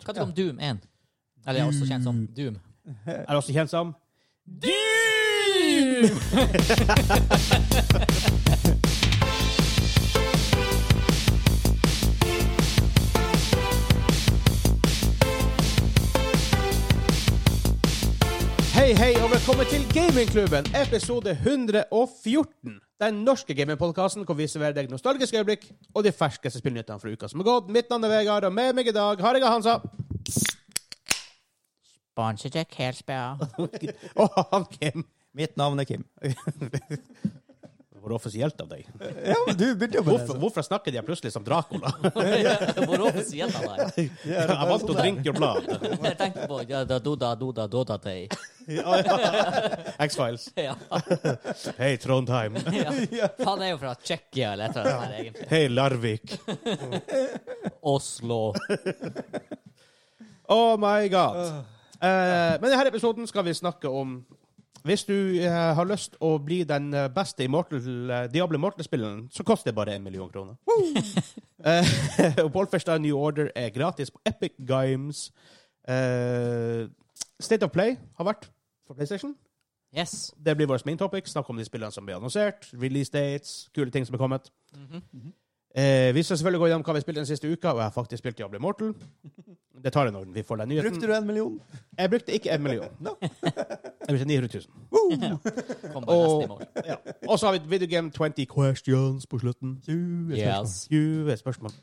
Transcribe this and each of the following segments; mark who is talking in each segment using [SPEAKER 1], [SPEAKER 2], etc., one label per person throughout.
[SPEAKER 1] Hva tenker du om Doom 1? Eller også kjent som Doom.
[SPEAKER 2] Er også kjent som
[SPEAKER 1] Doom!
[SPEAKER 2] Hei, hei, og velkommen til Gamingklubben, episode 114. Den norske gamingpodkasten hvor vi serverer deg nostalgiske øyeblikk og de ferskeste spillnyttene fra uka som har gått. Mitt navn er Vegard, og med meg i dag har jeg Hansa.
[SPEAKER 1] Sponsorjack Helsberg.
[SPEAKER 2] Og han Kim.
[SPEAKER 3] Mitt navn er Kim.
[SPEAKER 2] Det var offisielt av deg.
[SPEAKER 3] Ja, men du begynte jo med
[SPEAKER 2] Hvorfor, hvorfor snakker de plutselig som Dracula?
[SPEAKER 1] Hvor offisielt han var.
[SPEAKER 3] Ja, det
[SPEAKER 2] Jeg valgte å drinke your blood.
[SPEAKER 1] Jeg tenkte på ja, da, doda, doda, doda day.
[SPEAKER 2] X-Files.
[SPEAKER 1] Ja,
[SPEAKER 2] Hei, Trondheim.
[SPEAKER 1] ja. Han er jo fra Tsjekkia eller et eller annet, der, egentlig.
[SPEAKER 2] Hei, Larvik.
[SPEAKER 1] Oslo.
[SPEAKER 2] Oh my god. Eh, men i denne episoden skal vi snakke om Hvis du eh, har lyst å bli den eh, beste i Mortal, eh, Diablo Mortal-spilleren, så koster det bare en million kroner. Eh, og Wolfenstein New Order er gratis på Epic Games. Eh, State of Play har vært for PlayStation.
[SPEAKER 1] Yes.
[SPEAKER 2] Det blir vårt main topic. Snakk om de spillene som blir annonsert, release dates, kule ting som er kommet.
[SPEAKER 1] Mhm.
[SPEAKER 2] Eh, vi skal selvfølgelig gå gjennom hva vi har spilt den siste uka, og jeg har faktisk spilt Diablo Mortal. Det tar en orden. Vi får den nyheten.
[SPEAKER 3] Brukte du en million?
[SPEAKER 2] Jeg brukte ikke en million. Jeg brukte 900 000.
[SPEAKER 1] Kom bare
[SPEAKER 2] Og-
[SPEAKER 1] nesten i morgen.
[SPEAKER 2] Og så har vi et video game 20 questions på slutten. 20 spørsmål.
[SPEAKER 1] Yes.
[SPEAKER 2] 20 spørsmål.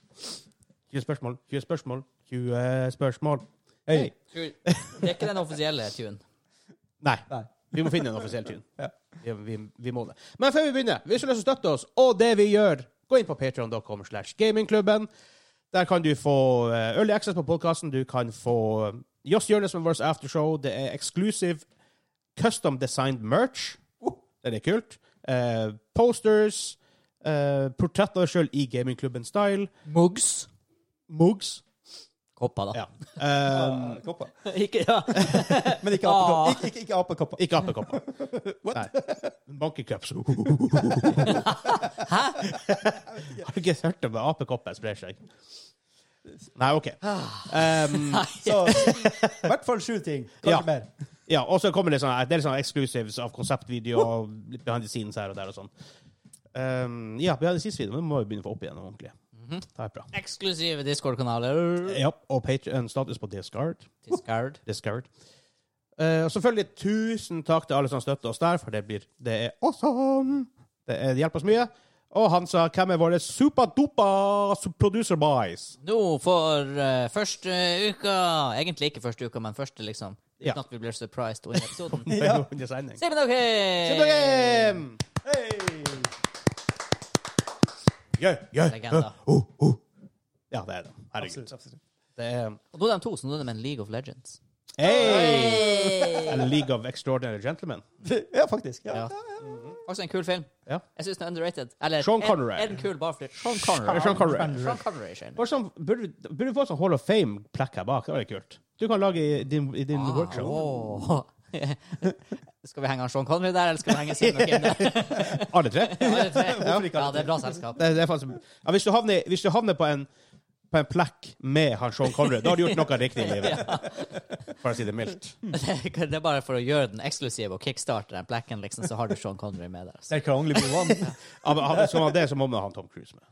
[SPEAKER 2] 20 spørsmål. 20 spørsmål. 20 spørsmål.
[SPEAKER 3] Hei.
[SPEAKER 1] Det er ikke den offisielle tune.
[SPEAKER 2] Nei.
[SPEAKER 3] Nei.
[SPEAKER 2] Vi må finne en offisiell tune.
[SPEAKER 3] Ja.
[SPEAKER 2] Vi, vi, vi må det. Men før vi begynner, hvis du har lyst til å støtte oss, og det vi gjør, gå inn på patreon.com slash gamingklubben. Der kan du få eh, early access på podkasten. Du kan få eh, Joss Jonis med vårt aftershow. Det er exclusive custom designed merch.
[SPEAKER 3] Uh.
[SPEAKER 2] Det er kult. Eh, posters. Uh, portrett av deg sjøl i gamingklubben-style.
[SPEAKER 1] Mugs.
[SPEAKER 2] Mugs.
[SPEAKER 1] Kopper, da.
[SPEAKER 2] Ja. Eh,
[SPEAKER 3] Ah, kopper.
[SPEAKER 1] Ikke, ja.
[SPEAKER 3] Men ikke
[SPEAKER 1] Ah.
[SPEAKER 3] apekopper. Ikke, ikke, ikke apekopper.
[SPEAKER 2] ikke apekopper. Nei. Bankecups.
[SPEAKER 1] Hæ?
[SPEAKER 2] Har du ikke hørt om det? Apekopper sprer seg. Nei, OK. Um,
[SPEAKER 3] Så i hvert fall sju ting. Kanskje
[SPEAKER 2] Ja.
[SPEAKER 3] mer.
[SPEAKER 2] ja, og så kommer det sånn Det er sånn exclusives av konseptvideo og litt behind the scenes her og der og sånn. Um, ja, behind the scenes-videoen men vi må jo begynne å få opp igjen noe ordentlig. Det er bra.
[SPEAKER 1] Eksklusive Discord-kanaler.
[SPEAKER 2] Ja, og Patreon status på Discard.
[SPEAKER 1] Discard.
[SPEAKER 2] Discard. Eh, og selvfølgelig tusen takk til alle som støtter oss der, for det blir Det er awesome! Det, er, det hjelper oss mye. Og han sa hvem er våre superdupa producer boys?
[SPEAKER 1] Nå for eh, første uka Egentlig ikke første uka, men første, liksom. Uten
[SPEAKER 2] Ja.
[SPEAKER 1] at vi blir surprised under episoden.
[SPEAKER 3] Ja.
[SPEAKER 2] Under sending.
[SPEAKER 1] Simen og Kim!
[SPEAKER 2] Super game!
[SPEAKER 3] Hei!
[SPEAKER 2] Yeah, yeah.
[SPEAKER 1] Legenda.
[SPEAKER 2] Oh, oh. Ja, det er det. Herregud.
[SPEAKER 3] Absolutt. absolutt.
[SPEAKER 2] Det er
[SPEAKER 1] Og nå er de to, så nå er de en League of Legends.
[SPEAKER 2] Hey! A League of Extraordinary Gentlemen.
[SPEAKER 3] Ja, faktisk. Ja.
[SPEAKER 1] Ja. Også en kul film.
[SPEAKER 2] Ja.
[SPEAKER 1] Jeg syns den er underrated. Eller
[SPEAKER 2] Sean
[SPEAKER 1] er-
[SPEAKER 2] Connery.
[SPEAKER 1] Er den kul bare fordi Sean Connery.
[SPEAKER 2] Sean Connery.
[SPEAKER 1] Sean Connery Shane.
[SPEAKER 2] Bare sånn, burde, burde du få sånn Hall of Fame-plekk her bak? Det var litt kult. Du kan lage i din, i din workshop.
[SPEAKER 1] Åh. Skal vi henge han Sean Connery der, eller skal vi henge Simen og Kim der?
[SPEAKER 2] Alle tre?
[SPEAKER 1] Alle tre.
[SPEAKER 3] ikke
[SPEAKER 1] Ja,
[SPEAKER 3] alle
[SPEAKER 1] det er bra selskap.
[SPEAKER 2] Det, det er faktisk, ja, hvis, du havner, hvis du havner på en på en plekk med han Sean Connery, da har du gjort noe riktig i livet. For å si det mildt.
[SPEAKER 1] Det er bare for å gjøre den eksklusiv og kickstarte den plekken, liksom, så har du Sean Connery med der.
[SPEAKER 3] There can only be one.
[SPEAKER 2] Ja, men han- Skal man ha det, så må man ha han Tom Cruise med.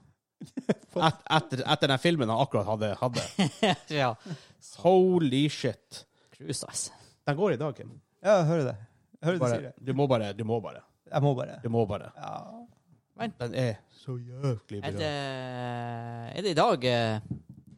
[SPEAKER 2] Et, etter, etter den filmen han akkurat hadde. hadde.
[SPEAKER 1] Ja.
[SPEAKER 2] Holy shit.
[SPEAKER 1] Cruise, altså.
[SPEAKER 2] Den går i dag, Kim.
[SPEAKER 3] Ja, jeg hører det. Jeg hører du
[SPEAKER 2] Bare,
[SPEAKER 3] sier det.
[SPEAKER 2] du må bare. Du må bare.
[SPEAKER 3] Jeg må bare
[SPEAKER 2] Du må bare.
[SPEAKER 3] ja.
[SPEAKER 2] Den er så jævlig
[SPEAKER 1] Er
[SPEAKER 2] bra.
[SPEAKER 1] det, er det i dag, eh,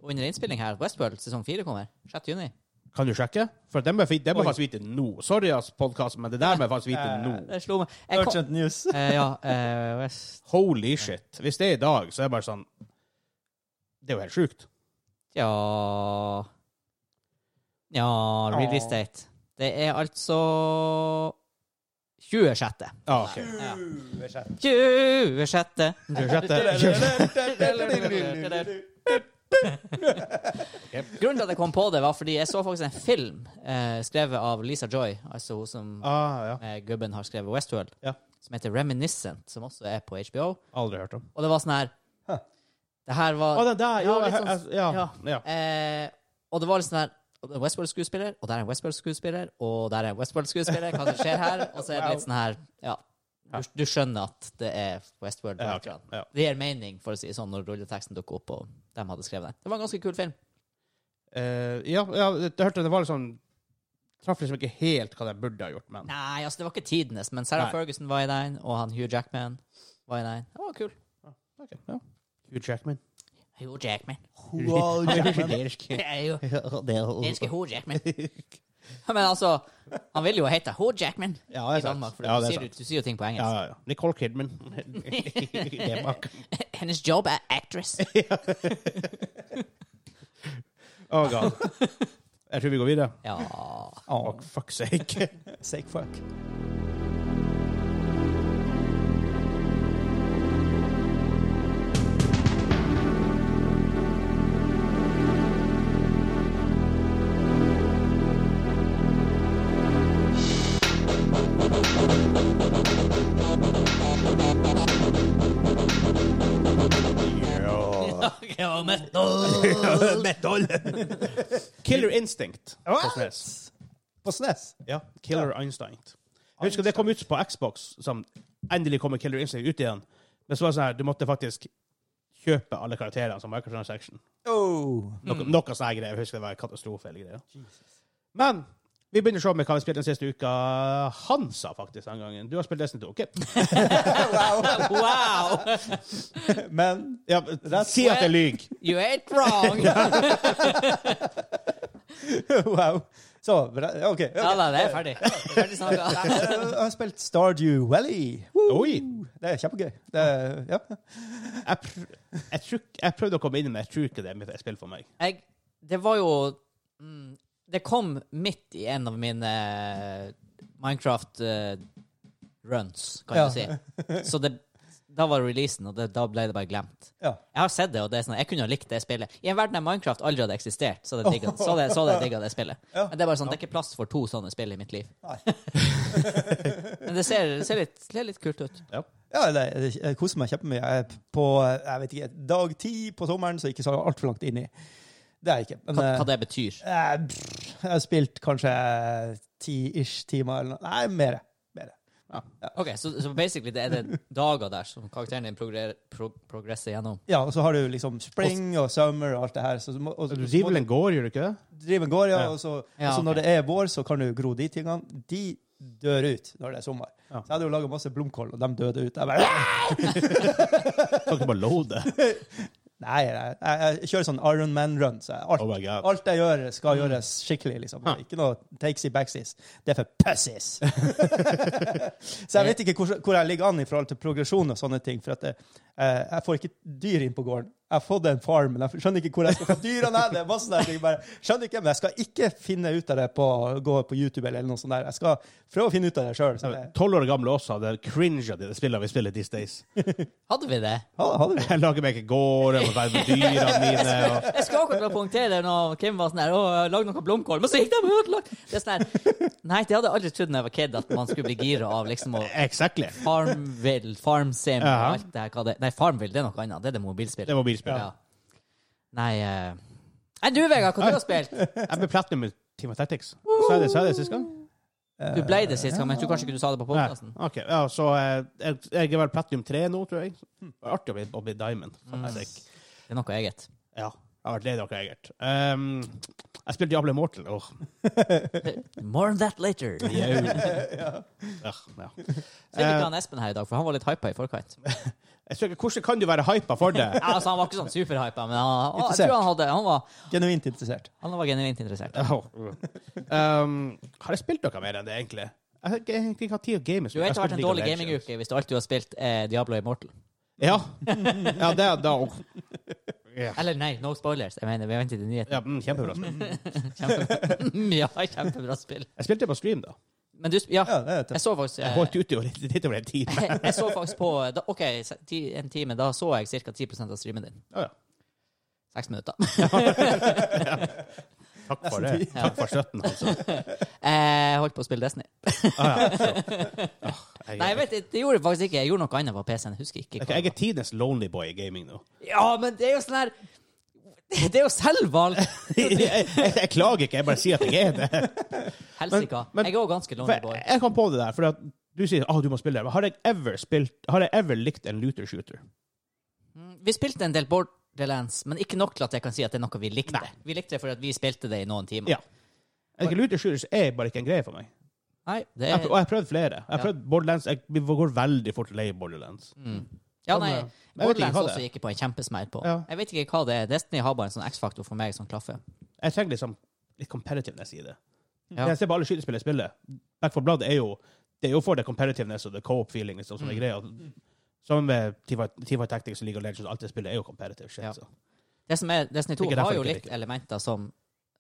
[SPEAKER 1] under innspilling her, Westworld sesong 4 kommer? 6. juni?
[SPEAKER 2] Kan du sjekke? For den må jeg fi- den må
[SPEAKER 3] Oi.
[SPEAKER 2] jeg faktisk vite nå. Sorry, ass, podkasten, men det der må jeg faktisk vite nå.
[SPEAKER 1] Det slo meg. Jeg kom,
[SPEAKER 3] Urgent news.
[SPEAKER 1] Eh, ja, eh, West,
[SPEAKER 2] Holy shit. Hvis det er i dag, så er det bare sånn Det er jo helt sjukt.
[SPEAKER 1] ja Ja, release date. Det er altså 26.
[SPEAKER 2] Ja, Ah, ok.
[SPEAKER 1] Ja.
[SPEAKER 3] Uh, jeg skjønner.
[SPEAKER 1] 26. Grunnen til at jeg kom på det, var fordi jeg så faktisk en film eh, skrevet av Lisa Joy, altså hun som
[SPEAKER 2] Ah, ja.
[SPEAKER 1] eh, gubben har skrevet Westworld,
[SPEAKER 2] Ja.
[SPEAKER 1] som heter Reminiscent, som også er på HBO.
[SPEAKER 2] Aldri hørt om.
[SPEAKER 1] Og det var sånn her
[SPEAKER 3] Huh.
[SPEAKER 1] Det her
[SPEAKER 2] Å,
[SPEAKER 1] var
[SPEAKER 2] den der! Ja,
[SPEAKER 1] Ja, litt
[SPEAKER 2] jeg- jeg- ja.
[SPEAKER 1] sånn-
[SPEAKER 2] ja.
[SPEAKER 1] eh, Og det var litt sånn der og det er Westworld-skuespiller, og der er en Westworld-skuespiller, og der er en Westworld-skuespiller. Hva som skjer her? Og så er det litt sånn her Ja. Du, du skjønner at det er Westworld.
[SPEAKER 2] Ja,
[SPEAKER 1] Ja,
[SPEAKER 2] ok, ja.
[SPEAKER 1] Det gir mening, for å si det sånn, når rulleteksten dukker opp, og de hadde skrevet den. Det var en ganske kul film.
[SPEAKER 2] Eh, ja, ja, det, det hørte jeg, det var liksom Traff liksom ikke helt hva jeg burde ha gjort, men
[SPEAKER 1] Nei, altså, det var ikke tidenes, men Sarah
[SPEAKER 2] Nei.
[SPEAKER 1] Ferguson var i den, og han Hugh Jackman var i den. Det var kul.
[SPEAKER 2] Ok, ja. Hugh Jackman.
[SPEAKER 1] Hugh Jackman.
[SPEAKER 3] Wow, Jackman.
[SPEAKER 1] Det er jo
[SPEAKER 3] Ja, det er-
[SPEAKER 1] Jeg elsker Hugh Jackman. Ja, Men altså, han vil jo hete Hugh Jackman
[SPEAKER 2] Ja,
[SPEAKER 1] i Danmark, for
[SPEAKER 2] Ja,
[SPEAKER 1] du,
[SPEAKER 2] det
[SPEAKER 1] sier,
[SPEAKER 2] er sant.
[SPEAKER 1] du, du sier jo ting på
[SPEAKER 2] Ja,
[SPEAKER 1] engelsk.
[SPEAKER 2] ja, ja. Nicole Kidman. det er bak.
[SPEAKER 1] Hennes job er actress.
[SPEAKER 2] Oh god. Jeg tror vi går videre.
[SPEAKER 1] Ja.
[SPEAKER 2] Oh, fuck sake.
[SPEAKER 3] Sake fuck.
[SPEAKER 1] Ja, metal.
[SPEAKER 3] Metal!
[SPEAKER 2] Killer Instinct.
[SPEAKER 3] What?
[SPEAKER 2] På SNES.
[SPEAKER 3] På SNES.
[SPEAKER 2] Ja, Killer Instinct. Jeg husker det kom ut på Xbox, som endelig kommer Killer Instinct ut igjen. Men så var det sånn her, du måtte faktisk kjøpe alle karakterene som microtransaction.
[SPEAKER 3] Oh.
[SPEAKER 2] Noe, noe sånne greier. Jeg husker det var en katastrofe eller greier. Men vi begynner å se med hva vi spilte den siste uka. Han sa faktisk den gangen. Du har spilt Destiny 2. OK.
[SPEAKER 3] Wow.
[SPEAKER 1] Wow!
[SPEAKER 3] Men
[SPEAKER 2] Ja, si at jeg lyver.
[SPEAKER 1] You ain't wrong! Ja,
[SPEAKER 3] wow. Så bra. OK. ok.
[SPEAKER 1] da, det er ferdig. Ferdig snakka.
[SPEAKER 3] Jeg har spilt Stardew Valley.
[SPEAKER 2] Oi.
[SPEAKER 3] Det er kjempegøy. Det er, ja.
[SPEAKER 2] Jeg, pr jeg, tror, ikke- jeg prøvde å komme inn, men jeg tror ikke det er mitt spill for meg.
[SPEAKER 1] Jeg Det var jo mm, Det kom midt i en av mine eh, Minecraft-runs, kan
[SPEAKER 3] Ja.
[SPEAKER 1] du si. Så det, da var releasen, og det, da ble det bare glemt.
[SPEAKER 3] Ja.
[SPEAKER 1] Jeg har sett det, og det er sånn, jeg kunne jo likt det spillet. I en verden der Minecraft aldri hadde eksistert, så hadde jeg digga- så hadde jeg- så hadde jeg digga det spillet.
[SPEAKER 3] Ja.
[SPEAKER 1] Men det er bare sånn, det er ikke plass for to sånne spill i mitt liv.
[SPEAKER 3] Nei.
[SPEAKER 1] Men det ser, det ser, litt, det ser litt kult ut.
[SPEAKER 2] Ja.
[SPEAKER 3] Ja, det, det, jeg koser meg kjempemye. Jeg er På jeg vet ikke, dag ti på sommeren, så ikke så altfor langt inni. Det er jeg ikke. Men
[SPEAKER 1] Hva, hva
[SPEAKER 3] eh,
[SPEAKER 1] det betyr.
[SPEAKER 3] eh, pff, jeg har spilt kanskje ti-ish timer eller noe. Nei, mer. mer.
[SPEAKER 1] Ok, så, så basically det er det dager der som karakteren din progrer, pro, progresser gjennom.
[SPEAKER 3] Ja, og så har du liksom spring og summer og alt det her. Så, du må- og, så-
[SPEAKER 2] Du
[SPEAKER 3] så
[SPEAKER 2] driver
[SPEAKER 3] må
[SPEAKER 2] vel en gård, gjør du ikke det?
[SPEAKER 3] du drive en gård, ja,
[SPEAKER 2] Ja.
[SPEAKER 3] og så,
[SPEAKER 1] Ja,
[SPEAKER 3] og så når
[SPEAKER 1] ok.
[SPEAKER 3] det er vår, så kan du gro de tingene. De dør ut når det er sommer.
[SPEAKER 2] Ja.
[SPEAKER 3] Så jeg hadde jo laga masse blomkål, og de døde ut. Jeg bare,
[SPEAKER 2] Kan ikke bare loade.
[SPEAKER 3] Nei, nei, jeg, jeg kjører sånn Iron Man-run. Så jeg- alt,
[SPEAKER 2] Oh my God.
[SPEAKER 3] alt jeg gjør, skal gjøres skikkelig. liksom.
[SPEAKER 2] Huh.
[SPEAKER 3] Ikke noe takesy-backsies. Det er for pussies! så jeg vet ikke hvor, hvor jeg ligger an i forhold til progresjon og sånne ting. For at det, eh, jeg får ikke dyr inn på gården. Jeg har fått en farm, men jeg skjønner ikke hvor jeg skal få dyrene hen. Det er masse der, ting jeg bare skjønner ikke, Men jeg skal ikke finne ut av det på gå på YouTube eller noe sånt. der. Jeg skal prøve å finne ut av det sjøl. Ja,
[SPEAKER 2] Tolv år gamle også hadde cringe av de spillene vi spiller these days.
[SPEAKER 1] Hadde vi det?
[SPEAKER 3] ha det bra.
[SPEAKER 2] Jeg lager meg ikke gård, jeg må være med dyra mine. Og...
[SPEAKER 1] Jeg skulle akkurat til å poengtere det når Kim var sånn her Å, jeg lagde noe blomkål, men så gikk de ødelagt! Det er sånn her Nei, det hadde jeg aldri trodd da jeg var kid, at man skulle bli gira av liksom å
[SPEAKER 2] Exactly.
[SPEAKER 1] Farmville, FarmSim og
[SPEAKER 2] Ja.
[SPEAKER 1] alt det her hva det Nei, Farmville, det er noe annet. Det er det mobilspillet.
[SPEAKER 2] Det var bilspill.
[SPEAKER 1] Ja. Nei eh. Nei, du, Vegard, hva du har spilt?
[SPEAKER 2] Jeg ble platinum med Team of Tactics. Sa jeg det, sa jeg det sist gang?
[SPEAKER 1] Du ble det sist gang, men jeg tror kanskje ikke du sa det på
[SPEAKER 2] Nei.
[SPEAKER 1] podkasten.
[SPEAKER 2] Ok, ja, så eh, jeg, jeg er vel platinum 3 nå, tror jeg. Det var artig å bli, å bli diamond.
[SPEAKER 1] Mm.
[SPEAKER 2] Faktisk.
[SPEAKER 1] Det er noe eget.
[SPEAKER 2] Ja, jeg har vært lei dere, Egert. Um, jeg spilte Diablo Immortal. Åh,
[SPEAKER 1] More on that later. Jeg
[SPEAKER 2] jau. Ah, ja.
[SPEAKER 1] Synd
[SPEAKER 2] Eh,
[SPEAKER 1] ikke han Espen her i dag, for han var litt hypa i forkant.
[SPEAKER 2] Jeg tror ikke, Hvordan kan du være hypa for det?
[SPEAKER 1] Ja, altså, han var ikke sånn superhypa, men han, å, jeg
[SPEAKER 3] Interessert.
[SPEAKER 1] tror han hadde Han var,
[SPEAKER 3] Genuint interessert.
[SPEAKER 1] han var genuint interessert.
[SPEAKER 2] Åh. Um, har jeg spilt noe mer enn det, egentlig? Jeg har ikke- jeg har egentlig ikke hatt tid å game. så
[SPEAKER 1] Du vet
[SPEAKER 2] jeg
[SPEAKER 1] det har vært en
[SPEAKER 2] spilte League
[SPEAKER 1] dårlig
[SPEAKER 2] of Legends.
[SPEAKER 1] gaminguke hvis du alltid har spilt eh, Diablo Immortal.
[SPEAKER 2] Ja. ja, det er da åh. Ja.
[SPEAKER 1] Eller nei, no spoilers. Jeg mener, vi venter til nyheten.
[SPEAKER 2] Ja, mm, kjempebra spill.
[SPEAKER 1] Mm, ja, kjempebra spill.
[SPEAKER 2] Jeg spilte på stream, da.
[SPEAKER 1] Men du sp- Ja,
[SPEAKER 3] Ja, det er
[SPEAKER 1] jeg
[SPEAKER 3] tøft.
[SPEAKER 1] så faktisk
[SPEAKER 2] Jeg
[SPEAKER 1] eh,
[SPEAKER 2] holdt ute i litt, litt over en time.
[SPEAKER 1] Jeg så faktisk på eh, da, OK, se- ti, en time. Da så jeg ca. 10 av streamen din.
[SPEAKER 2] Å, ja.
[SPEAKER 1] Seks minutter.
[SPEAKER 2] Takk for det. Takk for støtten, altså.
[SPEAKER 1] Eh, Jeg holdt på å spille Destiny.
[SPEAKER 2] Ah, ja, så. Åh, jeg,
[SPEAKER 1] Nei, jeg vet, det- det gjorde jeg faktisk ikke. Jeg gjorde noe annet på PC-en. Jeg Husker ikke.
[SPEAKER 2] Ok,
[SPEAKER 1] hva
[SPEAKER 2] jeg
[SPEAKER 1] det
[SPEAKER 2] er tidenes lonely boy i gaming nå.
[SPEAKER 1] var. Ja, men det er jo sånn her Det er jo selvvalgt!
[SPEAKER 2] jeg, jeg, jeg klager ikke, jeg bare sier at jeg er det.
[SPEAKER 1] Helsika.
[SPEAKER 2] Men- men-
[SPEAKER 1] Jeg er òg ganske
[SPEAKER 2] For
[SPEAKER 1] lonely boy.
[SPEAKER 2] jeg, jeg kom på det der, for at du sier at du må spille det. Men har jeg ever, spilt, har jeg ever likt en looter shooter?
[SPEAKER 1] Mm, Vi spilte en del Borderlands, men ikke nok til at jeg kan si at det er noe vi likte. Vi likte det fordi at vi spilte det i noen timer.
[SPEAKER 2] Ja. Jeg tenker, Looter shooters er bare ikke en greie for meg.
[SPEAKER 1] Nei, det
[SPEAKER 2] Jeg,
[SPEAKER 1] er...
[SPEAKER 2] og jeg har prøvd flere. Jeg har
[SPEAKER 1] Ja.
[SPEAKER 2] prøvd Borderlands. Jeg går veldig fort lei borderlands.
[SPEAKER 1] Mm. Ja, nei,
[SPEAKER 2] Jeg vet ikke hva
[SPEAKER 1] Borderlands
[SPEAKER 2] det er.
[SPEAKER 1] også gikk jeg på en kjempesmell på.
[SPEAKER 2] Ja.
[SPEAKER 1] Jeg vet ikke hva det er. Destiny har bare en sånn X-faktor for meg som klaffer.
[SPEAKER 2] Jeg trenger liksom litt competitiveness i det.
[SPEAKER 1] Ja.
[SPEAKER 2] Jeg ser på alle skytespill jeg spiller. Back for Blood er jo det er jo for det competitiveness og the co-op-feeling. liksom, som er greia. Sammen med T5 T5 Tactics og League of Legends. Alt det spillet er jo competitive shit.
[SPEAKER 1] Ja.
[SPEAKER 2] Så.
[SPEAKER 1] Det som er, Destiny 2
[SPEAKER 2] Ikke derfor
[SPEAKER 1] har jo
[SPEAKER 2] jeg
[SPEAKER 1] litt
[SPEAKER 2] liker
[SPEAKER 1] elementer som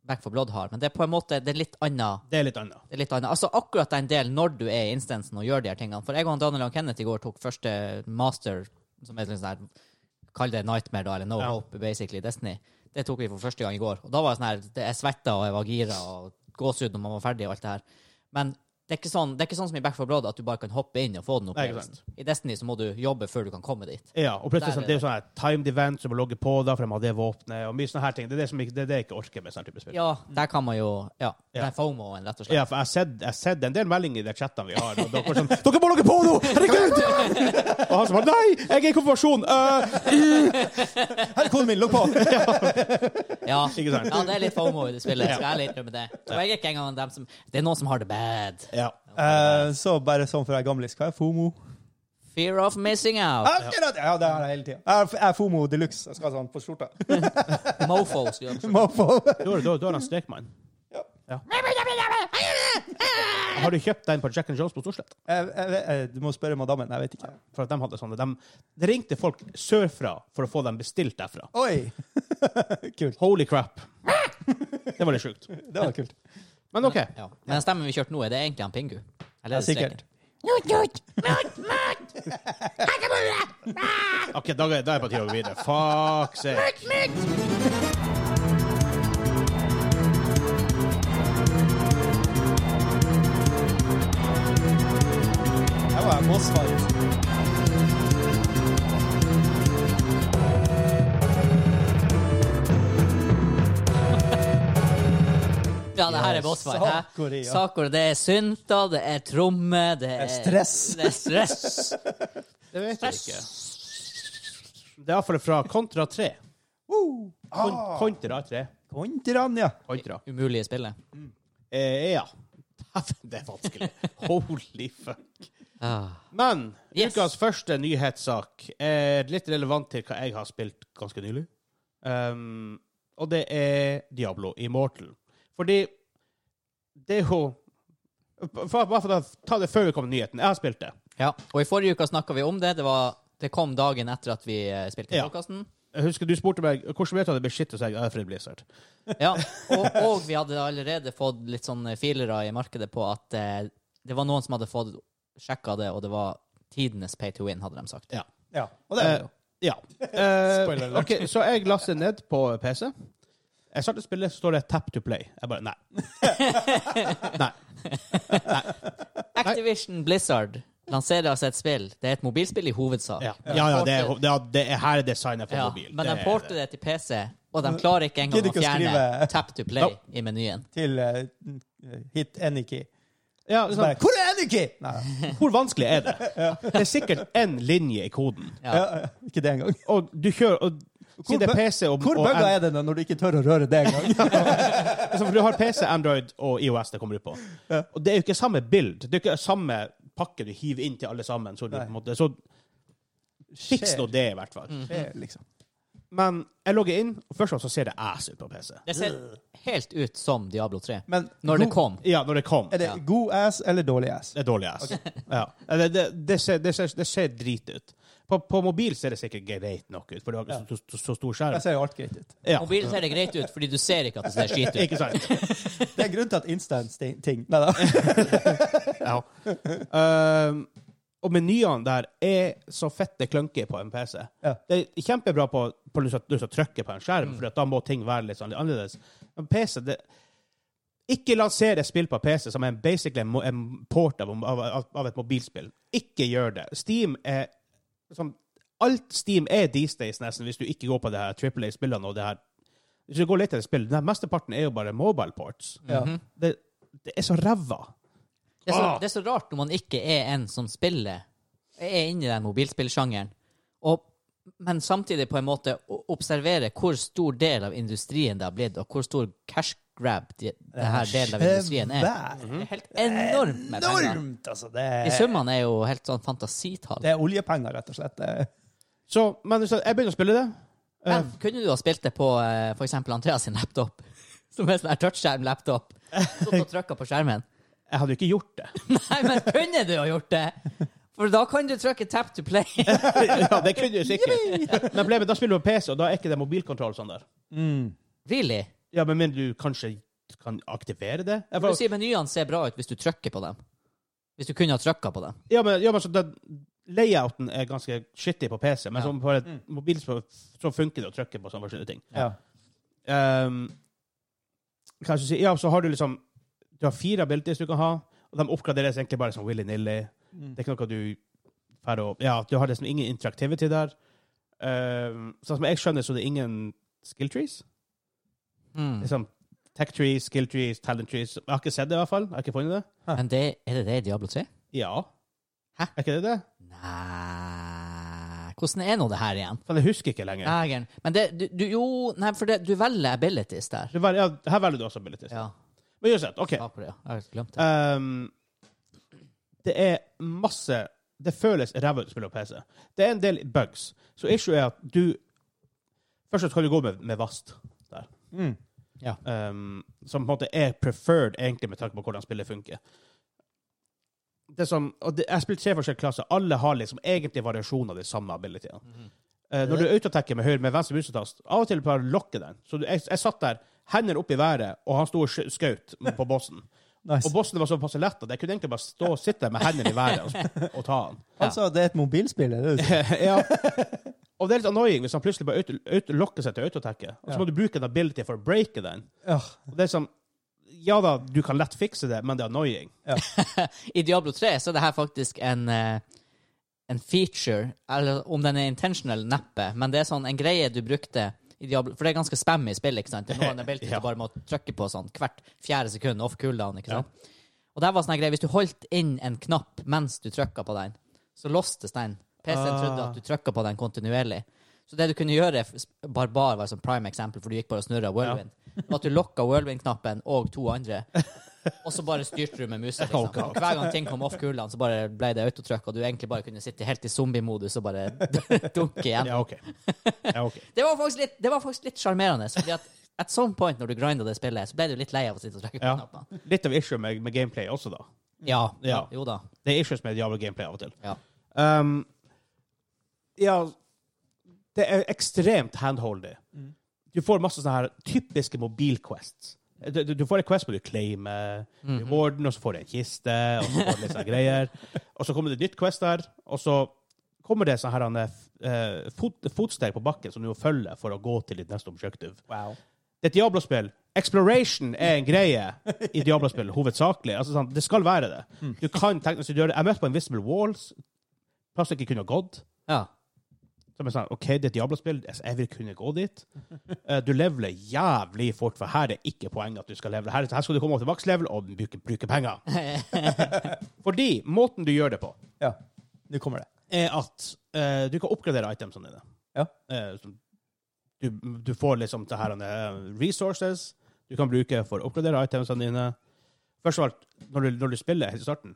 [SPEAKER 1] Back for Blood har, men det er på en måte det er litt annet.
[SPEAKER 2] Det er litt annet.
[SPEAKER 1] Det er litt annet. Altså akkurat den delen når du er i instansen og gjør de her tingene. For jeg og han Daniel og Kenneth i går tok første master, som er litt sånn her Kall det Nightmare, da, eller No
[SPEAKER 2] Ja.
[SPEAKER 1] Hope, basically, Destiny. Det tok vi for første gang i går. Og da var det sånn her det- Jeg svetta og jeg var gira og gåsehud når man var ferdig og alt det her. Men det er ikke sånn, det er ikke sånn som i Back for Blood at du bare kan hoppe inn og få den
[SPEAKER 2] Nei, ikke
[SPEAKER 1] opplevelsen. I Destiny så må du jobbe før du kan komme dit.
[SPEAKER 2] Ja, og plutselig
[SPEAKER 1] Der
[SPEAKER 2] sånn,
[SPEAKER 1] er
[SPEAKER 2] det er jo sånn her timed event som må logge på da, for de har det våpenet, og mye sånne her ting. Det er det, som ikke, det, er det jeg ikke orker med sånn type spill. Ja,
[SPEAKER 1] Ja, der kan man jo Ja.
[SPEAKER 2] Ja.
[SPEAKER 1] Den FOMO-en, rett og slett.
[SPEAKER 2] for jeg har sett- jeg har sett en del meldinger i de chattene vi har, og dere er sånn, dere må logge på nå! Herregud! og han som bare, nei, jeg er i konfirmasjon! Øh,
[SPEAKER 3] Her er koden min, logg på!
[SPEAKER 1] Ja.
[SPEAKER 2] Ikke sant?
[SPEAKER 1] ja, det er litt FOMO i det spillet.
[SPEAKER 2] Ja.
[SPEAKER 1] Skal jeg ærlig innrømme det. Og jeg er ikke engang dem som Det er noen som har det bad.
[SPEAKER 2] ja.
[SPEAKER 3] Eh, så bare sånn for jeg er gamlis. Hva er FOMO?
[SPEAKER 1] Fear of missing out.
[SPEAKER 3] Akkurat! Ja, det har jeg hele tida. Jeg er- jeg er FOMO de luxe. Jeg skal ha sånn på skjorta.
[SPEAKER 1] Mofo. skulle jeg også-
[SPEAKER 3] Mofo.
[SPEAKER 2] Da er da- da er han strekmann. Ja. Har du kjøpt den på Jack and Jones på Storslett?
[SPEAKER 3] Jeg- jeg vet- eh, Du må spørre madammen. Jeg vet ikke.
[SPEAKER 2] For at de hadde sånne, de, det ringte folk sørfra for å få dem bestilt derfra.
[SPEAKER 3] Oi! kult.
[SPEAKER 2] Holy crap. Det var litt sjukt.
[SPEAKER 3] Det var kult.
[SPEAKER 2] Men ok.
[SPEAKER 1] Ja. Men den stemmen vi kjørte nå, er det egentlig han Pingu? Eller
[SPEAKER 3] Ja,
[SPEAKER 1] er det
[SPEAKER 3] sikkert.
[SPEAKER 1] sikkert?
[SPEAKER 2] Ok, da er da er jeg på tide å gå videre. Fuck sake.
[SPEAKER 3] Her var jeg bossfight.
[SPEAKER 1] Ja, det her er
[SPEAKER 3] Ja,
[SPEAKER 1] boss fight.
[SPEAKER 3] Sakura,
[SPEAKER 1] hæ?
[SPEAKER 3] ja.
[SPEAKER 1] Sakura, det er synter, det er trommer, det er
[SPEAKER 3] stress.
[SPEAKER 1] Det er stress.
[SPEAKER 2] Det vet jeg ikke. Det er iallfall fra Kontra 3.
[SPEAKER 3] Woo!
[SPEAKER 2] Kon
[SPEAKER 3] Ah,
[SPEAKER 2] kontra 3.
[SPEAKER 3] Kontran, ja.
[SPEAKER 2] Kontra.
[SPEAKER 1] Umulige spillet.
[SPEAKER 2] Eh, ja. Det er vanskelig. Holy fuck.
[SPEAKER 1] Ah.
[SPEAKER 2] Men
[SPEAKER 1] Yes.
[SPEAKER 2] ukas første nyhetssak er litt relevant til hva jeg har spilt ganske nylig. Um, og det er Diablo Immortal. Fordi det er jo for, Bare for å ta det før vi kommer til nyheten. Jeg har spilt det.
[SPEAKER 1] Ja. Og i forrige uke snakka vi om det. Det, var, det kom dagen etter at vi eh, spilte
[SPEAKER 2] Ja.
[SPEAKER 1] podkasten.
[SPEAKER 2] Jeg husker Du spurte meg hvordan vet du at det blir shit, og så sa jeg «Ja, det er fordi det er Blizzard.
[SPEAKER 1] Ja, og, og vi hadde allerede fått litt sånn feelere i markedet på at eh, det var noen som hadde fått sjekka det, og det var tidenes pay to win, hadde de sagt.
[SPEAKER 2] Ja.
[SPEAKER 3] ja. Og det er det jo.
[SPEAKER 2] Ja. Eh,
[SPEAKER 3] Spoiler alert.
[SPEAKER 2] ok, så jeg lastet ned på PC. Jeg startet spillet, så står det 'tap to play'. Jeg bare nei. nei.
[SPEAKER 1] Activision Blizzard lanserer altså et spill. Det er et mobilspill i hovedsak.
[SPEAKER 2] Ja, ja, ja det, er, det, er, det er her er designet for
[SPEAKER 1] Ja,
[SPEAKER 2] mobil.
[SPEAKER 1] men de
[SPEAKER 2] Det er-
[SPEAKER 1] porter det til PC, og de klarer ikke engang
[SPEAKER 3] Gidder
[SPEAKER 1] å
[SPEAKER 3] ikke å
[SPEAKER 1] fjerne
[SPEAKER 3] skrive-
[SPEAKER 1] tap to play i menyen.
[SPEAKER 3] Til eh, hit Aniki.
[SPEAKER 2] ja, det
[SPEAKER 3] Så
[SPEAKER 2] er
[SPEAKER 3] bare
[SPEAKER 2] sånn,
[SPEAKER 3] Hvor er Aniki?! Nei,
[SPEAKER 2] hvor vanskelig er det? Det er sikkert én linje i koden.
[SPEAKER 1] Ja.
[SPEAKER 3] ja, ikke det engang.
[SPEAKER 2] Og du kjører og, Si det er
[SPEAKER 3] bø-
[SPEAKER 2] PC og,
[SPEAKER 3] Hvor
[SPEAKER 2] og
[SPEAKER 3] bugga er det da, når du ikke tør å røre det engang?
[SPEAKER 2] Altså, for du har PC, Android og IOS det kommer ut på. Og det er jo ikke samme bild. Det er ikke samme pakke du hiver inn til alle sammen. Så, du, på
[SPEAKER 3] Nei.
[SPEAKER 2] en måte, så fiks
[SPEAKER 3] Skjer.
[SPEAKER 2] nå det, i hvert fall.
[SPEAKER 1] Mm.
[SPEAKER 3] Det er liksom.
[SPEAKER 2] Men jeg logger inn, og først og fremst så ser det ass ut på PC.
[SPEAKER 1] Det ser helt ut som Diablo 3.
[SPEAKER 3] Men
[SPEAKER 1] Når det
[SPEAKER 3] god-
[SPEAKER 1] kom.
[SPEAKER 2] Ja, når det kom.
[SPEAKER 3] Er det
[SPEAKER 1] Ja.
[SPEAKER 3] god ass eller dårlig ass?
[SPEAKER 2] Det er dårlig ass. Ja. Det, det, det, ser, det, ser, det ser drit ut. På, på mobil ser det sikkert greit nok ut, for du har ikke så, så, så stor
[SPEAKER 3] Det
[SPEAKER 2] skjerm.
[SPEAKER 3] ser jo alt greit ut.
[SPEAKER 2] Ja.
[SPEAKER 1] Mobilen ser det greit ut, fordi du ser ikke at det ser skit ut.
[SPEAKER 2] Ikke sant?
[SPEAKER 3] Det er grunn til at instant-ting Nei da.
[SPEAKER 2] Ja. Ehm, og menyene der er så fette klunky på en PC.
[SPEAKER 3] Ja.
[SPEAKER 2] Det er kjempebra på, på lyst til å trykke på en skjerm, for at da må ting være litt sånn litt annerledes. Men PC det, Ikke lanser et spill på PC som er en- basically en, mo- en port av, av, av- av et mobilspill. Ikke gjør det. Steam er som, Alt Steam er these days, nesten, hvis du ikke går på det her Triple A-spillene og det her Hvis du går litt etter spill, den her mesteparten er jo bare mobile ports.
[SPEAKER 3] Ja.
[SPEAKER 2] Det, det er så ræva.
[SPEAKER 1] Det er, så,
[SPEAKER 2] Ah.
[SPEAKER 1] det er så rart når man ikke er en som spiller, er inne i den mobilspillsjangeren, og, men samtidig på en måte o- observere hvor stor del av industrien det har blitt, og hvor stor cash grab de, denne delen av industrien er.
[SPEAKER 3] Svær.
[SPEAKER 1] Det er helt enormt med penger.
[SPEAKER 3] Enormt, altså. Det
[SPEAKER 1] De
[SPEAKER 3] er,
[SPEAKER 1] summene er jo helt sånn fantasitall.
[SPEAKER 3] det er oljepenger, rett og slett. Det-
[SPEAKER 2] Så, men så jeg begynner å spille det. Eh,
[SPEAKER 1] Men kunne du ha spilt det på eh, for eksempel Andreas sin laptop? Som er sånn her touchskjerm-laptop. Stått og trykka på skjermen.
[SPEAKER 2] Jeg hadde jo ikke gjort det.
[SPEAKER 1] Nei, men kunne du ha gjort det? For da kan du trykke tap to play.
[SPEAKER 2] ja, det kunne du sikkert. Men problemet, da spiller du på PC, og da er ikke det mobilkontroll sånn der.
[SPEAKER 3] Mm,
[SPEAKER 1] Really?
[SPEAKER 2] Ja, men mindre du kanskje kan aktivere det? Jeg
[SPEAKER 1] For
[SPEAKER 2] får-
[SPEAKER 1] du sier menyene ser bra ut hvis du trykker på dem. Hvis du kunne ha trykka på dem.
[SPEAKER 2] Ja, men, ja, men så den layouten er ganske shitty på PC,
[SPEAKER 1] Ja.
[SPEAKER 2] men
[SPEAKER 1] Mm.
[SPEAKER 2] som på et mobil så, så funker det å trykke på sånne forskjellige ting.
[SPEAKER 3] Ja.
[SPEAKER 2] Ehm, hva skal jeg si? Ja, så har du liksom Du har fire abilities du kan ha, og de oppgraderes egentlig bare som willy-nilly.
[SPEAKER 1] Mm.
[SPEAKER 2] Det er ikke noe du får å- Ja, du har liksom ingen interactivity der. Ehm, sånn som jeg skjønner, så det er ingen skill trees.
[SPEAKER 1] Mm.
[SPEAKER 2] Liksom tech trees, skill trees, talent trees. Jeg har ikke sett det, i hvert fall. Jeg har ikke funnet det.
[SPEAKER 1] Men det, er det det i Diablo 3?
[SPEAKER 2] Ja.
[SPEAKER 1] Hæ?
[SPEAKER 2] Er ikke det det?
[SPEAKER 1] Nei Hvordan er nå det her igjen?
[SPEAKER 2] For Sånn, jeg husker ikke lenger.
[SPEAKER 1] Dægeren. Men det du, du, Jo, nei, for det, du velger abilities der.
[SPEAKER 2] Du vel, ja, her velger du også abilities.
[SPEAKER 1] Ja.
[SPEAKER 2] Men uansett, OK.
[SPEAKER 1] ja, for det, ja. Jeg har glemt det.
[SPEAKER 2] Ehm, det er masse Det føles ræva ut å spille på PC. Det er en del bugs. Så issue er at du Først så skal du gå med, med vast,
[SPEAKER 3] Mm.
[SPEAKER 2] ehm, som på en måte er preferred egentlig med tanke på hvordan spillet funker. Det som, og det, jeg har spilt tre forskjellige klasser. Alle har liksom egentlig variasjon av de samme abilityene. Eh, når du autotacker med høyre med venstre musetast, av og til bare lokke den. Så du, jeg, jeg satt der, hender opp i været, og han sto og skj- skjøt på bossen.
[SPEAKER 3] Nice.
[SPEAKER 2] Og bossen var såpass lett at jeg kunne egentlig bare stå og sitte med hendene i været og, og ta han.
[SPEAKER 3] Altså, det er et mobilspill, er det det?
[SPEAKER 2] ja. Og det er litt annoying hvis han plutselig bare auto, auto, lokker seg til autotacket, og så må du bruke en ability for å breake den.
[SPEAKER 3] Ja.
[SPEAKER 2] Og det er sånn, ja da, du kan lett fikse det, men det er annoying.
[SPEAKER 1] I Diablo 3 så er det her faktisk en eh, en feature, eller om den er intentional, neppe, men det er sånn en greie du brukte i Diablo, for det er ganske spam i spillet, ikke sant? Det er noen abilities
[SPEAKER 2] Ja.
[SPEAKER 1] du bare må trykke på sånn hvert fjerde sekund off cooldown, ikke sant? Og der var sånn en greie, hvis du holdt inn en knapp mens du trykket på den, så lostes den. PC-en trodde at du trykket på den kontinuerlig. Så det du kunne gjøre, f- Barbar var som prime eksempel, for du gikk bare og snurret whirlwind, var at du lokket whirlwind-knappen og to andre, og så bare styrte du med muset. Liksom. Og hver gang ting kom off kulene, så bare ble det autotrykk, og du egentlig bare kunne sitte helt i zombie-modus og bare dunke igjen.
[SPEAKER 2] Ja, OK. Ja, ok.
[SPEAKER 1] Det var faktisk litt, det var faktisk litt sjarmerende, fordi at at some point når du grinda det spillet, så ble du litt lei av å sitte og trykke på
[SPEAKER 2] Ja.
[SPEAKER 1] knappene.
[SPEAKER 2] Litt av issue med, med gameplay også, da.
[SPEAKER 1] Ja,
[SPEAKER 2] Ja.
[SPEAKER 1] Jo da.
[SPEAKER 2] Det er issues med Diablo-gameplay av og til.
[SPEAKER 1] Ja.
[SPEAKER 2] Um, ja Det er ekstremt handholdig. Du får masse sånne her typiske mobilquests. Eh, Du, du- du får en quest hvor du claimer rewarden, og så får du en kiste, og så får du litt sånne greier. Og så kommer det et nytt quest der, og så kommer det sånne her, han, eh, fot, fotsteg på bakken som du må følge for å gå til ditt neste objective.
[SPEAKER 3] Wow.
[SPEAKER 2] Det er et Diablo-spill. Exploration er en greie i Diablo-spill, hovedsakelig. Altså, sånn, det skal være det. Du kan teknisk sett gjøre det. Jeg møtte på Invisible Walls, plass jeg ikke kunne ha gått.
[SPEAKER 1] ja.
[SPEAKER 2] Så jeg sa OK, det er et Diablo-spill, altså, jeg vil kunne gå dit. Eh, Du leveler jævlig fort, for her er ikke poenget at du skal levele. Her, her skal du komme opp til makslevel og bruke, bruke penger. Fordi måten du gjør det på,
[SPEAKER 3] Ja. Nå kommer det.
[SPEAKER 2] er at eh, du kan oppgradere itemsene dine.
[SPEAKER 3] Ja.
[SPEAKER 2] Eh, som- du, du får liksom det her eh, resources du kan bruke for å oppgradere itemsene dine. Først og alt, når du, når du spiller helt i starten,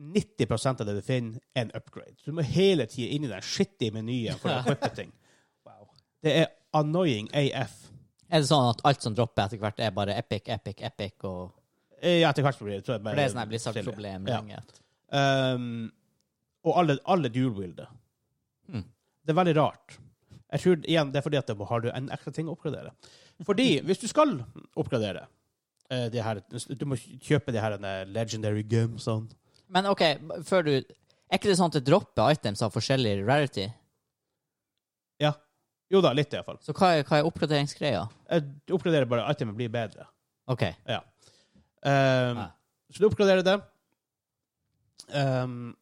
[SPEAKER 2] 90 av det du finner, er en upgrade. Så du må hele tiden inn i den skittige menyen for å equippe ting. Det er annoying AF.
[SPEAKER 1] Er det sånn at alt som dropper etter hvert, er bare epic, epic, epic, og
[SPEAKER 2] Eh, Ja, etter hvert så blir det tror jeg bare
[SPEAKER 1] For det er sånn her Blizzard-problem
[SPEAKER 2] stille. Ja.
[SPEAKER 1] lenge. at-
[SPEAKER 2] Um, og alle, alle dual-wielder.
[SPEAKER 1] Hmm.
[SPEAKER 2] Det er veldig rart. Jeg tror igjen det er fordi at det har du en ekstra ting å oppgradere. Fordi hvis du skal oppgradere eh, de her, Du må kjøpe de her eh, legendary sånn. gamesene.
[SPEAKER 1] Men OK, før du Er ikke det sånn at det dropper items av forskjellig rarity?
[SPEAKER 2] Ja. Jo da, litt iallfall.
[SPEAKER 1] Så hva er, hva er oppgraderingsgreia?
[SPEAKER 2] Du oppgraderer bare itemet blir bedre.
[SPEAKER 1] OK.
[SPEAKER 2] Um,
[SPEAKER 1] Ah.
[SPEAKER 2] Så du oppgraderer det. Ehm,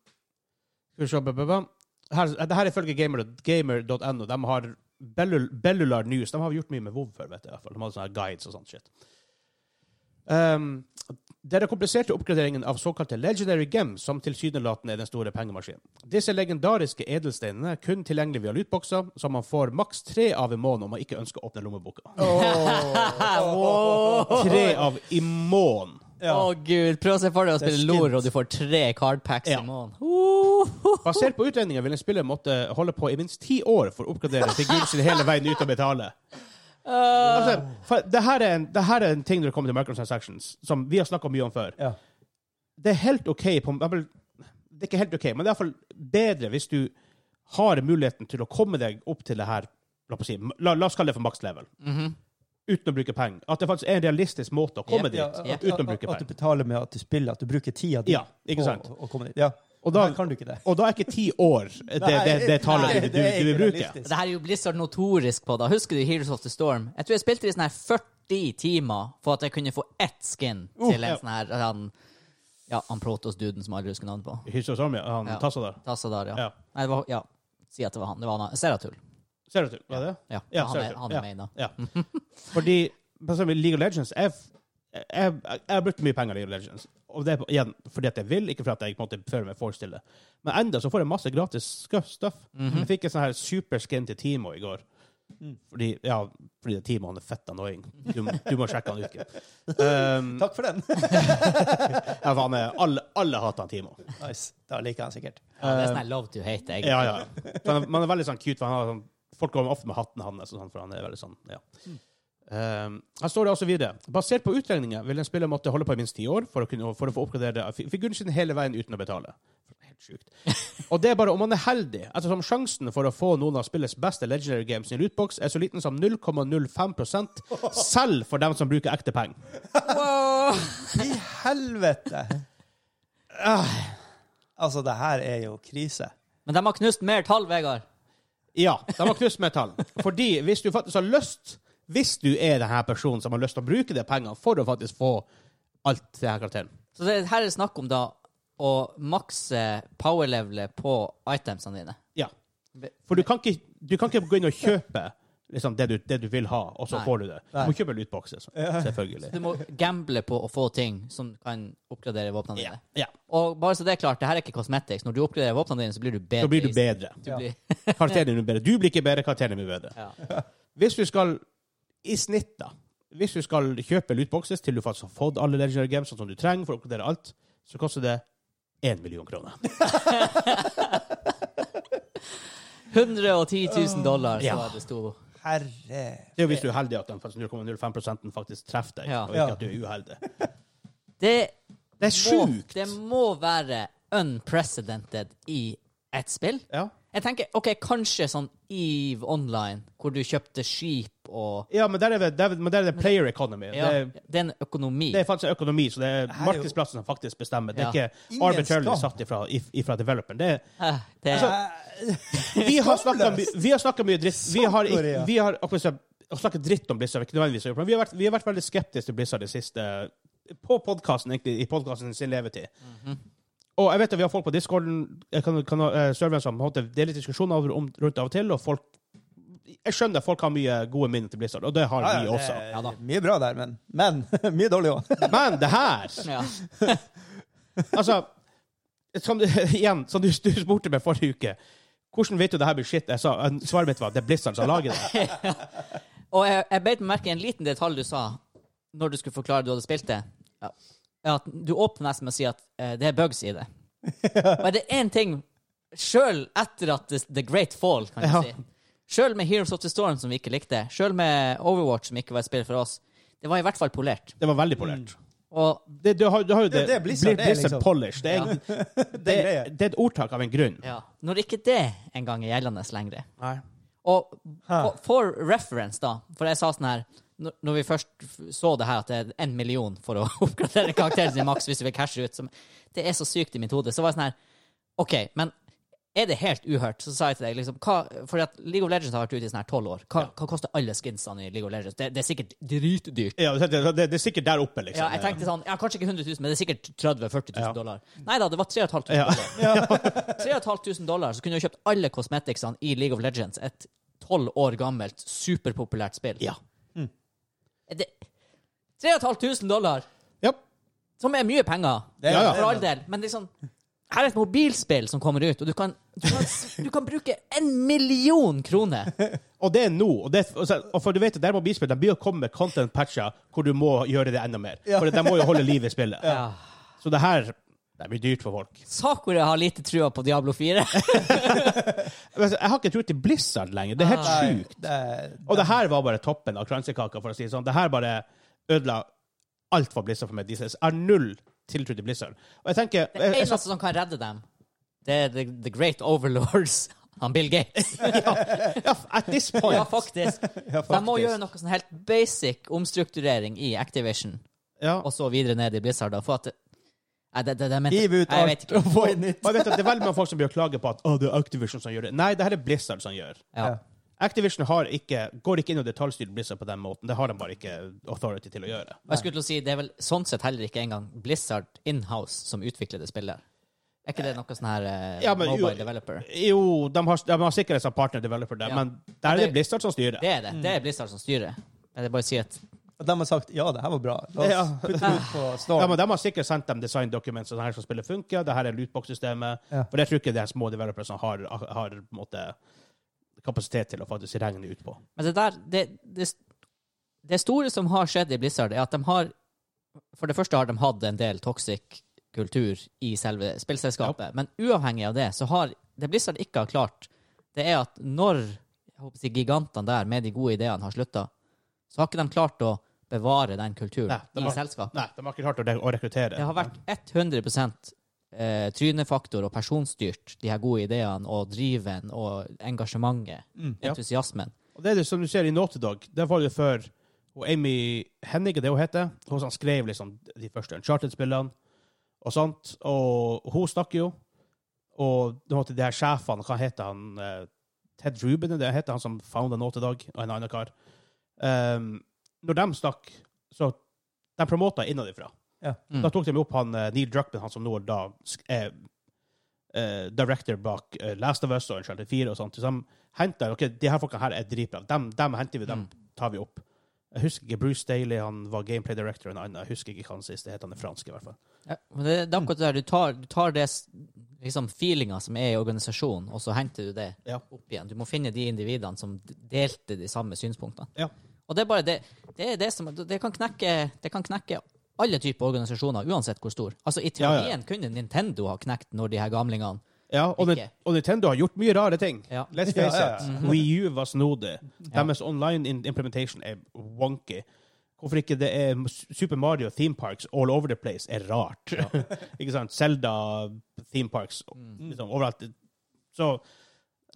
[SPEAKER 2] Um, skal vi se ba, ba, ba. Her, det her er ifølge gamer- gamer.no. de har Bellul Bellular News De har gjort mye med WoW før, vet jeg. i hvert fall. De hadde sånne guides og sånt shit. Um, det er den kompliserte oppgraderingen av såkalte legendary gems som tilsynelatende er den store pengemaskinen. Disse legendariske edelsteinene er kun tilgjengelig via lootboxer, som man får maks tre av i måneden om man ikke ønsker å åpne lommeboka. Tre av i måneden!
[SPEAKER 1] Å, gud. Prøv å se for deg å
[SPEAKER 3] Det er
[SPEAKER 1] spille LOR,
[SPEAKER 3] skint.
[SPEAKER 1] og du får tre card packs
[SPEAKER 2] Ja.
[SPEAKER 1] i måneden. Uh,
[SPEAKER 2] Basert på utregninger vil en spiller måtte holde på i minst ti år for å oppgradere figuren sin hele veien ut og betale.
[SPEAKER 3] Uh.
[SPEAKER 2] Altså, for det, her er en, det her er en ting når det kommer til microtransactions, som vi har snakka mye om før.
[SPEAKER 3] Ja.
[SPEAKER 2] Det er helt OK på Det er ikke helt OK, men det er iallfall bedre hvis du har muligheten til å komme deg opp til det her La, på å si, la, la oss kalle det for max level.
[SPEAKER 3] Mhm.
[SPEAKER 2] Uten å bruke penger. At det faktisk er en realistisk måte å komme
[SPEAKER 1] Yep.
[SPEAKER 2] dit
[SPEAKER 3] Ja, at, at,
[SPEAKER 2] uten å bruke
[SPEAKER 3] at du
[SPEAKER 2] penger.
[SPEAKER 3] betaler med at du spiller, at du bruker tida di
[SPEAKER 2] Ja, ikke sant?
[SPEAKER 3] Å, å komme dit. Ja.
[SPEAKER 2] Og da-
[SPEAKER 3] Her kan du ikke det.
[SPEAKER 2] Og da er ikke ti år det, det, det tallet
[SPEAKER 3] Nei,
[SPEAKER 2] du, du,
[SPEAKER 3] det er
[SPEAKER 2] du vil
[SPEAKER 3] ikke
[SPEAKER 2] bruke.
[SPEAKER 3] realistisk.
[SPEAKER 1] det her er jo Blizzard notorisk på. da. Husker du Heroes of the Storm? Jeg tror jeg spilte i sånn her 40 timer for at jeg kunne få ett skin til
[SPEAKER 2] Uh, ja.
[SPEAKER 1] en sånn her han, Ja, han Protos-duden som jeg aldri husker navnet på.
[SPEAKER 2] Hysse og Samia, han
[SPEAKER 1] Ja.
[SPEAKER 2] Tassa der.
[SPEAKER 1] Tassadar, ja.
[SPEAKER 2] Ja.
[SPEAKER 1] Nei, det var, ja. Si at det var han. Det var han. Seratul.
[SPEAKER 2] Ser du til? Var det?
[SPEAKER 1] Ja,
[SPEAKER 2] Ja,
[SPEAKER 1] han, er,
[SPEAKER 2] Seratul.
[SPEAKER 1] han er
[SPEAKER 2] Ja.
[SPEAKER 1] med inne.
[SPEAKER 2] Ja. Fordi for eksempel, League of Legends jeg, jeg, jeg, jeg har brukt mye penger i League of Legends. Og det er på- igjen fordi at jeg vil, ikke fordi at jeg på en måte føler meg forestilt. Men enda så får jeg masse gratis sku- stuff.
[SPEAKER 1] Mhm.
[SPEAKER 2] Jeg fikk en sånn her superskin til Timo i går. Fordi, ja, fordi Timo han er fett annoying. Du, må- du må sjekke han ut. Kim. Um,
[SPEAKER 3] Takk for den.
[SPEAKER 2] ja, for han er, alle, alle hater han Timo.
[SPEAKER 3] nice. Da liker jeg den sikkert.
[SPEAKER 1] Ja, det er sånn her love to hate, egentlig.
[SPEAKER 2] Eh, Ja, ja. For han, man er veldig sånn cute, for han har sånn, folk går ofte med hatten hans, og sånn, for han er veldig sånn, ja. Um, her står det også videre. Basert på utregninger vil en spiller måtte holde på i minst ti år for å, kunne, for å få oppgradere fi- figuren sin hele veien uten å betale. Helt sjukt. Og det er bare om man er heldig, ettersom sjansen for å få noen av spillets beste legendary games i en lootbox er så liten som 0,05 selv for dem som bruker ekte penger.
[SPEAKER 3] I helvete! Ah. Altså, det her er jo krise.
[SPEAKER 1] Men de har knust mer tall, Vegard.
[SPEAKER 2] Ja, de har knust med tall. Fordi hvis du faktisk har lyst Hvis du er denne personen som har lyst til å bruke de pengene for å faktisk få alt det her karakteren
[SPEAKER 1] Så det her er snakk om da å makse power-levelet på itemsene dine.
[SPEAKER 2] Ja. For du kan ikke, du kan ikke gå inn og kjøpe liksom, det, du, det du vil ha, og så
[SPEAKER 1] Nei.
[SPEAKER 2] får du det. Du må kjøpe lootboxer, så-
[SPEAKER 1] Du
[SPEAKER 2] selvfølgelig.
[SPEAKER 1] må gamble på å få ting som kan oppgradere våpnene
[SPEAKER 2] Ja.
[SPEAKER 1] dine.
[SPEAKER 2] ja.
[SPEAKER 1] Og bare så det er klart, det her er ikke cosmetics. Når du oppgraderer våpnene dine, så blir du bedre.
[SPEAKER 2] Så blir du
[SPEAKER 1] i-
[SPEAKER 2] bedre.
[SPEAKER 1] Du blir,
[SPEAKER 2] Karakteren din blir bedre. Du blir ikke bedre, karakteren din blir bedre.
[SPEAKER 1] ja.
[SPEAKER 2] Hvis du skal i snitt, da Hvis du skal kjøpe lootboxes til du faktisk har fått alle legendary games som du trenger for å oppgradere alt, så koster det én million kroner.
[SPEAKER 1] 110 000 dollar, så
[SPEAKER 2] Ja.
[SPEAKER 1] det sto.
[SPEAKER 3] Herre
[SPEAKER 2] Det er jo hvis du er heldig at den faktisk 0,05 faktisk treffer deg,
[SPEAKER 1] Ja.
[SPEAKER 2] og ikke
[SPEAKER 3] Ja.
[SPEAKER 2] at du er uheldig.
[SPEAKER 1] Det,
[SPEAKER 2] Det er
[SPEAKER 1] må,
[SPEAKER 2] sjukt!
[SPEAKER 1] det må være unprecedented i et spill.
[SPEAKER 2] Ja.
[SPEAKER 1] Jeg tenker, ok, kanskje sånn EVE Online, hvor du kjøpte skip og
[SPEAKER 2] ja, men der er det, der, er- men der er det player economy.
[SPEAKER 1] Ja,
[SPEAKER 2] Det,
[SPEAKER 1] det,
[SPEAKER 2] er,
[SPEAKER 1] er en økonomi.
[SPEAKER 2] det er faktisk økonomi, så det er
[SPEAKER 3] Her er jo-
[SPEAKER 2] markedsplassen som faktisk bestemmer. Det
[SPEAKER 1] Ja.
[SPEAKER 2] er ikke
[SPEAKER 3] Ingen
[SPEAKER 2] arbitrarily
[SPEAKER 3] skam.
[SPEAKER 2] satt ifra, if- ifra developeren. Det er,
[SPEAKER 1] Eh, det
[SPEAKER 2] Altså,
[SPEAKER 1] er
[SPEAKER 2] vi har snakka my, vi har snakket mye dritt. Vi har, ikke-
[SPEAKER 3] Korea.
[SPEAKER 2] vi har akkurat så- å snakke dritt om Blizzard, er ikke nødvendigvis å gjøre, men vi har, vært, vi har vært veldig skeptiske til Blizzard det siste På podkasten, egentlig, i podkasten sin levetid.
[SPEAKER 1] Mhm.
[SPEAKER 2] Og jeg vet at vi har folk på discorden, jeg kan, kan, eh, serveren som på en måte, det er litt diskusjoner over- om, rundt av og til, og folk Jeg skjønner at folk har mye gode minner til Blizzard, og det har vi også.
[SPEAKER 1] Ja da.
[SPEAKER 3] det er mye bra der, men, men mye dårlig òg.
[SPEAKER 2] Men det her
[SPEAKER 1] ja.
[SPEAKER 2] Altså, som du, igjen, som du, du spurte meg forrige uke Hvordan vet du det her blir shit? Jeg sa, eh, svaret mitt var det er Blizzard som lager det.
[SPEAKER 1] Og jeg, jeg beit meg merke i en liten detalj du sa når du skulle forklare du hadde spilt det. Ja. At du åpner nesten med å si at eh, det er bugs i det. Og er det én ting Sjøl etter at det- The Great Fall, kan du
[SPEAKER 2] Ja.
[SPEAKER 1] si. Sjøl med Heroes of the Storm, som vi ikke likte. Sjøl med Overwatch, som ikke var et spill for oss. Det var i hvert fall polert.
[SPEAKER 2] Det var veldig polert.
[SPEAKER 1] Og
[SPEAKER 2] Det, du, har, du har jo det,
[SPEAKER 3] Det er det Blizzard
[SPEAKER 2] blir
[SPEAKER 3] er,
[SPEAKER 2] Blizzard
[SPEAKER 3] liksom.
[SPEAKER 2] Polish. Det er, det,
[SPEAKER 3] greia.
[SPEAKER 2] det er et ordtak av en grunn.
[SPEAKER 1] ja, når ikke det engang er gjeldende lenger
[SPEAKER 2] Nei.
[SPEAKER 1] Og for, for reference, da, for jeg sa sånn her når- når vi først f- så det her, at det er en million for å oppgradere karakteren sin maks hvis du vil cashe ut som, Det er så sykt i mitt hode. Så var jeg sånn her OK, men er det helt uhørt? Så sa jeg til deg liksom hva, Fordi at League of Legends har vært ute i sånn her tolv år. Hva, hva koster alle skinsene i League of Legends? Det, det er sikkert dritdyrt.
[SPEAKER 2] Ja, det, det, det er sikkert der oppe, liksom.
[SPEAKER 1] Ja, jeg tenkte sånn, ja, Kanskje ikke 100 000, men det er sikkert 30 000-40 000
[SPEAKER 2] Ja.
[SPEAKER 1] dollar. Nei da, det var 3500
[SPEAKER 2] Ja.
[SPEAKER 1] 3500 dollar, så kunne du kjøpt alle cosmeticsene i League of Legends et tolv år gammelt, superpopulært spill.
[SPEAKER 2] Ja.
[SPEAKER 1] Er Det, 3500 dollar,
[SPEAKER 2] Ja.
[SPEAKER 1] som er mye penger,
[SPEAKER 3] Det er-
[SPEAKER 2] Ja, ja.
[SPEAKER 1] for all del, men det er sånn her er et mobilspill som kommer ut, og du kan, du kan, du kan bruke en million kroner.
[SPEAKER 2] Og det er nå. Og, det, og så- og for du vet at der må bispillet, de blir å komme med content-patcher hvor du må gjøre det enda mer. For de må jo holde liv i spillet. Så det her det blir dyrt for folk.
[SPEAKER 1] Sakura har lite trua på Diablo 4.
[SPEAKER 2] Men altså, Jeg har ikke tro til Blizzard lenger. Det er helt
[SPEAKER 3] Nei,
[SPEAKER 2] sjukt.
[SPEAKER 3] det er-
[SPEAKER 2] Og det her var bare toppen av kransekaka, for å si det sånn. Det her bare ødela alt for Blizzard for meg. De jeg har null tiltro til Blizzard. Og jeg tenker
[SPEAKER 1] Det
[SPEAKER 2] jeg, jeg,
[SPEAKER 1] eneste som kan redde dem, det er The, the Great Overlords. Han Bill Gates.
[SPEAKER 2] ja, At this point
[SPEAKER 1] Ja, faktisk.
[SPEAKER 3] Ja,
[SPEAKER 1] De må
[SPEAKER 3] faktisk.
[SPEAKER 1] gjøre noe sånn helt basic omstrukturering i Activision,
[SPEAKER 2] ja.
[SPEAKER 1] og så videre ned i Blizzard. da, For at det, Nei, det, det, det mente,
[SPEAKER 3] Hiv ut
[SPEAKER 1] Nei, jeg vet
[SPEAKER 3] alt
[SPEAKER 1] ikke.
[SPEAKER 3] og få inn nytt.
[SPEAKER 2] Og jeg vet at Det er veldig mange folk som blir å klage på at «Å, det er Activision som gjør det. Nei, det her er Blizzard som gjør.
[SPEAKER 1] Ja.
[SPEAKER 3] Ja.
[SPEAKER 2] Activision har ikke, går ikke inn og detaljstyrer Blizzard på den måten. Det har de bare ikke authority til å gjøre.
[SPEAKER 1] Og jeg skulle til å si, det er vel sånn sett heller ikke engang Blizzard Inhouse som utvikler det spillet. Er ikke det noe sånn her eh,
[SPEAKER 2] Ja, men jo-
[SPEAKER 1] mobile developer?
[SPEAKER 2] Jo, de har, de har sikkert en partner developer der,
[SPEAKER 1] Ja.
[SPEAKER 2] men der er det
[SPEAKER 1] Det-
[SPEAKER 2] Blizzard som styrer.
[SPEAKER 1] Det er det. Det er Blizzard som styrer. Men det er bare å si at
[SPEAKER 3] Og de har sagt ja, det her var bra. La oss
[SPEAKER 2] Ja.
[SPEAKER 3] putte det ut på Storm.
[SPEAKER 2] Ja, men De har sikkert sendt dem design documents sånn her som spillet funker. Det her er lootbox-systemet.
[SPEAKER 3] Ja.
[SPEAKER 2] For det tror jeg ikke det er små developers som har, har på en måte, kapasitet til å faktisk regne ut på.
[SPEAKER 1] Men det der det, det, det store som har skjedd i Blizzard, er at de har For det første har de hatt en del toxic kultur i selve spillselskapet. Men uavhengig av det, så har det Blizzard ikke har klart, det er at når jeg håper å si, gigantene der med de gode ideene har slutta, så har ikke de klart å bevare den kulturen
[SPEAKER 2] Nei, de
[SPEAKER 1] i
[SPEAKER 2] har-
[SPEAKER 1] selskapet.
[SPEAKER 2] Nei, de har ikke klart å, re å rekruttere.
[SPEAKER 1] Det har vært 100 eh, trynefaktor og personstyrt, de her gode ideene og driven og engasjementet,
[SPEAKER 2] Mm, ja.
[SPEAKER 1] entusiasmen.
[SPEAKER 2] Og det er det som du ser i Naughty Dog. Der var det før og Amy Hennig, er det hun heter, hun som skrev liksom de første Uncharted-spillene og sånt. Og hun snakker jo. Og det var til de her sjefene, hva heter han? eh, Ted Ruben, er det han heter han som founda Naughty Dog, og en annen kar. Um, når de stakk, så de promota innenfra.
[SPEAKER 3] Ja.
[SPEAKER 1] Mm.
[SPEAKER 2] Da tok de opp han eh, Neil Druckman, han som nå da sk- er eh, director bak eh, Last of Us og Uncharted 4 og sånt. Så de henta Ok, de her folka her er dritbra. Dem, dem henter vi, dem tar vi opp. Jeg husker ikke Bruce Daly, han var gameplay director og en annen. Jeg husker ikke hva han siste het, han er fransk i hvert fall.
[SPEAKER 1] Ja, men det,
[SPEAKER 2] Mm.
[SPEAKER 1] det er akkurat det der. Du tar, du tar det s- liksom feelinga som er i organisasjonen, og så henter du det
[SPEAKER 2] Ja.
[SPEAKER 1] opp igjen. Du må finne de individene som d- delte de samme synspunktene.
[SPEAKER 2] Ja.
[SPEAKER 1] Og det er bare det, det, er det som det kan, knekke, det kan knekke alle typer organisasjoner, uansett hvor stor. Altså, i
[SPEAKER 2] Ja, ja.
[SPEAKER 1] teorien kunne Nintendo ha knekt når de her gamlingene
[SPEAKER 2] Ja, og,
[SPEAKER 1] Ikke.
[SPEAKER 2] Ni- og Nintendo har gjort mye rare ting.
[SPEAKER 1] Ja.
[SPEAKER 2] Let's
[SPEAKER 3] Ja, Mhm.
[SPEAKER 2] face
[SPEAKER 3] ja, ja.
[SPEAKER 2] it. Wii U var snodig. Deres online in- implementation er wonky. Hvorfor ikke det er Super Mario theme parks all over the place er rart. ikke sant? Zelda theme parks
[SPEAKER 1] Mm.
[SPEAKER 2] liksom, overalt. Så,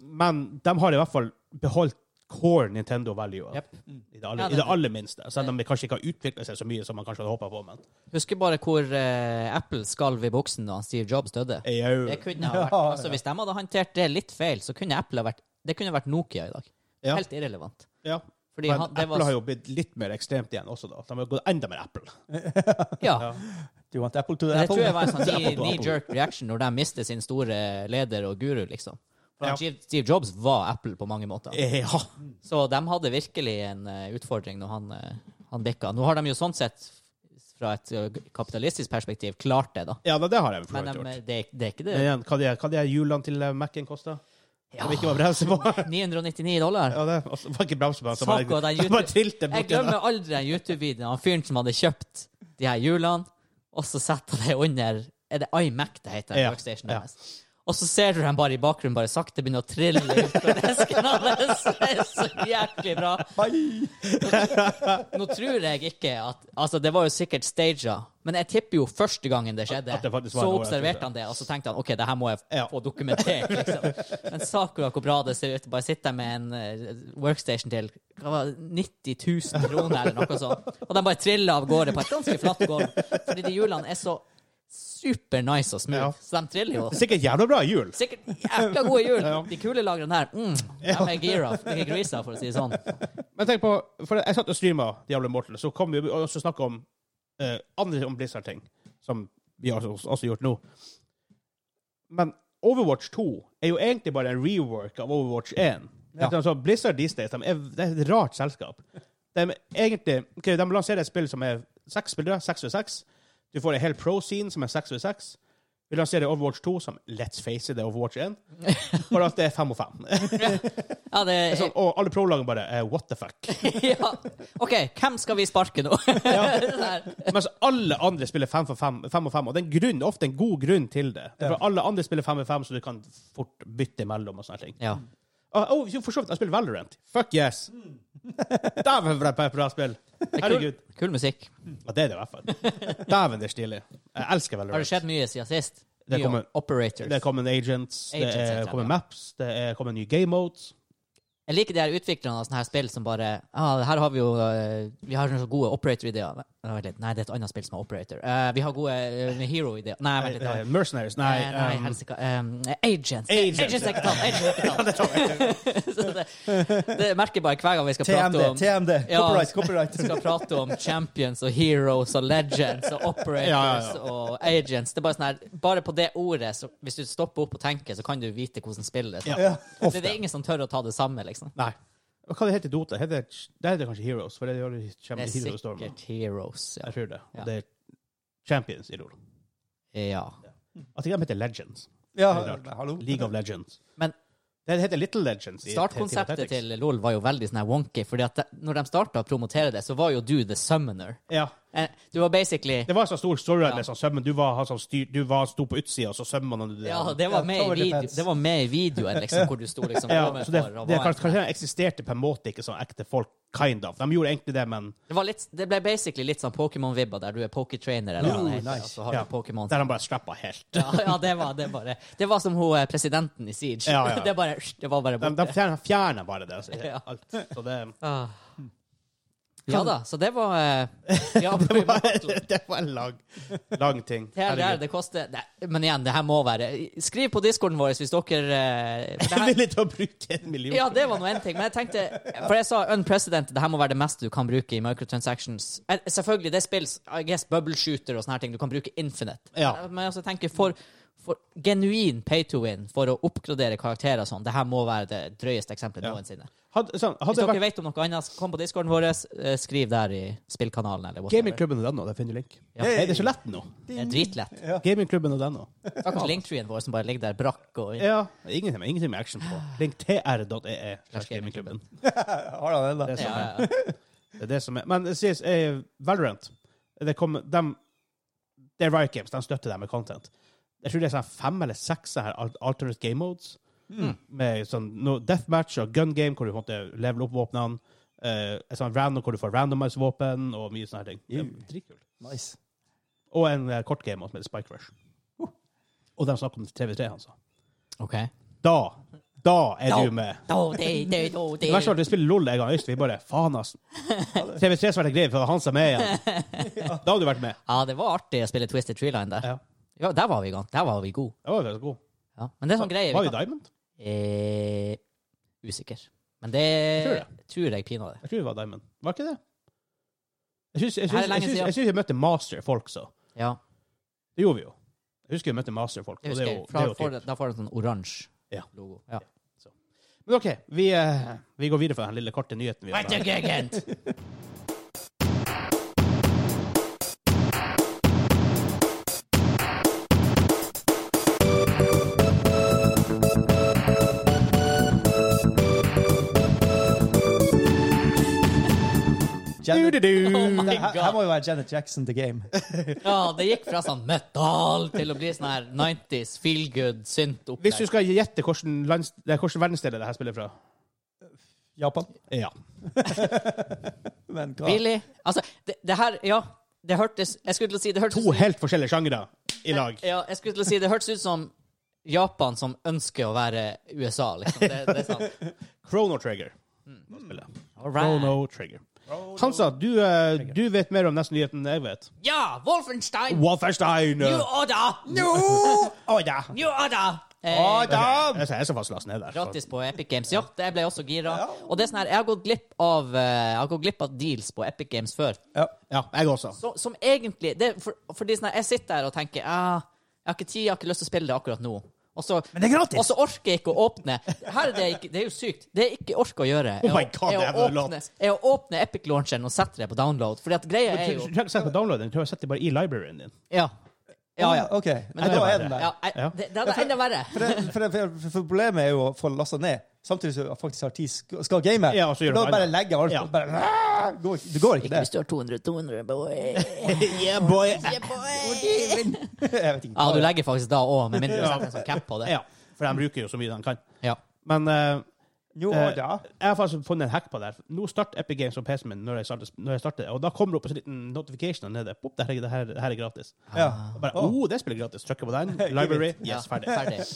[SPEAKER 2] men de har i hvert fall beholdt core Nintendo value.
[SPEAKER 1] Jep.
[SPEAKER 2] I, det aller,
[SPEAKER 1] Ja,
[SPEAKER 2] I det
[SPEAKER 1] det-
[SPEAKER 2] aller minste. Selv om de kanskje ikke har utvikla seg så mye som man kanskje hadde håpa på. Men,
[SPEAKER 1] Husker bare hvor eh, Apple skalv i buksen da Steve Jobs døde.
[SPEAKER 2] Ejau.
[SPEAKER 1] Det kunne ha vært,
[SPEAKER 3] Ja,
[SPEAKER 1] altså,
[SPEAKER 3] ja.
[SPEAKER 1] hvis de hadde håndtert det litt feil, så kunne Apple ha vært Det kunne vært Nokia i dag.
[SPEAKER 2] Ja.
[SPEAKER 1] Helt irrelevant.
[SPEAKER 2] ja.
[SPEAKER 1] Fordi
[SPEAKER 2] men
[SPEAKER 1] han, det
[SPEAKER 2] Apple
[SPEAKER 1] var,
[SPEAKER 2] har jo blitt litt mer ekstremt igjen også, da. De har gått enda mer Apple.
[SPEAKER 1] ja.
[SPEAKER 3] Do you want apple to the
[SPEAKER 1] Men Det
[SPEAKER 3] apple?
[SPEAKER 1] tror jeg var en sånn
[SPEAKER 2] Apple to Apple.
[SPEAKER 1] knee-jerk reaction når de mister sin store leder og guru, liksom. For
[SPEAKER 2] Ja.
[SPEAKER 1] han Steve- Steve Jobs var Apple på mange måter.
[SPEAKER 2] Ja.
[SPEAKER 1] Så de hadde virkelig en eh, utfordring når han, eh, han bikka. Nå har de jo sånn sett, fra et eh, kapitalistisk perspektiv, klart det, da.
[SPEAKER 2] Ja, da, det har jeg for
[SPEAKER 1] Men
[SPEAKER 2] så vidt
[SPEAKER 1] de,
[SPEAKER 2] gjort.
[SPEAKER 1] det, er- det er ikke det.
[SPEAKER 2] Men igjen, hva de, hva de hjulene til eh, Mac-en kosta?
[SPEAKER 1] Ja,
[SPEAKER 2] Som ikke var bremse på?
[SPEAKER 1] 999 dollar.
[SPEAKER 2] Ja, det altså, var ikke bremse på, så
[SPEAKER 1] Saka,
[SPEAKER 2] bare,
[SPEAKER 1] den
[SPEAKER 2] så
[SPEAKER 1] YouTube-
[SPEAKER 2] bare trilte
[SPEAKER 1] Jeg
[SPEAKER 2] borti den.
[SPEAKER 1] glemmer aldri den YouTube-videoen av han fyren som hadde kjøpt de her hjulene, og så setter han det under Er det iMac det heter?
[SPEAKER 2] Ja,
[SPEAKER 1] Workstationen
[SPEAKER 2] ja.
[SPEAKER 1] hans? Og så ser du dem bare i bakgrunnen bare sakte begynne å trille utover desken hans. Det er så jæklig bra.
[SPEAKER 3] Hei!
[SPEAKER 1] Nå tror jeg ikke at Altså, det var jo sikkert staged, men jeg tipper jo første gangen det skjedde,
[SPEAKER 2] At det faktisk var
[SPEAKER 1] så
[SPEAKER 2] en overraskelse.
[SPEAKER 1] observerte han det, og så tenkte han OK, det her må jeg
[SPEAKER 2] Ja.
[SPEAKER 1] få dokumentert, liksom. Men Sakura, hvor bra det ser ut. Bare sitter med en eh, workstation til hva var det, 90 000 kroner eller noe sånt, og den bare triller av gårde på et ganske flatt gulv, fordi de hjulene er så super nice og smooth,
[SPEAKER 2] Ja.
[SPEAKER 1] så de triller jo.
[SPEAKER 2] Det er Sikkert jævla bra hjul.
[SPEAKER 1] Sikkert jækla gode hjul. De kulelagrene her, mm, de er gira, de er grisa, for å si det sånn.
[SPEAKER 2] Men tenk på, for Jeg satt og streama Diablo Mortal, så kom vi og så snakka om eh, andre om Blizzard-ting, som vi har også, også gjort nå. Men Overwatch 2 er jo egentlig bare en rework av Overwatch 1.
[SPEAKER 3] Ja.
[SPEAKER 2] Vet du, Altså, Blizzard these days de er, det er et rart selskap. De, er egentlig, ok, de lanserer et spill som er seks spillere, seks ved seks. Du får en hel pro-scene som er seks ved seks. Vi lanserer Overwatch 2 som let's face it, det er Overwatch 1. Bare at det er fem og fem.
[SPEAKER 1] Ja, det
[SPEAKER 2] Det er Sånn, og alle pro-lagene bare eh, what the fuck.
[SPEAKER 1] ja. OK, hvem skal vi sparke nå? Sånn her.
[SPEAKER 2] Mens alle andre spiller fem for fem, fem og fem, og det er en grunn, ofte en god grunn til det. Det er For alle andre spiller fem for fem, så du kan fort bytte imellom og sånne ting.
[SPEAKER 1] ja.
[SPEAKER 2] Å, å, jo, for så vidt, jeg spiller Valorant. Fuck yes!
[SPEAKER 1] Mm.
[SPEAKER 2] Dæven, for et bra spill! Herregud.
[SPEAKER 1] Kul musikk.
[SPEAKER 2] Ja, det er det i hvert fall. Dæven, det er stilig. Jeg elsker
[SPEAKER 1] Har det
[SPEAKER 2] Valorant.
[SPEAKER 1] skjedd mye siden sist?
[SPEAKER 2] Det
[SPEAKER 1] Mye
[SPEAKER 2] kommer-
[SPEAKER 1] om operators.
[SPEAKER 2] Det kommer agents,
[SPEAKER 1] Agents,
[SPEAKER 2] det
[SPEAKER 1] heter
[SPEAKER 2] er,
[SPEAKER 1] det,
[SPEAKER 2] kommer
[SPEAKER 1] ja.
[SPEAKER 2] maps, det er, kommer nye game modes.
[SPEAKER 1] Jeg liker de her utviklerne av sånne her spill som bare ah, Her har vi jo eh, Vi har så gode operator-ideer. Nei, vent litt. Nei, det er et annet spill som har operator. Eh, vi har gode eh, hero-ideer. Nei, vent litt.
[SPEAKER 2] Eh,
[SPEAKER 1] da.
[SPEAKER 2] mercenaries, nei.
[SPEAKER 1] Eh, nei,
[SPEAKER 2] um,
[SPEAKER 1] helsike. Um, agents.
[SPEAKER 2] Agents.
[SPEAKER 1] Agents, er ikke tatt. Agents er ikke tatt. Så det, det merker jeg bare hver gang vi skal
[SPEAKER 3] TMD,
[SPEAKER 1] prate om
[SPEAKER 3] TMD.
[SPEAKER 1] Ja.
[SPEAKER 3] Copyright, copyright.
[SPEAKER 1] skal prate om champions og heroes og legends og operators
[SPEAKER 2] Ja, ja, ja.
[SPEAKER 1] og agents. Det er bare sånn her, bare på det ordet, så hvis du stopper opp og tenker, så kan du vite hvordan spillet er.
[SPEAKER 3] Ja.
[SPEAKER 1] Det, det er ingen som tør å ta det samme, liksom.
[SPEAKER 2] Nei. Hva heter det heter Dota? Heter, det heter kanskje Heroes, for det gjør det
[SPEAKER 1] Det
[SPEAKER 2] kommer
[SPEAKER 1] er
[SPEAKER 2] til Hero Storm.
[SPEAKER 1] sikkert heroes, ja.
[SPEAKER 2] Jeg tror det.
[SPEAKER 1] Ja.
[SPEAKER 2] Og det er Champions i LoL.
[SPEAKER 1] ja.
[SPEAKER 2] At de heter Legends.
[SPEAKER 3] Ja,
[SPEAKER 2] Det er rart.
[SPEAKER 3] Ah, hallo.
[SPEAKER 2] League of Legends.
[SPEAKER 1] Men-
[SPEAKER 2] Det heter Little Legends. i Team
[SPEAKER 1] Startkonseptet
[SPEAKER 2] Tactics.
[SPEAKER 1] til LOL var jo veldig sånn her wonky, fordi at det, når de starta å promotere det, så var jo du the summoner.
[SPEAKER 2] Ja.
[SPEAKER 1] Eh, Du var basically
[SPEAKER 2] Det var en sånn stor story
[SPEAKER 1] Ja.
[SPEAKER 2] med sånn sømmen. Du var han som styr, du var, sto på utsida, og så sømmer han
[SPEAKER 1] ja, det var,
[SPEAKER 3] Ja,
[SPEAKER 1] med
[SPEAKER 3] tower
[SPEAKER 1] i video,
[SPEAKER 3] defense.
[SPEAKER 1] det var med i videoen, liksom, hvor du sto liksom
[SPEAKER 2] Ja,
[SPEAKER 1] ovenfor
[SPEAKER 2] så det,
[SPEAKER 1] og
[SPEAKER 2] det
[SPEAKER 1] var en-
[SPEAKER 2] karakteren eksisterte på en måte ikke som ekte folk, kind of. De gjorde egentlig det, men
[SPEAKER 1] Det, var litt, det ble basically litt sånn Pokémon-vibba, der du er pokertrainer, eller hva
[SPEAKER 3] Ooh,
[SPEAKER 1] det heter,
[SPEAKER 3] nice.
[SPEAKER 1] og så har
[SPEAKER 2] Ja.
[SPEAKER 1] du Pokémon.
[SPEAKER 2] der han bare slappa helt.
[SPEAKER 1] Ja, ja, det var det bare. Det var som hun eh, presidenten i Siege.
[SPEAKER 2] Ja, ja, ja.
[SPEAKER 1] Det, bare, det var bare
[SPEAKER 2] De,
[SPEAKER 1] borte.
[SPEAKER 2] de fjerna, fjerna bare det. Altså,
[SPEAKER 1] Ja.
[SPEAKER 2] alt. Så det,
[SPEAKER 1] Ah.
[SPEAKER 2] Hmm.
[SPEAKER 1] Ja da, så det var eh, ja,
[SPEAKER 2] det, var, det var en lang, lang ting.
[SPEAKER 1] TLDR, det koster Nei, Men igjen, det her må være Skriv på discorden vår hvis dere eh, for det
[SPEAKER 2] Jeg
[SPEAKER 1] her,
[SPEAKER 2] ville til å bruke en million.
[SPEAKER 1] Ja, det var nå en ting, men jeg tenkte For jeg sa unprecedented, det her må være det meste du kan bruke i microtransactions. Eh, Selvfølgelig, det er spill, I guess bubble shooter og sånne her ting, du kan bruke infinite.
[SPEAKER 2] Ja.
[SPEAKER 1] Men jeg også tenker for, for genuin pay to win for å oppgradere karakterer og sånn, det her må være det drøyeste eksempelet
[SPEAKER 2] Ja.
[SPEAKER 1] noensinne.
[SPEAKER 2] Hadde, sånn, hadde
[SPEAKER 1] Hvis
[SPEAKER 2] det
[SPEAKER 1] dere
[SPEAKER 2] vært
[SPEAKER 1] vet om noe annet, kom på discorden vår, eh, skriv der i spillkanalen eller whatever.
[SPEAKER 2] Gamingklubben og den nå, der finner du link.
[SPEAKER 1] Ja.
[SPEAKER 2] Hey, det er så lett nå.
[SPEAKER 1] Det er dritlett.
[SPEAKER 2] Gamingklubben og den nå.
[SPEAKER 1] Stakkars linktreen vår som bare ligger der brakk og
[SPEAKER 2] Ja, ingenting, med- ingenting med action på. Link tr.ee. E slash gamingklubben.
[SPEAKER 3] Har han ennå?
[SPEAKER 2] Det er
[SPEAKER 1] ja,
[SPEAKER 2] sånn.
[SPEAKER 1] ja, ja.
[SPEAKER 2] Det er det som er. Men det sies, eh, Valorant det, kom, dem- det er Riot Games, de støtter dem med content. Jeg tror det er sånn fem eller seks sånne her al- alternate game modes. Med sånn no, deathmatch og gun game, hvor du på en måte leveler opp våpnene. Eh, et sånt random, hvor du får randomized våpen og mye sånne her ting. Det er Dritkult.
[SPEAKER 3] Nice.
[SPEAKER 2] Og en eh, kort game som heter Spike Rush. Og de snakker om 3v3, han sa.
[SPEAKER 1] OK.
[SPEAKER 2] Da, da er
[SPEAKER 1] Da.
[SPEAKER 2] du med.
[SPEAKER 1] Da, det, det, da,
[SPEAKER 2] Det
[SPEAKER 1] det.
[SPEAKER 2] verste var at vi spiller LOL en gang, Øystein. Vi bare Faen, ass. TV3 som vært en greie, for det var han som er med igjen. Da hadde du vært med.
[SPEAKER 1] Ja, det var artig å spille Twisted Treeline der.
[SPEAKER 2] Ja.
[SPEAKER 1] Ja, der var vi i gang. Der var vi gode.
[SPEAKER 2] Det var veldig god.
[SPEAKER 1] Ja. Men det er sånn greie
[SPEAKER 2] Var vi
[SPEAKER 1] vi kan...
[SPEAKER 2] Diamond?
[SPEAKER 1] eh, Usikker. Men det
[SPEAKER 2] Tror
[SPEAKER 1] tror
[SPEAKER 2] jeg.
[SPEAKER 1] jeg, pinadø.
[SPEAKER 2] Jeg tror vi var Diamond. Var ikke det? Jeg syns jeg,
[SPEAKER 1] Her er
[SPEAKER 2] syns-
[SPEAKER 1] lenge
[SPEAKER 2] jeg, syns-
[SPEAKER 1] siden.
[SPEAKER 2] jeg, syns jeg møtte masterfolk, så.
[SPEAKER 1] Ja.
[SPEAKER 2] Det gjorde vi jo. Jeg husker vi møtte masterfolk.
[SPEAKER 1] Jeg
[SPEAKER 2] Og det er
[SPEAKER 1] husker.
[SPEAKER 2] jo, det
[SPEAKER 1] Fra,
[SPEAKER 2] er jo
[SPEAKER 1] får,
[SPEAKER 2] fint.
[SPEAKER 1] da får du en sånn oransje
[SPEAKER 2] Ja.
[SPEAKER 1] logo. Ja.
[SPEAKER 2] Men OK, vi, eh, vi går videre fra den lille korte nyheten vi har.
[SPEAKER 3] Janet,
[SPEAKER 2] Du-du-du.
[SPEAKER 1] Oh my
[SPEAKER 3] det her,
[SPEAKER 1] God.
[SPEAKER 3] her må jo være Janet Jackson the game.
[SPEAKER 1] ja, det gikk fra sånn metal til å bli sånn her 90s feel good synt
[SPEAKER 2] Hvis du
[SPEAKER 1] opplegg.
[SPEAKER 2] skal gjette hvilken lands- det er hvilken verdensdel det her spiller fra
[SPEAKER 3] Japan.
[SPEAKER 2] Ja.
[SPEAKER 3] Men hva?
[SPEAKER 1] Billy Altså, det, det her Ja, det hørtes Jeg skulle til å si det hørtes
[SPEAKER 2] To helt forskjellige sjangere i lag.
[SPEAKER 1] Ja, jeg skulle til å si det hørtes ut som Japan som ønsker å være USA, liksom. Det, det er sånn.
[SPEAKER 2] Chrono Trigger.
[SPEAKER 1] Mm.
[SPEAKER 2] Da spiller jeg.
[SPEAKER 1] All right.
[SPEAKER 2] Chrono Oh, Trigger.
[SPEAKER 1] Oh,
[SPEAKER 2] Hansa, Ah. du, eh, du vet mer om neste nyhet enn jeg vet.
[SPEAKER 1] Ja, Wolfenstein!
[SPEAKER 2] Wolfenstein!
[SPEAKER 1] New order!
[SPEAKER 3] No! Å, ja.
[SPEAKER 1] New order!
[SPEAKER 3] Å,
[SPEAKER 1] Eh,
[SPEAKER 3] da!
[SPEAKER 2] Jeg er så fast last ned der. så-
[SPEAKER 1] Gratis på Epic Games. Ja, det ble jeg også gira. Og det er sånn her, jeg har gått glipp av, eh, jeg har gått glipp av deals på Epic Games før.
[SPEAKER 3] Ja.
[SPEAKER 2] Ja, jeg også.
[SPEAKER 1] Så, som egentlig det, er for, Fordi sånn her, jeg sitter her og tenker ah, Jeg har ikke tid, jeg har ikke lyst til å spille det akkurat nå. Og Og så,
[SPEAKER 3] Men det er
[SPEAKER 1] og
[SPEAKER 3] gratis!
[SPEAKER 1] så orker jeg ikke å åpne. Her er det, ikke, det er jo sykt. Det jeg ikke orker å gjøre,
[SPEAKER 2] Oh my God, det
[SPEAKER 1] er,
[SPEAKER 2] er
[SPEAKER 1] å,
[SPEAKER 2] vel
[SPEAKER 1] åpne, er å åpne Epic-launcheren og sette det på download. Fordi at greia er
[SPEAKER 2] Du
[SPEAKER 1] jo
[SPEAKER 2] trenger ikke sette på downloaden, du trenger å sette det bare i libraryen din.
[SPEAKER 1] Ja. Ja, ja.
[SPEAKER 3] OK.
[SPEAKER 1] Men det
[SPEAKER 3] da
[SPEAKER 1] var-
[SPEAKER 3] er den der.
[SPEAKER 1] ja jeg,
[SPEAKER 2] Ja.
[SPEAKER 1] det, det er enda verre.
[SPEAKER 3] For, det, for, det, for, for problemet er jo å få lasta ned, samtidig som jeg faktisk har tid sk- skal game.
[SPEAKER 2] Ja, og så gjør
[SPEAKER 3] da
[SPEAKER 2] du
[SPEAKER 3] bare
[SPEAKER 2] feil.
[SPEAKER 3] legger jeg alt
[SPEAKER 2] Ja.
[SPEAKER 3] og bare, går, Det går ikke,
[SPEAKER 1] Ikke hvis
[SPEAKER 3] det.
[SPEAKER 1] du har 200 200, boy. eh,
[SPEAKER 2] Yeah, boy.
[SPEAKER 1] Yeah, boy.
[SPEAKER 3] Jeg vet ikke.
[SPEAKER 1] Ja, du legger faktisk da òg, med mindre du
[SPEAKER 2] Ja.
[SPEAKER 1] setter en sånn cap på det.
[SPEAKER 2] Ja, for de bruker jo så mye de kan.
[SPEAKER 1] Ja.
[SPEAKER 2] Men eh,
[SPEAKER 3] Jo,
[SPEAKER 2] Eh,
[SPEAKER 3] da.
[SPEAKER 2] jeg har faktisk funnet en hack på det. her. Nå starter Epic Games på PC-en min når jeg starter, når jeg starter og da kommer det opp en sånn liten notification nede. Pop, det, her, er- det, her, det her er gratis.
[SPEAKER 3] Ja.
[SPEAKER 2] Og bare,
[SPEAKER 3] Å.
[SPEAKER 2] oh, det spiller gratis. Trykker på den. Library.
[SPEAKER 1] Ja,
[SPEAKER 2] Yes, ferdig.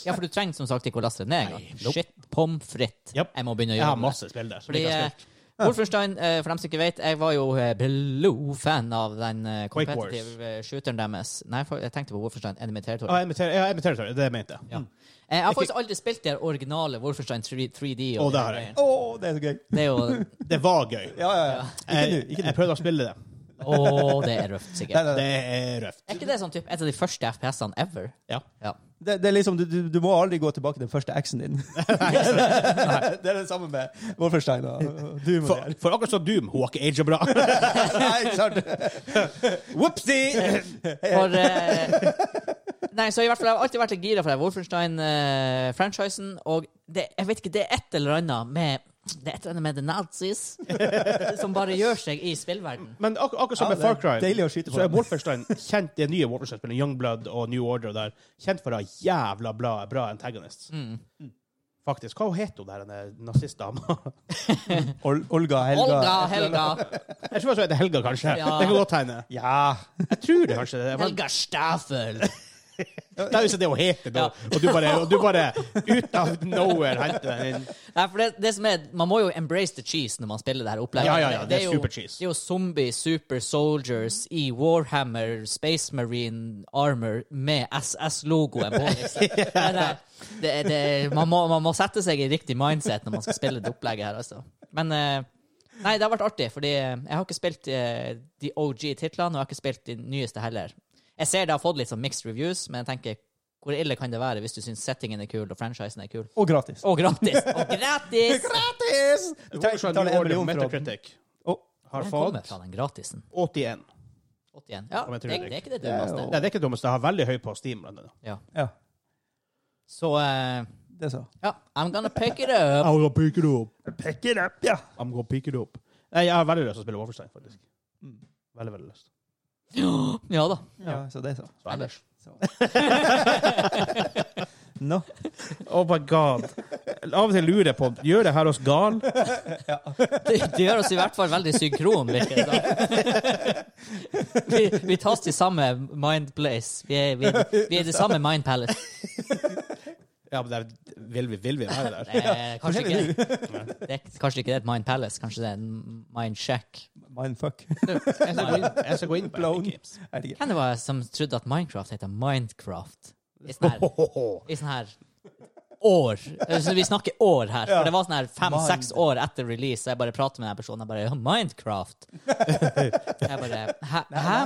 [SPEAKER 1] Ja, for du trenger som sagt ikke å laste det ned engang. Shit, pommes frites.
[SPEAKER 2] Japp.
[SPEAKER 1] Jeg må begynne å
[SPEAKER 2] Jeg har
[SPEAKER 1] gjøre det.
[SPEAKER 2] masse spill der. Som
[SPEAKER 1] Fordi,
[SPEAKER 2] jeg ikke har
[SPEAKER 1] eh,
[SPEAKER 2] spilt.
[SPEAKER 1] Wolfenstein, eh, for dem som ikke vet, jeg var jo eh, blodfan av den eh,
[SPEAKER 2] Wars.
[SPEAKER 1] competitive eh, shooteren deres. Nei, for, jeg tenkte på Wolfenstein Enemy Territory.
[SPEAKER 2] Ah, jeg imiterer, ja, jeg imiterer, sorry. det mente jeg.
[SPEAKER 1] Ja. Eh, jeg har faktisk aldri spilt det originale Wolfenstein 3, 3D.
[SPEAKER 2] Å,
[SPEAKER 1] og
[SPEAKER 2] det
[SPEAKER 1] de
[SPEAKER 2] har
[SPEAKER 1] her
[SPEAKER 2] jeg.
[SPEAKER 1] greiene.
[SPEAKER 3] Å, det er så gøy.
[SPEAKER 1] eh, Det er jo
[SPEAKER 2] Det var gøy.
[SPEAKER 3] Ja, ja, ja. Ikke nå.
[SPEAKER 2] Jeg,
[SPEAKER 3] Ikke
[SPEAKER 2] jeg
[SPEAKER 3] nå.
[SPEAKER 2] prøvde å spille det.
[SPEAKER 1] Å, det er røft,
[SPEAKER 3] Nei,
[SPEAKER 1] sikkert.
[SPEAKER 3] nei, nei.
[SPEAKER 2] Det er røft.
[SPEAKER 1] Er ikke det sånn typ, et av de første FPS-ene ever?
[SPEAKER 2] Ja.
[SPEAKER 1] Ja.
[SPEAKER 3] Det, det er liksom, du, du, du må aldri gå tilbake til den første eksen din. det er det samme med Wolferstein og og du må
[SPEAKER 2] For,
[SPEAKER 3] det.
[SPEAKER 2] for akkurat som Doom, hun har ikke aga bra.
[SPEAKER 3] Nei, ikke sant?
[SPEAKER 2] Whoopsie!
[SPEAKER 1] For eh, Nei, så i hvert fall jeg har alltid vært litt gira for det Wolfenstein-franchisen. og det, jeg vet ikke, det er et eller annet med det er et eller annet med the nazis som bare gjør seg i spillverden.
[SPEAKER 2] Men ak akkurat som
[SPEAKER 3] Ja,
[SPEAKER 2] med
[SPEAKER 3] det er
[SPEAKER 2] Far Cry,
[SPEAKER 3] deilig å skyte på
[SPEAKER 2] så er
[SPEAKER 3] dem.
[SPEAKER 2] Wolfenstein kjent det nye Wolfenstein-spillet, Youngblood og New Order og der, kjent for å ha jævla bra, bra antagonists.
[SPEAKER 3] Mm.
[SPEAKER 2] Faktisk. Hva het hun der, denne nazistdama?
[SPEAKER 3] Ol Olga Helga.
[SPEAKER 1] Olga, Helga,
[SPEAKER 2] Jeg tror det heter Helga, kanskje.
[SPEAKER 1] Ja.
[SPEAKER 2] Det kan godt hende.
[SPEAKER 3] Ja.
[SPEAKER 2] Jeg tror det, kanskje. Det, var,
[SPEAKER 1] Helga Staffel.
[SPEAKER 2] det er jo ikke det hun heter, da. Og du bare, og du bare ut av nowhere henter den inn.
[SPEAKER 1] Nei, for det, det som er, Man må jo embrace the cheese når man spiller det her opplegget.
[SPEAKER 2] Ja, ja, ja, det er
[SPEAKER 1] jo-
[SPEAKER 2] super cheese.
[SPEAKER 1] Det er jo zombie super soldiers i Warhammer Space Marine armor med SS-logoen på. liksom. Nei, nei, det, er- det, er- man, må, man må sette seg i riktig mindset når man skal spille det opplegget her, altså. Men eh, Nei, det har vært artig, fordi eh, jeg har ikke spilt eh, de OG-titlene, og jeg har ikke spilt de nyeste heller. Jeg ser det har fått litt sånn mixed reviews, men jeg tenker hvor ille kan det være hvis du syns settingen er kul og franchisen er kul?
[SPEAKER 3] Og gratis.
[SPEAKER 1] Og gratis! Og gratis!
[SPEAKER 3] Gratis! Du trenger
[SPEAKER 2] Wolfenstein
[SPEAKER 3] ikke betale
[SPEAKER 2] New
[SPEAKER 3] en
[SPEAKER 2] Order
[SPEAKER 3] million for å
[SPEAKER 2] Metacritic har
[SPEAKER 3] Å,
[SPEAKER 1] Den kommer
[SPEAKER 2] fått
[SPEAKER 1] fra den gratisen.
[SPEAKER 2] 81.
[SPEAKER 1] 81. Ja,
[SPEAKER 2] Om
[SPEAKER 1] det,
[SPEAKER 2] jeg tror
[SPEAKER 1] det
[SPEAKER 2] det.
[SPEAKER 1] er ikke det
[SPEAKER 3] Det er
[SPEAKER 1] dummeste.
[SPEAKER 3] jo-
[SPEAKER 2] Nei, det er ikke dummest. Jeg har veldig høy på Steam. Blant annet.
[SPEAKER 1] Ja.
[SPEAKER 3] Ja,
[SPEAKER 1] Så eh,
[SPEAKER 3] det så.
[SPEAKER 1] ja, I'm gonna pick it up.
[SPEAKER 2] I'm gonna pick it up.
[SPEAKER 3] Pick it up, ja.
[SPEAKER 2] I'm gonna pick it up. Nei, jeg har veldig lyst til å spille Wolfenstein, faktisk.
[SPEAKER 3] Mm.
[SPEAKER 2] Veldig, veldig lyst.
[SPEAKER 1] Ja da.
[SPEAKER 3] Ja, så det så.
[SPEAKER 2] Så ellers.
[SPEAKER 3] Nå.
[SPEAKER 2] Oh my god. Av og til lurer jeg på Gjør det her oss gal?
[SPEAKER 1] Det, det gjør oss i hvert fall veldig synkron, virker det som. Vi, vi tas til samme mind place. Vi er, vi, vi er det samme mind palace.
[SPEAKER 2] Ja, men der, vil, vi, vil vi være der?
[SPEAKER 1] Eh, kanskje, ikke, det, er- kanskje ikke det er et mind palace, kanskje det er en mind shack.
[SPEAKER 3] Mindfuck.
[SPEAKER 2] Jeg skal gå inn, jeg skal gå inn på
[SPEAKER 3] Blown.
[SPEAKER 2] Epic Games.
[SPEAKER 3] Jeg vet ikke.
[SPEAKER 1] Hvem det var som trodde at Minecraft heter Minecraft? I sånn her, i sånn her år. Eh, Så vi snakker år her. For det var sånn her fem-seks år etter release, og jeg bare prater med den personen og bare ja, 'Minecraft'. Jeg bare Hæ? hæ?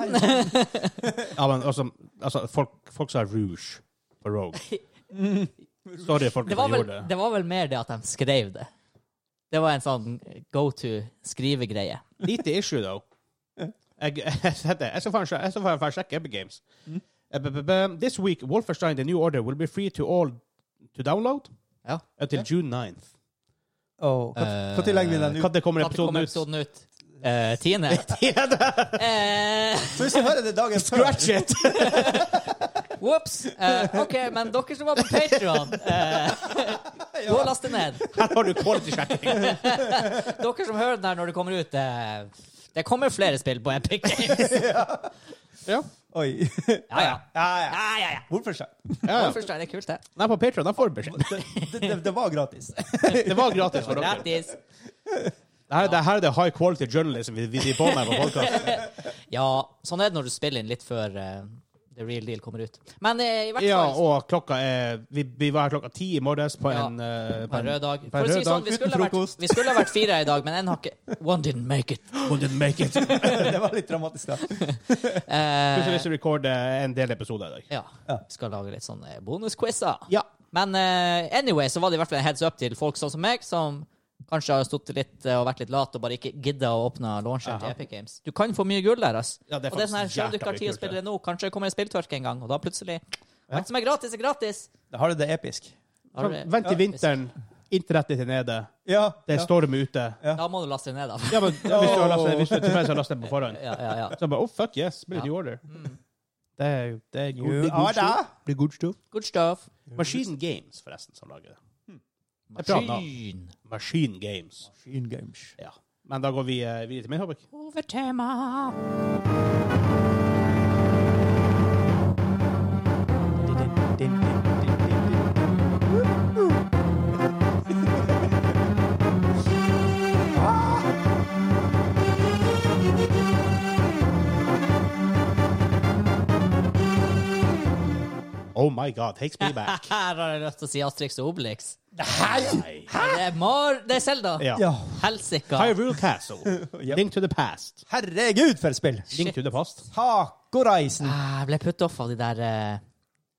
[SPEAKER 2] Ja, men altså, altså folk, folk sa Rouge på Rogue. Sorry, folk
[SPEAKER 1] Mm. Det var,
[SPEAKER 2] som
[SPEAKER 1] vel,
[SPEAKER 2] gjorde det.
[SPEAKER 1] det var vel mer det at de skrev det. Det var en sånn go to skrivegreie.
[SPEAKER 2] Lite issue, though. Jeg, jeg, setter- jeg skal faen sj- jeg skal faen faen sjekke Epic Games.
[SPEAKER 1] Mm.
[SPEAKER 2] Eh, b- b- b- This week, Wolfenstein The New Order will be free to all to download
[SPEAKER 1] Ja.
[SPEAKER 2] until June 9th.
[SPEAKER 3] Åh,
[SPEAKER 1] Eh,
[SPEAKER 3] Når legger vi den ut?
[SPEAKER 2] Når kommer
[SPEAKER 1] Når
[SPEAKER 2] episoden
[SPEAKER 1] kommer
[SPEAKER 2] ut?
[SPEAKER 1] episoden ut? Eh, tiende. Eh,
[SPEAKER 3] Så hvis du hører det dagen før
[SPEAKER 2] Scratch it!
[SPEAKER 1] Whoops! Eh, OK, men dere som var på Patron, gå og last det ned.
[SPEAKER 2] Her har du quality checking.
[SPEAKER 1] Dere som hører den her når det kommer ut eh, Det kommer flere spill på Epic Games.
[SPEAKER 2] Ja.
[SPEAKER 3] Oi.
[SPEAKER 1] Ja, ja.
[SPEAKER 3] Ja, ja.
[SPEAKER 1] Ja, ja, ja.
[SPEAKER 3] Wolfenstein.
[SPEAKER 2] Ja, ja.
[SPEAKER 1] Wolfenstein er kult, det.
[SPEAKER 2] Nei, på Patreon, da får du beskjed.
[SPEAKER 3] Det, det, det, det var gratis.
[SPEAKER 2] Det var gratis for dere.
[SPEAKER 1] Gratis.
[SPEAKER 2] Det her, det her er det high quality journalism vi, vi driver på med på podkasten.
[SPEAKER 1] Ja, sånn er det når du spiller inn litt før eh, The Real Deal kommer ut. Men eh, i hvert
[SPEAKER 2] Ja,
[SPEAKER 1] fall
[SPEAKER 2] og klokka er Vi, vi var her klokka ti i morges på
[SPEAKER 1] Ja.
[SPEAKER 2] en, eh,
[SPEAKER 1] på en rød dag.
[SPEAKER 2] på en
[SPEAKER 1] For å si
[SPEAKER 2] rød
[SPEAKER 1] det sånn,
[SPEAKER 2] dag
[SPEAKER 1] vi
[SPEAKER 2] uten
[SPEAKER 1] skulle, ha vært,
[SPEAKER 2] frokost.
[SPEAKER 1] vi skulle ha vært fire i dag, men en har ikke One didn't make it.
[SPEAKER 2] One didn't make it.
[SPEAKER 3] det var litt dramatisk, da.
[SPEAKER 1] Eh,
[SPEAKER 2] Plutselig recorder en del episoder i dag.
[SPEAKER 1] ja. Skal lage litt sånne bonusquizer.
[SPEAKER 2] Ja.
[SPEAKER 1] Men eh, anyway, så var det i hvert fall en heads up til folk sånn som meg, som kanskje har stått litt eh, og vært litt late og bare ikke gidda å åpne launcheren til
[SPEAKER 2] Aha.
[SPEAKER 1] Epic Games. Du kan få mye gull der, ass.
[SPEAKER 2] Ja, det er
[SPEAKER 1] og det er
[SPEAKER 2] faktisk
[SPEAKER 1] sånn her, selv om du ikke
[SPEAKER 2] jækla
[SPEAKER 1] har
[SPEAKER 2] mye
[SPEAKER 1] tid å
[SPEAKER 2] gull til
[SPEAKER 1] spille det nå, kanskje det kommer en spilltørke en gang, og da plutselig Alt som er gratis, er gratis!
[SPEAKER 3] Da har du det episk.
[SPEAKER 1] Da har du-
[SPEAKER 2] Vent til vinteren. Internettet er nede.
[SPEAKER 3] Ja,
[SPEAKER 2] Det er
[SPEAKER 3] ja.
[SPEAKER 2] storm ute.
[SPEAKER 3] Ja.
[SPEAKER 1] Da må du laste ned, da.
[SPEAKER 2] Ja, men hvis du har lastet, hvis du tilfeldigvis har lastet den på forhånd.
[SPEAKER 1] Ja, ja, ja.
[SPEAKER 2] Så bare, oh fuck yes, blir det
[SPEAKER 1] Ja.
[SPEAKER 2] New Order. Det er jo det er god,
[SPEAKER 3] You
[SPEAKER 2] det er
[SPEAKER 3] are
[SPEAKER 2] god
[SPEAKER 3] da.
[SPEAKER 2] stuff. Det er god stuff.
[SPEAKER 1] Good stuff.
[SPEAKER 2] Machine Games, forresten, som lager det. Det er bra navn.
[SPEAKER 1] Maskin.
[SPEAKER 2] Machine Games.
[SPEAKER 3] Machine Games.
[SPEAKER 2] Ja. Men da går vi eh, videre til min hobbik.
[SPEAKER 1] Hovedtema.
[SPEAKER 2] Oh my god, takes me back.
[SPEAKER 1] Her har jeg lyst til å si Astrix og Obelix.
[SPEAKER 2] Hei!
[SPEAKER 1] Det er Mar... Det er Selda.
[SPEAKER 2] Ja.
[SPEAKER 3] Ja.
[SPEAKER 1] Helsika.
[SPEAKER 2] Hyrule Castle. Link to the past.
[SPEAKER 3] Herregud, for et spill!
[SPEAKER 2] Link to the past.
[SPEAKER 3] Tacoreisen.
[SPEAKER 1] Ah, Jeg ble puttet off av de der eh,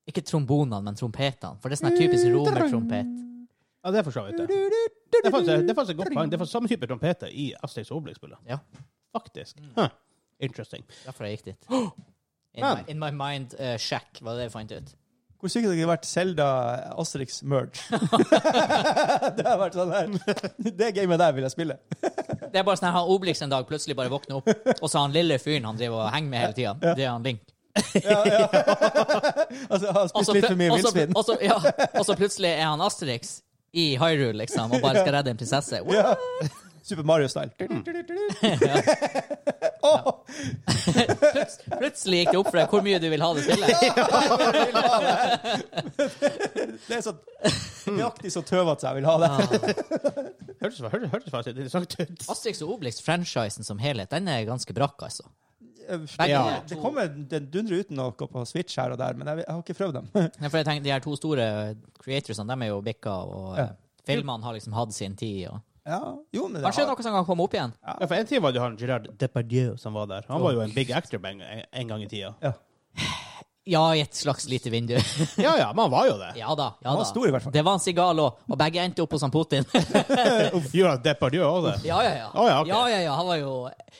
[SPEAKER 1] Ikke trombonene, men trompetene. For det er sånn her typisk romertrompet.
[SPEAKER 2] Ja, det forstår jeg ikke. Det fanns, det fanns et godt poeng. Det fanns samme type trompeter i Asterix og Obelix-spillet.
[SPEAKER 1] Ja.
[SPEAKER 2] Faktisk. Huh. Interesting.
[SPEAKER 1] Derfor jeg gikk dit. In, my,
[SPEAKER 2] Men-
[SPEAKER 1] in my mind uh, shack, var det jeg fant ut.
[SPEAKER 3] Hvor sykt det hadde vært Selda Asterix merge. det har vært sånn her. Det gamet der vil jeg spille.
[SPEAKER 1] Det er bare sånn her, han Obelix en dag plutselig bare våkner opp, og så han lille fyren han driver og henger med hele tida, det er han Link.
[SPEAKER 3] Altså, jeg har
[SPEAKER 1] Og
[SPEAKER 3] spist
[SPEAKER 1] så
[SPEAKER 3] litt for mye
[SPEAKER 1] pl- og så-
[SPEAKER 3] villsvin.
[SPEAKER 1] og så- ja, og så plutselig er han Asterix i Hyrule, liksom, og bare skal redde en prinsesse. Wow.
[SPEAKER 3] Ja. Super Mario-style. Åh,
[SPEAKER 1] Pluts- Plutselig gikk det opp for deg hvor mye du vil ha det spillet.
[SPEAKER 3] det er så nøyaktig så tøvete jeg vil ha det.
[SPEAKER 2] Hørtes, hørtes, hørtes faktisk interessant ut.
[SPEAKER 1] Asterix og Obelix-franchisen som helhet, den er ganske brakk, altså.
[SPEAKER 3] Ja.
[SPEAKER 1] de
[SPEAKER 3] Det
[SPEAKER 1] to-
[SPEAKER 3] kommer den dundrer uten noe på Switch her og der, men jeg, vet- jeg har ikke prøvd dem.
[SPEAKER 1] Nei, for jeg tenker, De her to store creatorsene de er jo bikka, og
[SPEAKER 3] Ja.
[SPEAKER 1] eh, filmene har liksom hatt sin tid. Og...
[SPEAKER 3] Ja, jo, men det
[SPEAKER 1] Kanskje
[SPEAKER 3] har,
[SPEAKER 1] noe som kan komme opp igjen?
[SPEAKER 2] Ja, for en tid var det jo han Gerard Depardieu som var der. Han var jo en big actor en, en gang i tida.
[SPEAKER 3] ja.
[SPEAKER 1] Ja, i et slags lite vindu.
[SPEAKER 2] Ja ja, men han var jo det.
[SPEAKER 1] ja da. ja
[SPEAKER 3] Han var
[SPEAKER 1] da.
[SPEAKER 3] stor i hvert fall.
[SPEAKER 1] Det var en sigal òg, og begge endte opp hos han Putin.
[SPEAKER 2] Gerard Depardieu var det.
[SPEAKER 1] ja, ja, ja.
[SPEAKER 2] Å, ja, ok.
[SPEAKER 1] ja, ja, ja. Han var jo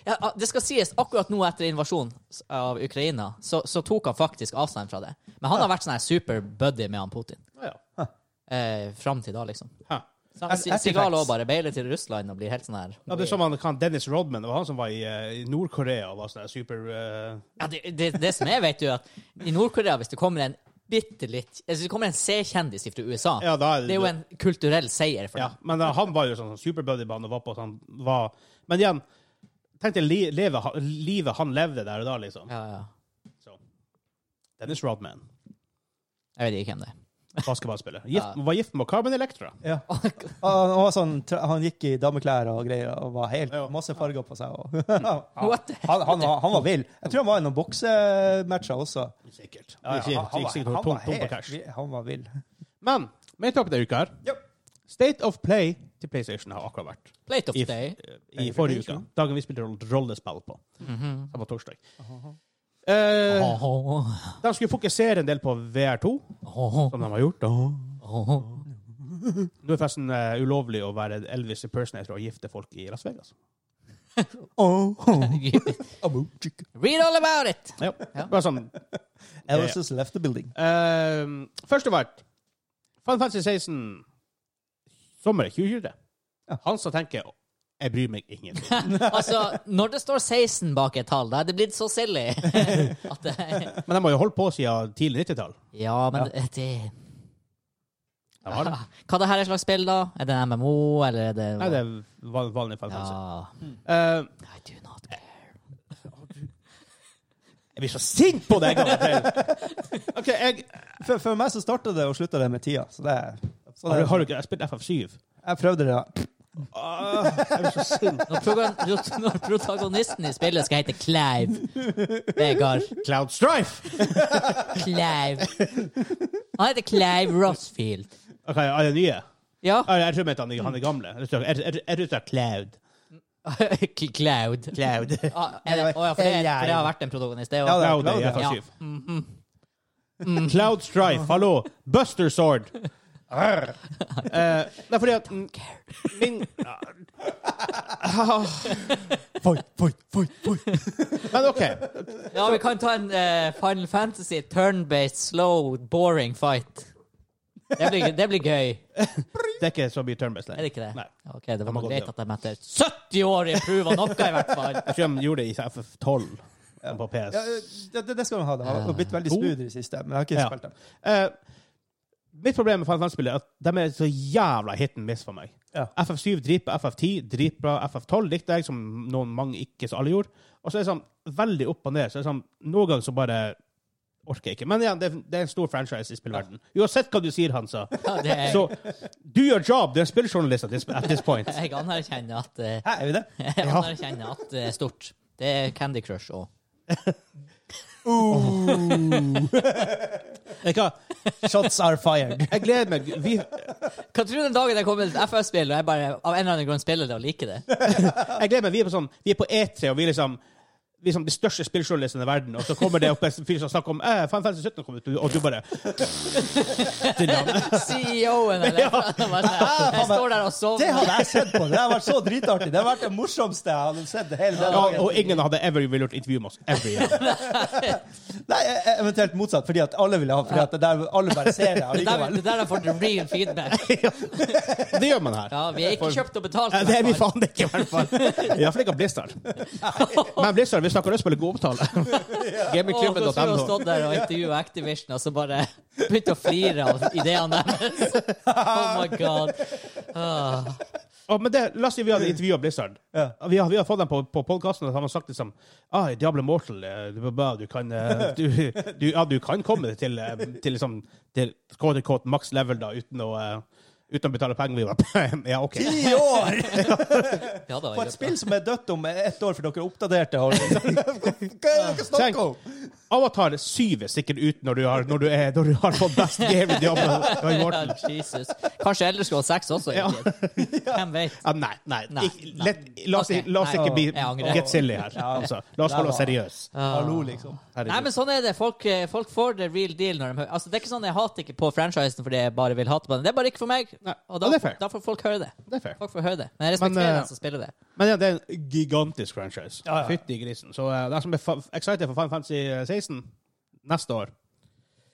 [SPEAKER 1] ja, ah, Det skal sies, akkurat nå etter invasjonen s- av Ukraina, så, så tok han faktisk avstand fra det. Men han har vært sånn her super buddy med han Putin.
[SPEAKER 2] Ja, ja.
[SPEAKER 1] Eh, Fram til da, liksom.
[SPEAKER 2] Huh.
[SPEAKER 1] Så
[SPEAKER 3] Ar-
[SPEAKER 1] han- Si-
[SPEAKER 3] artifacts.
[SPEAKER 1] Sigal òg bare beiler til Russland og blir helt sånn her
[SPEAKER 2] Ja, det er som han kan Dennis Rodman. Det var han som var i, eh, i Nord-Korea og var sånn der super eh,
[SPEAKER 1] Ja, det, det, det som er, vet du, at i Nord-Korea, hvis det kommer en bitte litt altså, Hvis det kommer en C-kjendis fra USA,
[SPEAKER 2] Ja, da er
[SPEAKER 1] det er jo en kulturell seier for
[SPEAKER 2] Ja,
[SPEAKER 1] dem.
[SPEAKER 2] men eh, han var jo sånn superbuddy-band og var på sånn var Men igjen, tenk deg li, leve, ha- livet han levde der og da, liksom.
[SPEAKER 1] Ja, ja.
[SPEAKER 2] Så. Dennis Rodman,
[SPEAKER 1] Jeg vet ikke hvem det er.
[SPEAKER 2] basketballspiller.
[SPEAKER 1] Ja.
[SPEAKER 2] Gift, Var gift med Carmen Electra.
[SPEAKER 3] Ja. Og Han, var sånn, tra- han gikk i dameklær og greier og var helt
[SPEAKER 2] Ja.
[SPEAKER 3] masse farger på seg. Og, han,
[SPEAKER 1] What the-
[SPEAKER 3] han, han, var- han var vill. Jeg tror han var i noen boksematcher også.
[SPEAKER 2] Sikkert. Ja, ja,
[SPEAKER 3] han, han, var-
[SPEAKER 2] sikkert sånn
[SPEAKER 3] han,
[SPEAKER 2] tom, tom
[SPEAKER 3] var
[SPEAKER 2] på
[SPEAKER 3] helt
[SPEAKER 2] cash.
[SPEAKER 3] vill. han var vill.
[SPEAKER 2] Men min topp denne uka her
[SPEAKER 3] Ja.
[SPEAKER 2] State of Play til PlayStation har akkurat vært.
[SPEAKER 1] Plate of
[SPEAKER 2] If-
[SPEAKER 1] Day.
[SPEAKER 2] I forrige uke. Dagen vi spilte roll- rollespill på. Det var torsdag. Eh,
[SPEAKER 1] Åh, åh,
[SPEAKER 2] de skulle fokusere en del på VR2,
[SPEAKER 1] åh,
[SPEAKER 2] som de har gjort.
[SPEAKER 1] åh.
[SPEAKER 2] Nå er det forresten eh, ulovlig å være Elvis impersonator og gifte folk i Las Vegas.
[SPEAKER 1] Read all about it!
[SPEAKER 2] Ja. Bare sånn.
[SPEAKER 3] Elvis has left the building.
[SPEAKER 2] Eh, først av alt, Final Fantasy 16 sommer 2020. Han som tenker jeg bryr meg ingenting.
[SPEAKER 1] Altså, når det står 16 bak et tall, da er det blitt så silly at det
[SPEAKER 2] Men de har jo holdt på siden tidlig 90-tall.
[SPEAKER 1] Ja, men det
[SPEAKER 2] De har det.
[SPEAKER 1] Hva det her er slags spill, da? Er det en MMO, eller er det
[SPEAKER 2] Nei, det er van- vanlig Final Fantasy.
[SPEAKER 1] Ja.
[SPEAKER 2] Eh,
[SPEAKER 1] I do not care.
[SPEAKER 2] jeg blir så sint på deg! Gammel Pelle. OK, jeg
[SPEAKER 3] For, for meg så starta det og slutta det med tida. Så det, så
[SPEAKER 2] Har,
[SPEAKER 3] det,
[SPEAKER 2] du- har du ikke jeg har spilt FF7?
[SPEAKER 3] jeg prøvde det. da.
[SPEAKER 1] Når, proga- når protagonisten i spillet skal hete Clive Vegard.
[SPEAKER 2] Cloud Strife!
[SPEAKER 1] Clive. Han heter Clive Rossfield.
[SPEAKER 2] OK, er det nye?
[SPEAKER 1] Ja.
[SPEAKER 2] Ah, Jeg tror jeg mente han, han er gamle. Jeg tror jeg- jeg- jeg tror det er Cloud.
[SPEAKER 1] Cl- Cloud.
[SPEAKER 2] Cloud.
[SPEAKER 1] Ah, er det, å ja, for, det, for det har vært en protagonist, det òg.
[SPEAKER 3] Ja, det-
[SPEAKER 2] Cloud altså.
[SPEAKER 1] Mhm.
[SPEAKER 2] Mm. er
[SPEAKER 3] Cloud, ja.
[SPEAKER 2] FF7. Cloud Strife, hallo! Buster Sword!
[SPEAKER 3] Arr.
[SPEAKER 2] Eh, nei, fordi at mm, min ja.
[SPEAKER 3] Foi, foi, foi, foi.
[SPEAKER 2] Men OK.
[SPEAKER 1] Ja, vi kan ta en eh, Final Fantasy turn-based, slow, boring fight. Det blir, det blir gøy.
[SPEAKER 2] Det er ikke så mye turn-based
[SPEAKER 1] Er det ikke det?
[SPEAKER 2] Nei.
[SPEAKER 1] OK, det var
[SPEAKER 2] må
[SPEAKER 1] bare
[SPEAKER 2] gå
[SPEAKER 1] greit
[SPEAKER 2] ned.
[SPEAKER 1] at de etter 70 år improva noe, i hvert fall.
[SPEAKER 2] Jeg tror de gjorde det i FF12 på PS.
[SPEAKER 3] Ja, det, det- det skal de ha. De har blitt veldig
[SPEAKER 2] To?
[SPEAKER 3] smooth i det siste, men jeg har ikke
[SPEAKER 2] Ja.
[SPEAKER 3] spilt dem.
[SPEAKER 2] Eh, mitt problem med Final Fantasy-spill er at de er så jævla hit and miss for meg.
[SPEAKER 3] Ja.
[SPEAKER 2] FF7 dritbra, FF10 dritbra, FF12 likte jeg, som noen mange ikke så alle gjorde. Og så er det sånn veldig opp og ned. så er det sånn, Noen ganger så bare orker jeg ikke. Men igjen, det, er- det er en stor franchise i spillverden. Uansett hva du sier, Hansa,
[SPEAKER 1] Ja, det er,
[SPEAKER 2] så do your job. Du er spilljournalist at this, at this point.
[SPEAKER 1] jeg anerkjenner at eh,
[SPEAKER 3] Hæ, er vi det?
[SPEAKER 1] Jeg anerkjenner at det er stort. Det er Candy Crush òg.
[SPEAKER 2] Vet du hva?
[SPEAKER 3] Shots are fired.
[SPEAKER 2] Jeg gleder meg. Vi,
[SPEAKER 1] Hva tror du den dagen jeg kommer til et FF-spill og jeg bare av en eller annen grunn spiller det og liker det?
[SPEAKER 2] Jeg gleder meg. Vi er på, sånn, vi er på E3, og vi er liksom vi er som de største spilljournalistene i verden, og så kommer det opp en fyr som snakker om eh, Final Fantasy 17 kom ut, og du bare
[SPEAKER 1] CEO-en E eller bare, Jeg står der og
[SPEAKER 3] Det
[SPEAKER 1] sovner.
[SPEAKER 3] hadde jeg sett på! Det hadde vært så dritartig. Det hadde vært det morsomste jeg hadde sett hele den
[SPEAKER 2] ja,
[SPEAKER 3] dagen.
[SPEAKER 2] Og ingen hadde ever villet gjort intervju med oss. Every gang.
[SPEAKER 3] Nei, eh, eventuelt motsatt, fordi at alle ville ha Fordi at det der, alle bare ser det
[SPEAKER 1] Det der,
[SPEAKER 3] allikevel.
[SPEAKER 1] det der har fått real feedback.
[SPEAKER 2] Det gjør man her.
[SPEAKER 1] Ja, vi er ikke kjøpt og betalt.
[SPEAKER 2] Eh,
[SPEAKER 1] i
[SPEAKER 2] Det er vi
[SPEAKER 1] hvert fall.
[SPEAKER 2] faen ikke, i hvert fall. Iallfall ikke av Blizzard. Men Blizzard, vi snakker østspill og god
[SPEAKER 1] Å,
[SPEAKER 2] opptale.
[SPEAKER 1] hvordan skulle du
[SPEAKER 2] Gamingklubben.no.
[SPEAKER 1] stått der og intervjua Activision, og så bare begynte å flire av ideene deres? Oh my god. Ah.
[SPEAKER 2] Å, men det, la oss si vi hadde intervjua Blizzard.
[SPEAKER 3] Ja.
[SPEAKER 2] Vi, har, vi har fått dem på, på podkasten, og så har man sagt liksom ah, Diablo Mortal, eh, du, bra, du kan eh, du, du, Ja, du kan komme til, eh, til liksom til quote unquote max level, da, uten å eh, Uten å betale penger. Vi bare Ja, OK.
[SPEAKER 3] Ti år!
[SPEAKER 1] Ja, da,
[SPEAKER 3] På et spill som er dødt om ett år, for dere oppdaterte. Og, hva er det dere
[SPEAKER 2] Tenk,
[SPEAKER 3] snakker om?
[SPEAKER 2] Avatar 7 er sikkert ut når du har, når du er, når du har fått best game i Diablo
[SPEAKER 1] Ja,
[SPEAKER 2] Mortal.
[SPEAKER 1] Jesus. Kanskje Elderskål 6 også?
[SPEAKER 2] Ja.
[SPEAKER 1] egentlig. Hvem vet?
[SPEAKER 2] Ah, nei, nei.
[SPEAKER 1] Nei,
[SPEAKER 2] Ikke- let- La oss,
[SPEAKER 1] Ok,
[SPEAKER 2] la oss
[SPEAKER 1] nei.
[SPEAKER 2] ikke bli
[SPEAKER 1] Jeg angrer.
[SPEAKER 2] get silly her. Altså, la oss holde oss seriøse.
[SPEAKER 3] Hallo, liksom.
[SPEAKER 1] Nei, men sånn er det. Folk, eh, folk får det real deal når de hører Altså, Det er ikke sånn jeg hater ikke på franchisen fordi jeg bare vil hate på den. Det er bare ikke for meg.
[SPEAKER 2] Nei,
[SPEAKER 1] Og da,
[SPEAKER 2] og det er fair.
[SPEAKER 1] da får folk høre det.
[SPEAKER 2] Det er fair.
[SPEAKER 1] Folk får høre det. Men jeg respekterer
[SPEAKER 2] Men, eh,
[SPEAKER 1] den som spiller det.
[SPEAKER 2] Men ja, det er en gigantisk franchise.
[SPEAKER 3] Ja, ja.
[SPEAKER 2] Fytti grisen. Så uh, de som er fa- excited for Final Fantasy 16 neste år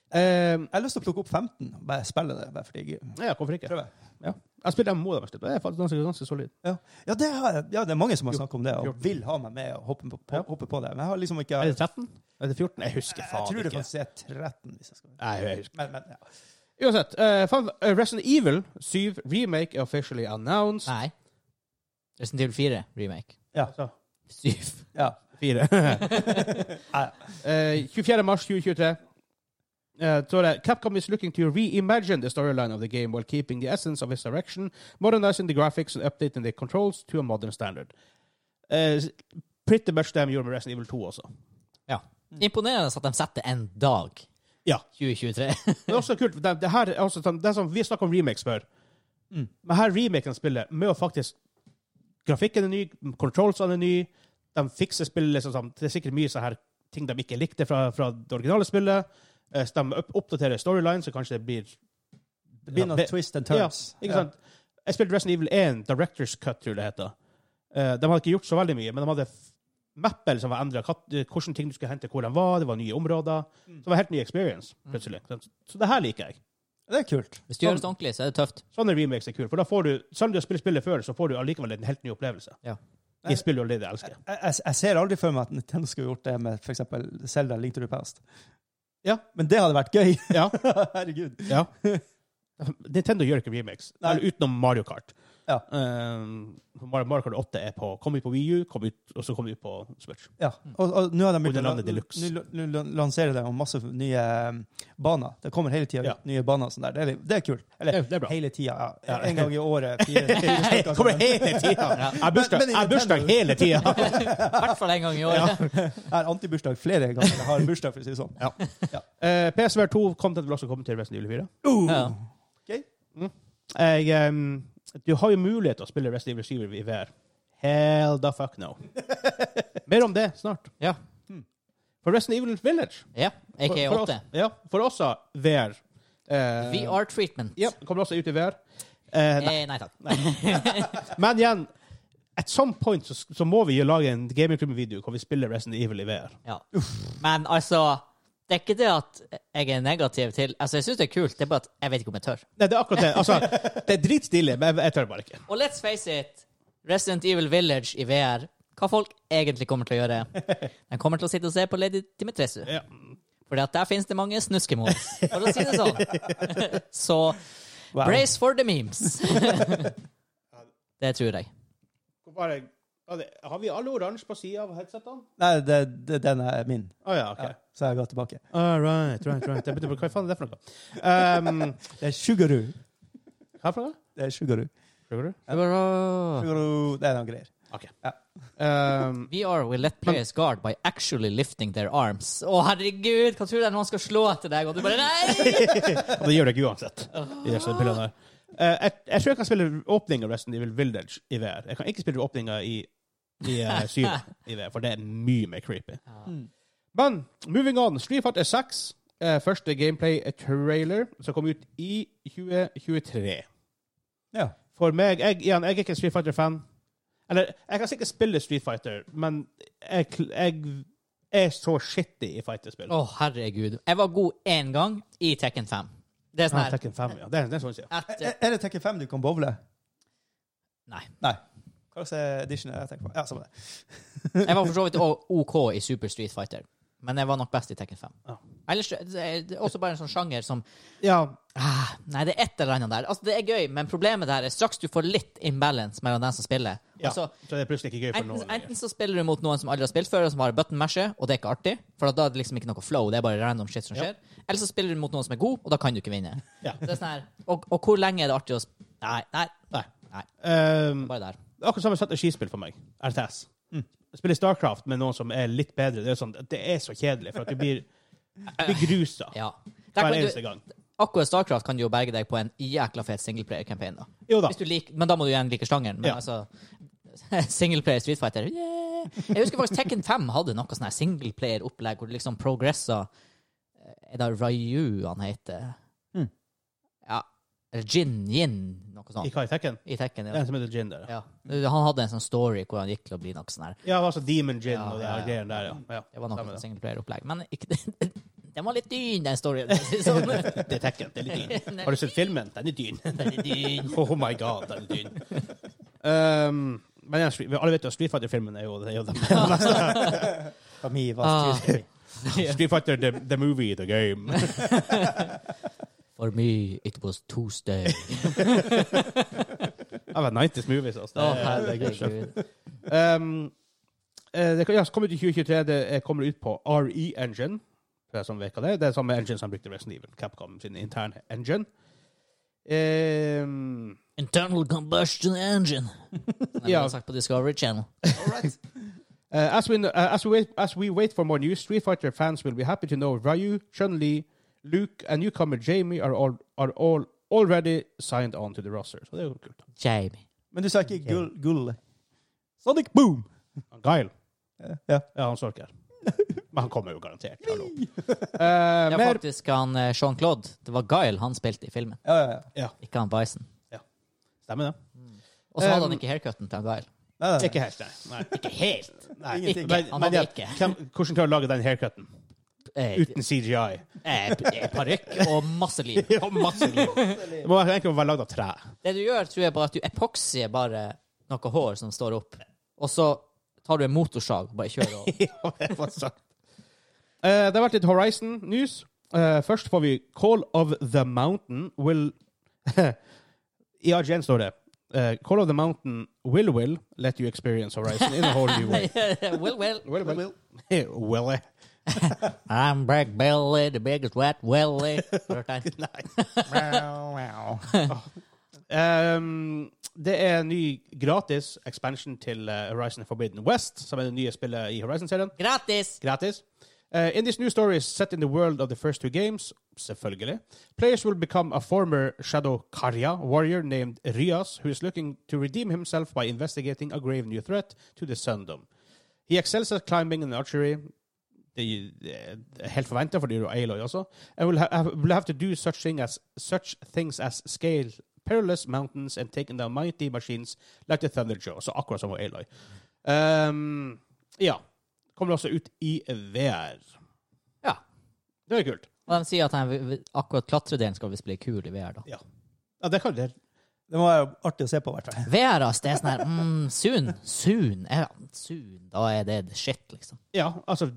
[SPEAKER 2] Eh,
[SPEAKER 3] Jeg har lyst til å plukke opp 15 og bare spille det. Bare fordi jeg,
[SPEAKER 2] Ja, hvorfor ikke?
[SPEAKER 3] prøve.
[SPEAKER 2] Ja. Jeg spilte MMO da, vet du. Det er faktisk ganske, ganske solid.
[SPEAKER 3] Ja. Ja, det har, jeg- ja, det er mange som har snakket om det og
[SPEAKER 2] 14.
[SPEAKER 3] vil ha meg med og hoppe på, på,
[SPEAKER 2] Ja.
[SPEAKER 3] hoppe på det. Men jeg har liksom ikke
[SPEAKER 2] Er det
[SPEAKER 3] Jeg,
[SPEAKER 2] 13? Er det 14? Jeg husker
[SPEAKER 3] jeg
[SPEAKER 2] faen
[SPEAKER 3] tror det
[SPEAKER 2] ikke.
[SPEAKER 3] faktisk er 13. Hvis jeg skal.
[SPEAKER 2] Nei, jeg husker.
[SPEAKER 3] Men, men, ja.
[SPEAKER 2] Uansett. eh, Final- eh, Resident Evil 7 remake er officially announced.
[SPEAKER 1] Nei. Resident Evil 4 remake.
[SPEAKER 2] Altså,
[SPEAKER 1] Syv.
[SPEAKER 3] Ja.
[SPEAKER 2] Fire. Eh, 24. mars 2023. Eh, så er det, Capcom is looking to reimagine the storyline of the game while keeping the essence of its direction, modernizing the graphics and updating the controls to a modern standard. Eh, pretty much det de gjorde med Resident Evil 2 også.
[SPEAKER 1] Ja. Mm. Imponerende at de setter en dag.
[SPEAKER 2] Ja.
[SPEAKER 1] 2023.
[SPEAKER 2] Men også kult, for det, det her er også sånn, det er sånn, vi snakker om remakes før, men her remaken spillet, med å faktisk grafikken er ny, controlsene er ny, de fikser spillet, liksom, sånn, det er sikkert mye sånne her ting de ikke likte fra, fra det originale spillet, Eh, så de opp, oppdaterer storylines, så kanskje det blir...
[SPEAKER 3] Det blir noen
[SPEAKER 2] Ja,
[SPEAKER 3] twist and turns.
[SPEAKER 2] ikke sant? Jeg spilte Resident Evil 1, Director's Cut, tror jeg det heter. Eh, de hadde ikke gjort så veldig mye, men de hadde f- mapper som var endret, kat- eh, hvordan ting du skulle hente, hvor de var, det var nye områder. Så det var helt ny experience, plutselig. Så det her liker jeg.
[SPEAKER 3] Ja. Det er kult.
[SPEAKER 1] Hvis du gjør det ordentlig, så er det tøft.
[SPEAKER 2] Sånne remakes Sånn er kule, for da får du, selv om du har spilt spillet før, så får du allikevel en helt ny opplevelse.
[SPEAKER 1] Ja.
[SPEAKER 2] I spill og det jeg elsker.
[SPEAKER 3] Jeg, jeg, jeg ser aldri for meg at Nintendo skulle gjort det med f.eks. Zelda Link to the Past.
[SPEAKER 2] Ja.
[SPEAKER 3] Men det hadde vært gøy.
[SPEAKER 2] Ja,
[SPEAKER 3] Herregud.
[SPEAKER 2] ja. Nintendo gjør ikke remakes,
[SPEAKER 3] Nei.
[SPEAKER 2] eller utenom Mario Kart.
[SPEAKER 3] Ja.
[SPEAKER 2] Um, Mario Mario Kart 8 er på, kom ut på Wii U, kom ut, og så kom ut på Switch.
[SPEAKER 3] Ja. Og, og nå har de begynt å
[SPEAKER 2] Wonderland Deluxe.
[SPEAKER 3] nå- nå lan- lanserer de masse nye um, baner. Det kommer hele tida
[SPEAKER 2] Ja.
[SPEAKER 3] nye baner. og Sånn der. Det, er, litt- det er kult. Eller
[SPEAKER 2] Det, det er bra.
[SPEAKER 3] hele tida. Ja.
[SPEAKER 2] Ja.
[SPEAKER 3] En gang i året. Fire, fire
[SPEAKER 2] Hei,
[SPEAKER 3] stykker.
[SPEAKER 2] kommer hele tida! Jeg har bursdag-
[SPEAKER 3] Men- men
[SPEAKER 2] jeg har bursdag
[SPEAKER 3] Nintendo-
[SPEAKER 2] hele tida!
[SPEAKER 1] I hvert fall en gang i året.
[SPEAKER 3] Jeg har antibursdag flere ganger. Jeg har bursdag, for å si det sånn.
[SPEAKER 2] Eh, PSVR 2 content vil også komme til Resident Evil 4.
[SPEAKER 1] Ja.
[SPEAKER 2] Jeg, um, du har jo mulighet til å spille Resident Evil 7 i VR. Hell the fuck no. Mer om det snart.
[SPEAKER 1] Ja.
[SPEAKER 2] For Resident Evil Village
[SPEAKER 1] ja.
[SPEAKER 2] For-
[SPEAKER 1] Ikke
[SPEAKER 2] for
[SPEAKER 1] 8.
[SPEAKER 2] oss- Ja, for oss har VR Eh,
[SPEAKER 1] VR treatment.
[SPEAKER 2] Ja, kommer også ut i VR. Eh, nei.
[SPEAKER 1] Eh, nei takk.
[SPEAKER 2] Men igjen, at some point så, så må vi jo lage en gamingklubb-video hvor vi spiller Resident Evil i VR.
[SPEAKER 1] Ja. Men altså Det er ikke det at jeg er negativ til Altså, jeg syns det er kult, det er bare at jeg vet ikke om jeg tør.
[SPEAKER 2] Nei, det er akkurat det. Altså, det er dritstilig, men jeg, jeg tør bare ikke.
[SPEAKER 1] Og let's face it, Resident Evil Village i VR Hva folk egentlig kommer til å gjøre? De kommer til å sitte og se på Lady Dimitrescu.
[SPEAKER 2] Ja.
[SPEAKER 1] For der finnes det mange snuskemos, for å si det sånn. Så brace for the memes. Det tror jeg.
[SPEAKER 2] Bare, har vi alle oransje på sida av headsetene?
[SPEAKER 3] Nei, det, det, den er min.
[SPEAKER 2] Å ja, OK.
[SPEAKER 3] Ja, så jeg ga tilbake.
[SPEAKER 2] All right, right, right. Jeg begynte på, hva faen er det for noe? Um,
[SPEAKER 3] Det er Sugaroo.
[SPEAKER 2] hva for noe?
[SPEAKER 3] Det er Sugaroo.
[SPEAKER 2] Prøver du?
[SPEAKER 3] Sugaroo, det er noen greier.
[SPEAKER 2] OK.
[SPEAKER 3] Ja.
[SPEAKER 2] Um,
[SPEAKER 1] VR will let players guard by actually lifting their arms. Å, herregud, hva tror du det er noen skal slå etter deg, og du bare Nei!
[SPEAKER 2] Ja, det gjør det ikke uansett. I disse pillene her. Eh, jeg, jeg tror jeg kan spille åpninga av Resident Evil Village i VR. Jeg kan ikke spille åpninga i, i eh, synet i VR, for det er mye mer creepy. Men moving on. Street Fighter 6, eh, første gameplay-trailer, som kom ut i 2023.
[SPEAKER 3] Ja.
[SPEAKER 2] For meg jeg, igjen, jeg er ikke en Street Fighter-fan. Eller, jeg kan sikkert spille Street Fighter, men jeg, kl- jeg er så shitty i fighterspill.
[SPEAKER 1] Å, herregud. Jeg var god én gang i Tekken 5. Det er sånn
[SPEAKER 2] Ah,
[SPEAKER 1] her
[SPEAKER 2] Tekken 5, ja. Det er, det er sånn å si.
[SPEAKER 1] etter,
[SPEAKER 3] Er, er det Tekken 5 du kan bowle?
[SPEAKER 1] Nei.
[SPEAKER 3] Nei. Hva slags edition er det jeg tenker på? Ja, samme det.
[SPEAKER 1] Jeg var for så vidt o- OK i Super Street Fighter, men jeg var nok best i Tekken 5.
[SPEAKER 2] Ja.
[SPEAKER 1] Ellers det er det også bare en sånn sjanger som
[SPEAKER 2] Ja,
[SPEAKER 1] ah, Nei, det er et eller annet der. Altså, det er gøy, men problemet der er straks du får litt imbalance mellom dem som spiller.
[SPEAKER 2] ja.
[SPEAKER 1] Altså,
[SPEAKER 2] så det er plutselig ikke gøy for
[SPEAKER 1] enten,
[SPEAKER 2] noen. lenger.
[SPEAKER 1] enten så spiller du mot noen som aldri har spilt før, og som har button mashet, og det er ikke artig, for da er det liksom ikke noe flow, det er bare random shit som
[SPEAKER 2] Ja.
[SPEAKER 1] skjer. Eller så spiller du mot noen som er god, og da kan du ikke vinne.
[SPEAKER 2] Ja.
[SPEAKER 1] Så Det er sånn her, og, og hvor lenge er det artig å sp... Nei, nei,
[SPEAKER 2] Nei.
[SPEAKER 1] nei.
[SPEAKER 2] Um,
[SPEAKER 1] Bare der.
[SPEAKER 2] det er akkurat samme strategispill for meg. RTS.
[SPEAKER 1] Mm.
[SPEAKER 2] Jeg Spiller Starcraft med noen som er litt bedre. Det er, sånn, det er så kjedelig, for at du blir, du blir grusa
[SPEAKER 1] Ja. Der
[SPEAKER 2] hver
[SPEAKER 1] kan du,
[SPEAKER 2] eneste gang.
[SPEAKER 1] Akkurat Starcraft kan du jo berge deg på en jækla fet singleplayer-campaign. da.
[SPEAKER 2] Jo da.
[SPEAKER 1] Hvis du lik, men da må du igjen like sjangeren. Men
[SPEAKER 2] Ja.
[SPEAKER 1] altså Singleplayer Street Fighter yeah. Jeg husker faktisk Tekken 5 hadde noe sånn her singleplayer-opplegg hvor du liksom progressa Er det Ryu han heter?
[SPEAKER 3] Mm.
[SPEAKER 1] Ja. Eller Jin Yin, noe
[SPEAKER 2] Hmm. I
[SPEAKER 1] sånt.
[SPEAKER 2] Kai Tekken.
[SPEAKER 1] I Tekken,
[SPEAKER 2] Det er
[SPEAKER 1] ja.
[SPEAKER 2] en som heter Gin der. Ja,
[SPEAKER 1] ja. Han hadde en sånn story hvor han gikk til å bli noe sånn her.
[SPEAKER 2] ja altså Demon Gin
[SPEAKER 1] Ja,
[SPEAKER 2] og det
[SPEAKER 1] ja,
[SPEAKER 2] her
[SPEAKER 1] ja.
[SPEAKER 2] greien der, ja.
[SPEAKER 1] Det var
[SPEAKER 2] ja.
[SPEAKER 1] noe
[SPEAKER 2] stemmer
[SPEAKER 1] sånn
[SPEAKER 2] det.
[SPEAKER 1] singleplayer-opplegg. Men ikke, den var litt dyn, den storyen. Sånn.
[SPEAKER 2] Det er Tekken. Det er litt dyn. Har du sett filmen? Den er dyn. Oh my god, den er dyn. Um, men ja, vi alle vet jo at Street Fighter-filmen er jo, det er jo den
[SPEAKER 3] Kami var
[SPEAKER 1] Ah.
[SPEAKER 3] skuespiller.
[SPEAKER 2] Street Fighter the, the movie, the game.
[SPEAKER 1] For me, it was Tuesday.
[SPEAKER 2] Det var 90s movies, altså.
[SPEAKER 1] Å,
[SPEAKER 2] Det er- det er good shit.
[SPEAKER 1] herregud.
[SPEAKER 2] Um, eh, det kan- ja, så kommer ut i 2023. Det eh, kommer ut på RE Engine. Det er, som vet hva det, er. det er samme engine som brukte Resident Evil. Capcom sin interne engine. Ehm,
[SPEAKER 1] Internal combustion engine. Nei, ja.
[SPEAKER 2] Ja.
[SPEAKER 1] sagt på Discovery Channel.
[SPEAKER 2] eh, as, we, kn- eh, as, we wait, as we wait for more news, Street Fighter fans will be happy to know Ryu, Chun-Li, Luke and newcomer Jamie are all, are all already signed on to the roster. Så det er jo kult.
[SPEAKER 1] Jamie.
[SPEAKER 3] Men du sa ikke gull, gull. Sonic Boom!
[SPEAKER 2] Guile.
[SPEAKER 3] Ja.
[SPEAKER 2] Ja, han står ikke her. Men han kommer jo garantert. Hallo.
[SPEAKER 1] Det
[SPEAKER 2] Eh,
[SPEAKER 1] var
[SPEAKER 2] mer,
[SPEAKER 1] faktisk han eh, Jean-Claude. Det var Guile han spilte i filmen,
[SPEAKER 3] Ja, ja, ja.
[SPEAKER 1] ikke han Bison.
[SPEAKER 2] stemmer det?
[SPEAKER 1] Og så hadde
[SPEAKER 2] Um,
[SPEAKER 1] han ikke haircutten til han Guile.
[SPEAKER 3] Nei, nei, nei.
[SPEAKER 2] Ikke helt, nei. nei.
[SPEAKER 1] Ikke helt.
[SPEAKER 2] Nei,
[SPEAKER 3] Ingenting.
[SPEAKER 2] Men,
[SPEAKER 1] Han
[SPEAKER 2] men
[SPEAKER 1] hadde
[SPEAKER 2] ja,
[SPEAKER 1] ikke.
[SPEAKER 2] hvem, hvordan klarer du å lage den haircuten
[SPEAKER 1] Eh,
[SPEAKER 2] uten CGI?
[SPEAKER 1] eh, eh, Parykk og masse liv.
[SPEAKER 2] Ja, masse liv. Det må egentlig være lagd av tre.
[SPEAKER 1] Det du gjør, tror jeg bare at du epoksier bare noe hår som står opp, og så tar du en motorsag og bare kjører over.
[SPEAKER 2] Ja, det var sant. Eh, det har vært litt Horizon-news. Eh, først får vi Call of the Mountain will I IGN står det eh, Call of the Mountain will will let you experience Horizon in a whole new way.
[SPEAKER 1] well, well.
[SPEAKER 2] Will will. will. eh.
[SPEAKER 1] I'm Black Belly, the biggest wet welly.
[SPEAKER 2] Um, det er en ny gratis expansion til eh, Horizon Forbidden West, som er det nye spillet i Horizon-serien.
[SPEAKER 1] Gratis!
[SPEAKER 2] Gratis. Uh, in this new story is set in the world of the first two games, selvfølgelig. Players will become a former Shadow Karya warrior named Rias, who is looking to redeem himself by investigating a grave new threat to the Sundom. He excels at climbing and archery. i- eh, helt forventa, for det gjør jo Aloy også. I will, ha, I will have to do such, thing as, such things as scale perilous mountains and take down mighty machines like the Thunder Joe. Så akkurat som Aloy. Um, ja. Kommer også ut i VR.
[SPEAKER 1] Ja.
[SPEAKER 2] Det er kult.
[SPEAKER 1] Og de sier at den, v- v- akkurat klatredelen skal visst bli kul i VR, da.
[SPEAKER 2] Ja, det kan det.
[SPEAKER 3] Det var jo artig å se på, i hvert fall.
[SPEAKER 1] VR, ass, det er sånn her mm, Soon. Soon. Ja, soon. Da er det the shit, liksom.
[SPEAKER 2] Ja, altså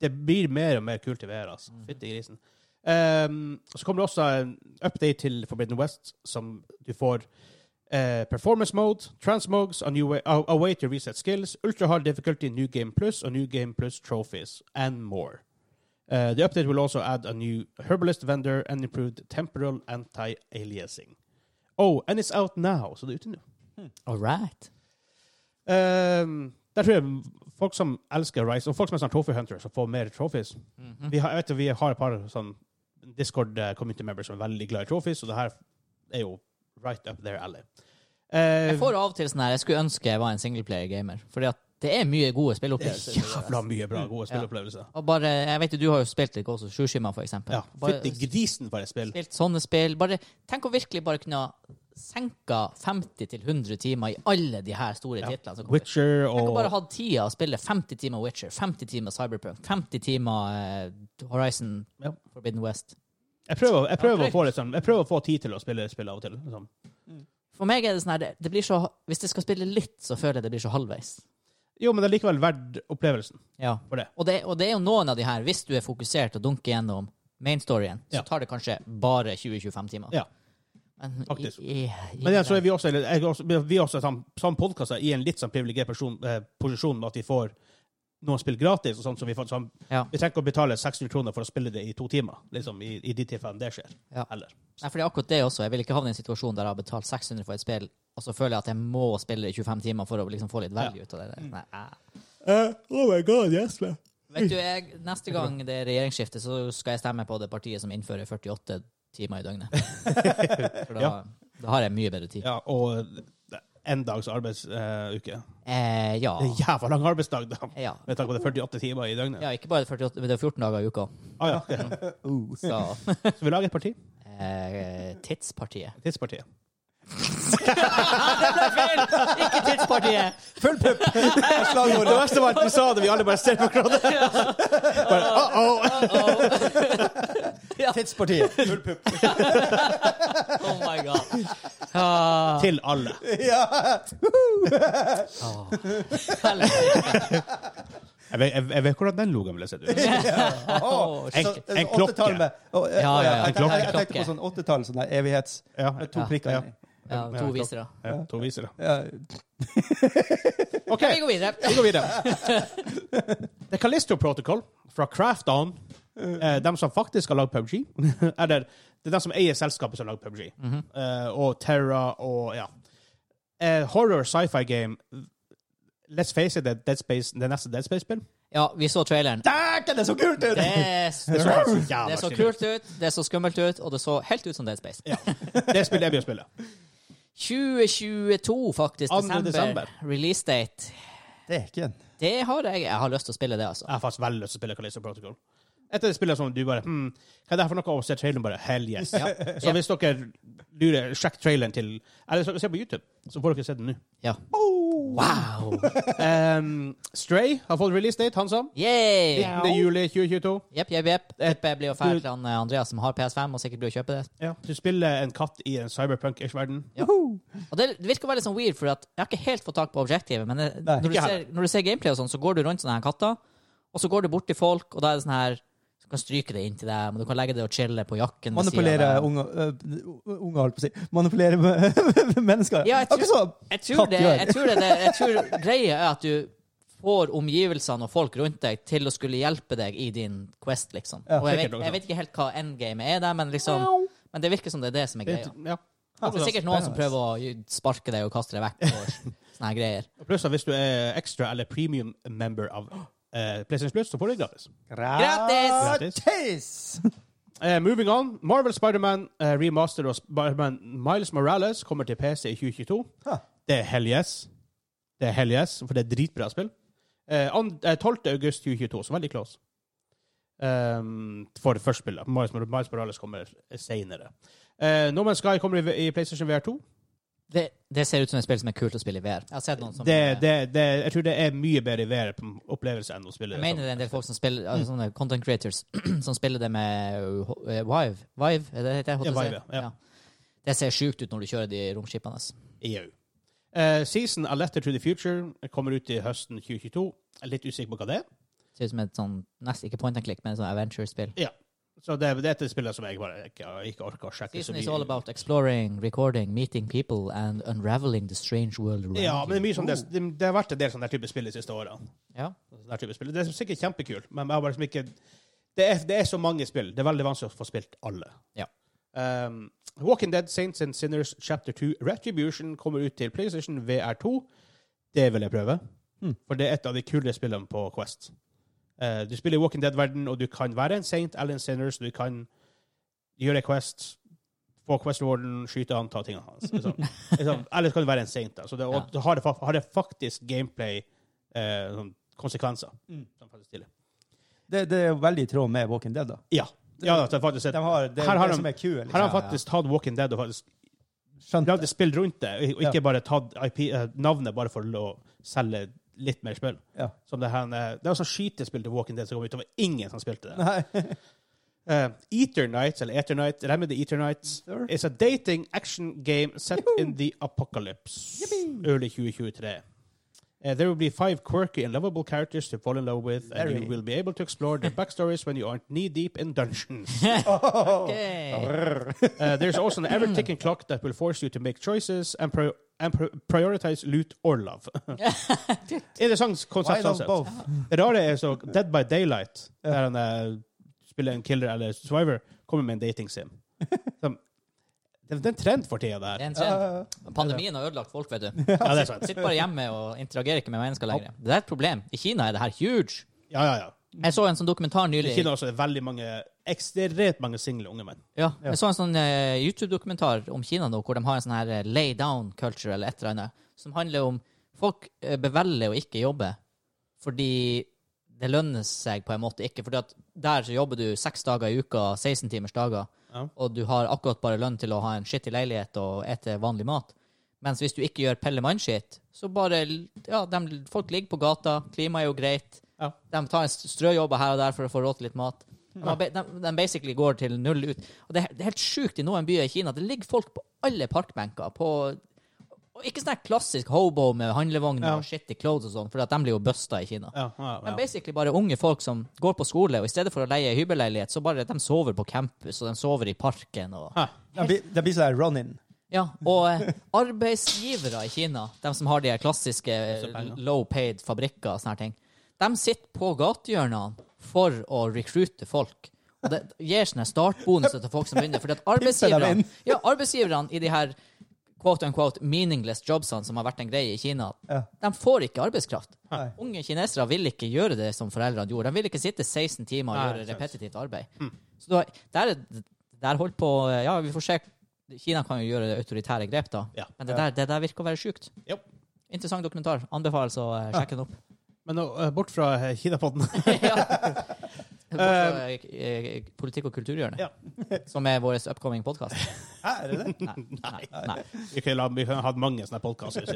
[SPEAKER 2] Det blir mer og mer kult i VR, altså. Fytti grisen. Ehm, så kommer det også en update til Forbidden West, som du får eh, performance mode, transmogs, a, new way, a, a way to reset skills, ultra hard difficulty, new game plus, og new game plus trophies, and more. Eh, the update will also add a new herbalist vendor and improved temporal anti-aliasing. Oh, and it's out now, så det er ute nå.
[SPEAKER 1] All right.
[SPEAKER 2] Ehm, der tror jeg folk som elsker Rise, og folk som er sånn trophy hunters, og får mer trophies
[SPEAKER 1] Mhm.
[SPEAKER 2] vi, har, jeg vet, jo, vi har et par sånn Discord-community members som er veldig glad i trophies, og det her er jo right up there alley. Eh,
[SPEAKER 1] Jeg får av og til sånn her Jeg skulle ønske jeg var en singleplayer-gamer, Fordi at det er mye gode spillopplevelser.
[SPEAKER 2] jævla mye
[SPEAKER 1] Mm,
[SPEAKER 2] bra gode spillopplevelser.
[SPEAKER 1] Og bare, jeg vet jo, Du har jo spilt litt også, Shushima, for eksempel.
[SPEAKER 2] Ja.
[SPEAKER 1] Bare
[SPEAKER 2] Fytti grisen for et spill.
[SPEAKER 1] spilt sånne spill. Bare, tenk å virkelig bare kunne ha senka 50-100 timer i alle de her store titlene. som kommer.
[SPEAKER 2] Witcher
[SPEAKER 1] Tenk å bare
[SPEAKER 2] og
[SPEAKER 1] ha tida å spille 50 timer Witcher, 50 timer Cyberpunk, 50 timer eh, Horizon
[SPEAKER 2] Ja.
[SPEAKER 1] Forbidden West.
[SPEAKER 2] Jeg prøver, jeg prøver,
[SPEAKER 1] Ja,
[SPEAKER 2] å, få litt sånn, jeg prøver å få tid til å spille spill av og til. Liksom.
[SPEAKER 1] For meg er det sånn her, det, det blir så, Hvis jeg skal spille litt, så føler jeg det blir så halvveis.
[SPEAKER 2] Jo, men det er likevel verdt opplevelsen
[SPEAKER 1] Ja.
[SPEAKER 2] for det.
[SPEAKER 1] Og det, og det er jo noen av de her, hvis du er fokusert og dunker gjennom main storyen,
[SPEAKER 2] Ja.
[SPEAKER 1] så tar det kanskje bare 20-25 timer.
[SPEAKER 2] Ja.
[SPEAKER 1] Men,
[SPEAKER 2] Faktisk.
[SPEAKER 1] I, i, i,
[SPEAKER 2] Men igjen så er vi også, eller, jeg, er også, vi er også som, som podkaster i en litt sånn privilegert person- eh, posisjon med at vi får noen spill gratis. og sånt, så vi, får, sånn,
[SPEAKER 1] Ja.
[SPEAKER 2] vi trenger ikke å betale 600 kroner for å spille det i to timer. liksom, I, i de tilfellene det skjer.
[SPEAKER 1] Ja.
[SPEAKER 2] Eller.
[SPEAKER 1] Nei, for det er akkurat det også. Jeg vil ikke havne i en situasjon der jeg har betalt 600 for et spill, og så føler jeg at jeg må spille i 25 timer for å liksom få litt value ut av det. der. Nei, æ.
[SPEAKER 2] oh my god, yes,
[SPEAKER 1] Vet du, jeg, neste gang det er regjeringsskifte, så skal jeg stemme på det partiet som innfører 48 timer i døgnet. For da,
[SPEAKER 2] Ja.
[SPEAKER 1] da har jeg mye bedre tid.
[SPEAKER 2] Ja, og eh, en dags arbeidsuke.
[SPEAKER 1] Eh, ja.
[SPEAKER 2] det er jævla lang arbeidsdag, da!
[SPEAKER 1] ja.
[SPEAKER 2] Med tanke på det er 48 timer i døgnet.
[SPEAKER 1] Ja, ikke bare 48, men det er 14 dager i uka.
[SPEAKER 2] Ah, ja.
[SPEAKER 1] Så
[SPEAKER 2] Så vi lager et parti.
[SPEAKER 1] eh, Tidspartiet.
[SPEAKER 2] Tidspartiet.
[SPEAKER 1] Det ble feil! Ikke Tidspartiet!
[SPEAKER 3] Full pupp!
[SPEAKER 2] Det
[SPEAKER 3] Slagordet.
[SPEAKER 2] verste var at du sa det, vi alle bare ser på hverandre. Bare, uh -oh.
[SPEAKER 3] Tidspartiet. Full pupp.
[SPEAKER 1] Oh my god. Ah,
[SPEAKER 2] Til alle.
[SPEAKER 3] Ja.
[SPEAKER 1] ah. Helvete.
[SPEAKER 2] Jeg vet, jeg, jeg vet hvordan den logoen ville sett ut.
[SPEAKER 3] Åh,
[SPEAKER 2] En- en
[SPEAKER 3] så- så
[SPEAKER 2] klokke.
[SPEAKER 3] åttetall med- Å, eh,
[SPEAKER 1] Oh, Ja,
[SPEAKER 3] å,
[SPEAKER 1] ja, ja.
[SPEAKER 3] Jeg,
[SPEAKER 1] En
[SPEAKER 3] tenkte- jeg
[SPEAKER 1] klokke.
[SPEAKER 3] tenkte på sånn åttetall, sånn der evighets
[SPEAKER 2] Ja.
[SPEAKER 3] med to
[SPEAKER 1] Ja.
[SPEAKER 3] prikker
[SPEAKER 2] Ja.
[SPEAKER 3] inni.
[SPEAKER 1] Ja, to visere.
[SPEAKER 2] Ja, to visere.
[SPEAKER 3] Ja.
[SPEAKER 2] OK,
[SPEAKER 1] Vi går videre.
[SPEAKER 2] vi går videre. The Callisto Protocol fra Craft On, eh, dem som faktisk har lagd PubG Eller det er dem som eier selskapet som har lagd PubG. eh, og Terra og ja. Eh, horror sci-fi game. Let's face it, det, er Dead Space, det neste Dead Space-spill.
[SPEAKER 1] Ja, vi så traileren.
[SPEAKER 3] Dæken, det så kult ut!
[SPEAKER 1] Det, er s-
[SPEAKER 2] Det så,
[SPEAKER 1] det
[SPEAKER 2] jævla
[SPEAKER 1] så
[SPEAKER 2] kult ut.
[SPEAKER 1] kult ut, det så skummelt ut, og det så helt ut som Dead Space.
[SPEAKER 2] Det spillet jeg blir å spille.
[SPEAKER 1] 2022, faktisk.
[SPEAKER 2] 2.
[SPEAKER 1] Desember.
[SPEAKER 2] desember.
[SPEAKER 1] Release date.
[SPEAKER 3] Dæken.
[SPEAKER 1] Det har jeg. Jeg har lyst til å spille det, altså.
[SPEAKER 2] Jeg har faktisk veldig lyst til å spille Callisto Protocol. Etter det spillet som du bare hmm, Hva er det her for noe? Og ser traileren bare Hell yes.
[SPEAKER 1] Ja.
[SPEAKER 2] Så hvis dere lurer, sjekk traileren til Eller så- se på YouTube, så får dere se den nå.
[SPEAKER 1] Ja. Wow!
[SPEAKER 2] Um, Stray har fått release date, han sa.
[SPEAKER 1] Yeah!
[SPEAKER 2] 19. juli 2022.
[SPEAKER 1] Jepp, jepp, jepp. Tipper jeg blir å fære til han eh, Andreas som har PS5, og sikkert blir å kjøpe det.
[SPEAKER 2] Du spiller en katt i en cyberpunk-ish-verden.
[SPEAKER 1] Og det virker veldig sånn weird, for at jeg har ikke helt fått tak på objektivet. Men det,
[SPEAKER 3] Nei,
[SPEAKER 1] når, du
[SPEAKER 2] ikke
[SPEAKER 1] ser, når du ser gameplay og sånn, så går du rundt sånne her katter, og så går du bort til folk, og da er det sånn her Du kan stryke det inntil deg, men du kan legge det og chille på jakken. ved siden av
[SPEAKER 3] Manipulere
[SPEAKER 1] deg.
[SPEAKER 3] unge, øh, unge, holdt på å si. Manipulere med- mennesker.
[SPEAKER 1] Ja, jeg tror-
[SPEAKER 3] Akkurat sånn.
[SPEAKER 1] Jeg tror,
[SPEAKER 3] Katt
[SPEAKER 1] det,
[SPEAKER 3] gjør.
[SPEAKER 1] jeg, tror det, jeg tror greia er at du får omgivelsene og folk rundt deg til å skulle hjelpe deg i din quest, liksom.
[SPEAKER 3] Ja,
[SPEAKER 1] og jeg
[SPEAKER 2] sikkert
[SPEAKER 1] vet,
[SPEAKER 2] også.
[SPEAKER 1] jeg vet ikke helt hva endgame er der, men liksom Men det virker som det er det som er greia.
[SPEAKER 2] Ja.
[SPEAKER 1] Det er sikkert noen som prøver å gi- sparke deg og kaste deg vekk og sånne her greier.
[SPEAKER 2] Og Pluss at hvis du er ekstra eller premium member av eh, PlayStation Plus, så får du det gratis. Gratis.
[SPEAKER 3] Gratis!
[SPEAKER 2] Eh, moving on. Marvel Spiderman uh, remaster og Spiderman Miles Morales kommer til PC i 2022.
[SPEAKER 3] Ha.
[SPEAKER 2] Det er hell yes. Det er hell yes, for det er dritbra spill. Eh, an- eh, 12. august 2022, så veldig close. ehm, for førstespillet. Miles, Mor- Miles Morales kommer senere. Eh, No Man's Sky kommer i, i PlayStation VR 2.
[SPEAKER 1] Det, det ser ut som et spill som er kult å spille i VR. Jeg har sett noen som eh,
[SPEAKER 2] Det, det, det, jeg tror det er mye bedre i VR på opplevelse enn å spille
[SPEAKER 1] Jeg mener det er en del folk som spiller altså, sånne content creators som spiller det med uh, eh, Vive. Vive, er det det heter?
[SPEAKER 2] Ja,
[SPEAKER 1] HTC?
[SPEAKER 2] Vive, ja.
[SPEAKER 1] Det ser sjukt ut når du kjører de romskipene. ass.
[SPEAKER 2] i EU. E Eh, Season A Letter to the Future kommer ut i høsten 2022. Jeg er litt usikker på hva det er.
[SPEAKER 1] Ser ut som et sånn nesten ikke point and click, men et sånn adventure-spill.
[SPEAKER 2] Ja. Så det, det er et spill som jeg bare ikke, ikke orker å sjekke så
[SPEAKER 1] Season
[SPEAKER 2] mye.
[SPEAKER 1] is all about exploring, recording, meeting people and unraveling the strange world around
[SPEAKER 2] ja, men det er mye
[SPEAKER 1] you.
[SPEAKER 2] sånn det, det, det har vært en del sånne der type spill de siste årene.
[SPEAKER 1] Ja.
[SPEAKER 2] Sånne der type spill. Det er sikkert kjempekult, men jeg har bare liksom ikke det er, det er så mange spill. Det er veldig vanskelig å få spilt alle.
[SPEAKER 1] Ja.
[SPEAKER 2] Um, Walking Dead Saints and Sinners Chapter 2 Retribution kommer ut til PlayStation VR2. Det vil jeg prøve,
[SPEAKER 3] Mm.
[SPEAKER 2] for det er et av de kulere spillene på Quest. Eh, du spiller i Walking Dead-verden, og du kan være en saint eller en sinner, så du kan gjøre Quest, få Quest-orden, skyte han, ta tingene hans. Liksom. liksom, eller så kan du være en saint. Da. Så det, og
[SPEAKER 1] Ja.
[SPEAKER 2] da har, det, fa- har det faktisk gameplay eh, sånn konsekvenser.
[SPEAKER 3] Mm.
[SPEAKER 2] Som faktisk stiller.
[SPEAKER 3] Det, det er jo veldig i tråd med Walking Dead, da.
[SPEAKER 2] Ja. ja da, så faktisk,
[SPEAKER 3] De har, det er
[SPEAKER 2] Her
[SPEAKER 3] jo
[SPEAKER 2] har
[SPEAKER 3] det
[SPEAKER 2] de-
[SPEAKER 3] som er liksom, kul.
[SPEAKER 2] her har han
[SPEAKER 1] Ja, ja.
[SPEAKER 2] faktisk tatt Walking Dead og faktisk
[SPEAKER 3] Skjønt
[SPEAKER 2] lagd et spill rundt det, og ikke bare tatt IP, eh, navnet bare for å selge litt mer spill.
[SPEAKER 3] Ja.
[SPEAKER 2] Som det, her, eh, det var sånn skytespill til Walking Dead som kom ut, det var ingen som spilte det.
[SPEAKER 3] Nei.
[SPEAKER 2] Eh, Eater Nights, eller Eater Night, Remedy Eater Nights,
[SPEAKER 3] Sure.
[SPEAKER 2] is a dating action game set in the apocalypse. Early 2023. Eh, there will be five quirky and lovable characters to fall in love with, and
[SPEAKER 3] Very.
[SPEAKER 2] you will be able to explore their backstories when you aren't knee deep in dungeons.
[SPEAKER 1] Okay.
[SPEAKER 2] Uh, there's also an ever ticking clock that will force you to make choices and, pro and pro prioritize loot or love. Interessant
[SPEAKER 3] Why
[SPEAKER 2] konsept.
[SPEAKER 3] not
[SPEAKER 2] uansett.
[SPEAKER 3] both?
[SPEAKER 2] Det rare er så Dead by Daylight, der han eh, spiller en killer eller survivor, kommer med en dating sim. Som, det det er en trend for tida, det
[SPEAKER 1] Det
[SPEAKER 2] her.
[SPEAKER 1] er en trend. Pandemien har ødelagt folk, vet du.
[SPEAKER 2] Ja, det er sant.
[SPEAKER 1] Sitter bare hjemme og interagerer ikke med mennesker lenger. Det er et problem. I Kina er det her huge.
[SPEAKER 2] Ja, ja, ja.
[SPEAKER 1] Jeg så en sånn dokumentar
[SPEAKER 2] I
[SPEAKER 1] nylig.
[SPEAKER 2] Kina også er det veldig mange, ekstremt mange single unge menn.
[SPEAKER 1] Ja, jeg så en sånn eh, YouTube-dokumentar om Kina nå, hvor de har en sånn her eh, lay down culture eller et eller annet, som handler om folk eh, bevelger å ikke jobbe fordi det lønner seg på en måte ikke. Fordi at der så jobber du seks dager i uka, 16 timers dager,
[SPEAKER 2] Ja.
[SPEAKER 1] og du har akkurat bare lønn til å ha en skittig leilighet og ete vanlig mat. Mens hvis du ikke gjør Pelle Mann-shit, så bare Ja, dem- folk ligger på gata, klimaet er jo greit,
[SPEAKER 2] Ja.
[SPEAKER 1] de tar en strøjobber her og der for å få råd til litt mat. De, har ba- de, de basically går til null ut. Og det, er- det er helt sjukt i noen byer i Kina. Det ligger folk på alle parkbenker. På, og ikke sånn her klassisk hobo med handlevogn
[SPEAKER 2] Ja.
[SPEAKER 1] og shitty clothes og sånn, for at de blir jo busta i Kina.
[SPEAKER 2] Ja, ja,
[SPEAKER 1] Men
[SPEAKER 2] ja.
[SPEAKER 1] basically bare unge folk som går på skole, og i stedet for å leie hybelleilighet, så bare de sover på campus, og de sover i parken. og...
[SPEAKER 2] Ha.
[SPEAKER 3] Det blir- Det blir sånn her run-in.
[SPEAKER 1] Ja, og eh, arbeidsgivere i Kina, de som har de her klassiske
[SPEAKER 2] Masse penger.
[SPEAKER 1] low-paid fabrikker og sånne her ting, de sitter på gatehjørnene for å rekrute folk. Og det gir sånne startbonuser til folk som begynner. Fordi at
[SPEAKER 3] Pimper dem
[SPEAKER 1] arbeidsgiverne,
[SPEAKER 3] inn.
[SPEAKER 1] ja, arbeidsgiverne i de her quote unquote meaningless jobsene som har vært en greie i Kina,
[SPEAKER 3] Ja.
[SPEAKER 1] de får ikke arbeidskraft.
[SPEAKER 3] Nei.
[SPEAKER 1] Unge kinesere vil ikke gjøre det som foreldrene gjorde. De vil ikke sitte 16 timer og
[SPEAKER 2] Nei,
[SPEAKER 1] gjøre
[SPEAKER 2] sant.
[SPEAKER 1] repetitivt arbeid. Så da, der, er- der holdt på eh, Ja, vi får se. Kina kan jo gjøre autoritære grep, da.
[SPEAKER 2] Ja.
[SPEAKER 1] Men det der, det der virker å være sjukt.
[SPEAKER 2] Jo.
[SPEAKER 1] Interessant dokumentar. Anbefales å eh, sjekke den opp.
[SPEAKER 2] Men nå, eh, bort fra eh, Kinapodden.
[SPEAKER 1] Bort fra, eh, eh, Politikk og kulturhjørnet,
[SPEAKER 2] Um, Ja.
[SPEAKER 1] som er vår upcoming podkast.
[SPEAKER 3] Hæ, er det det?
[SPEAKER 1] Nei, nei, nei.
[SPEAKER 2] Vi kunne ha- vi kunne hatt mange sånne podkaster.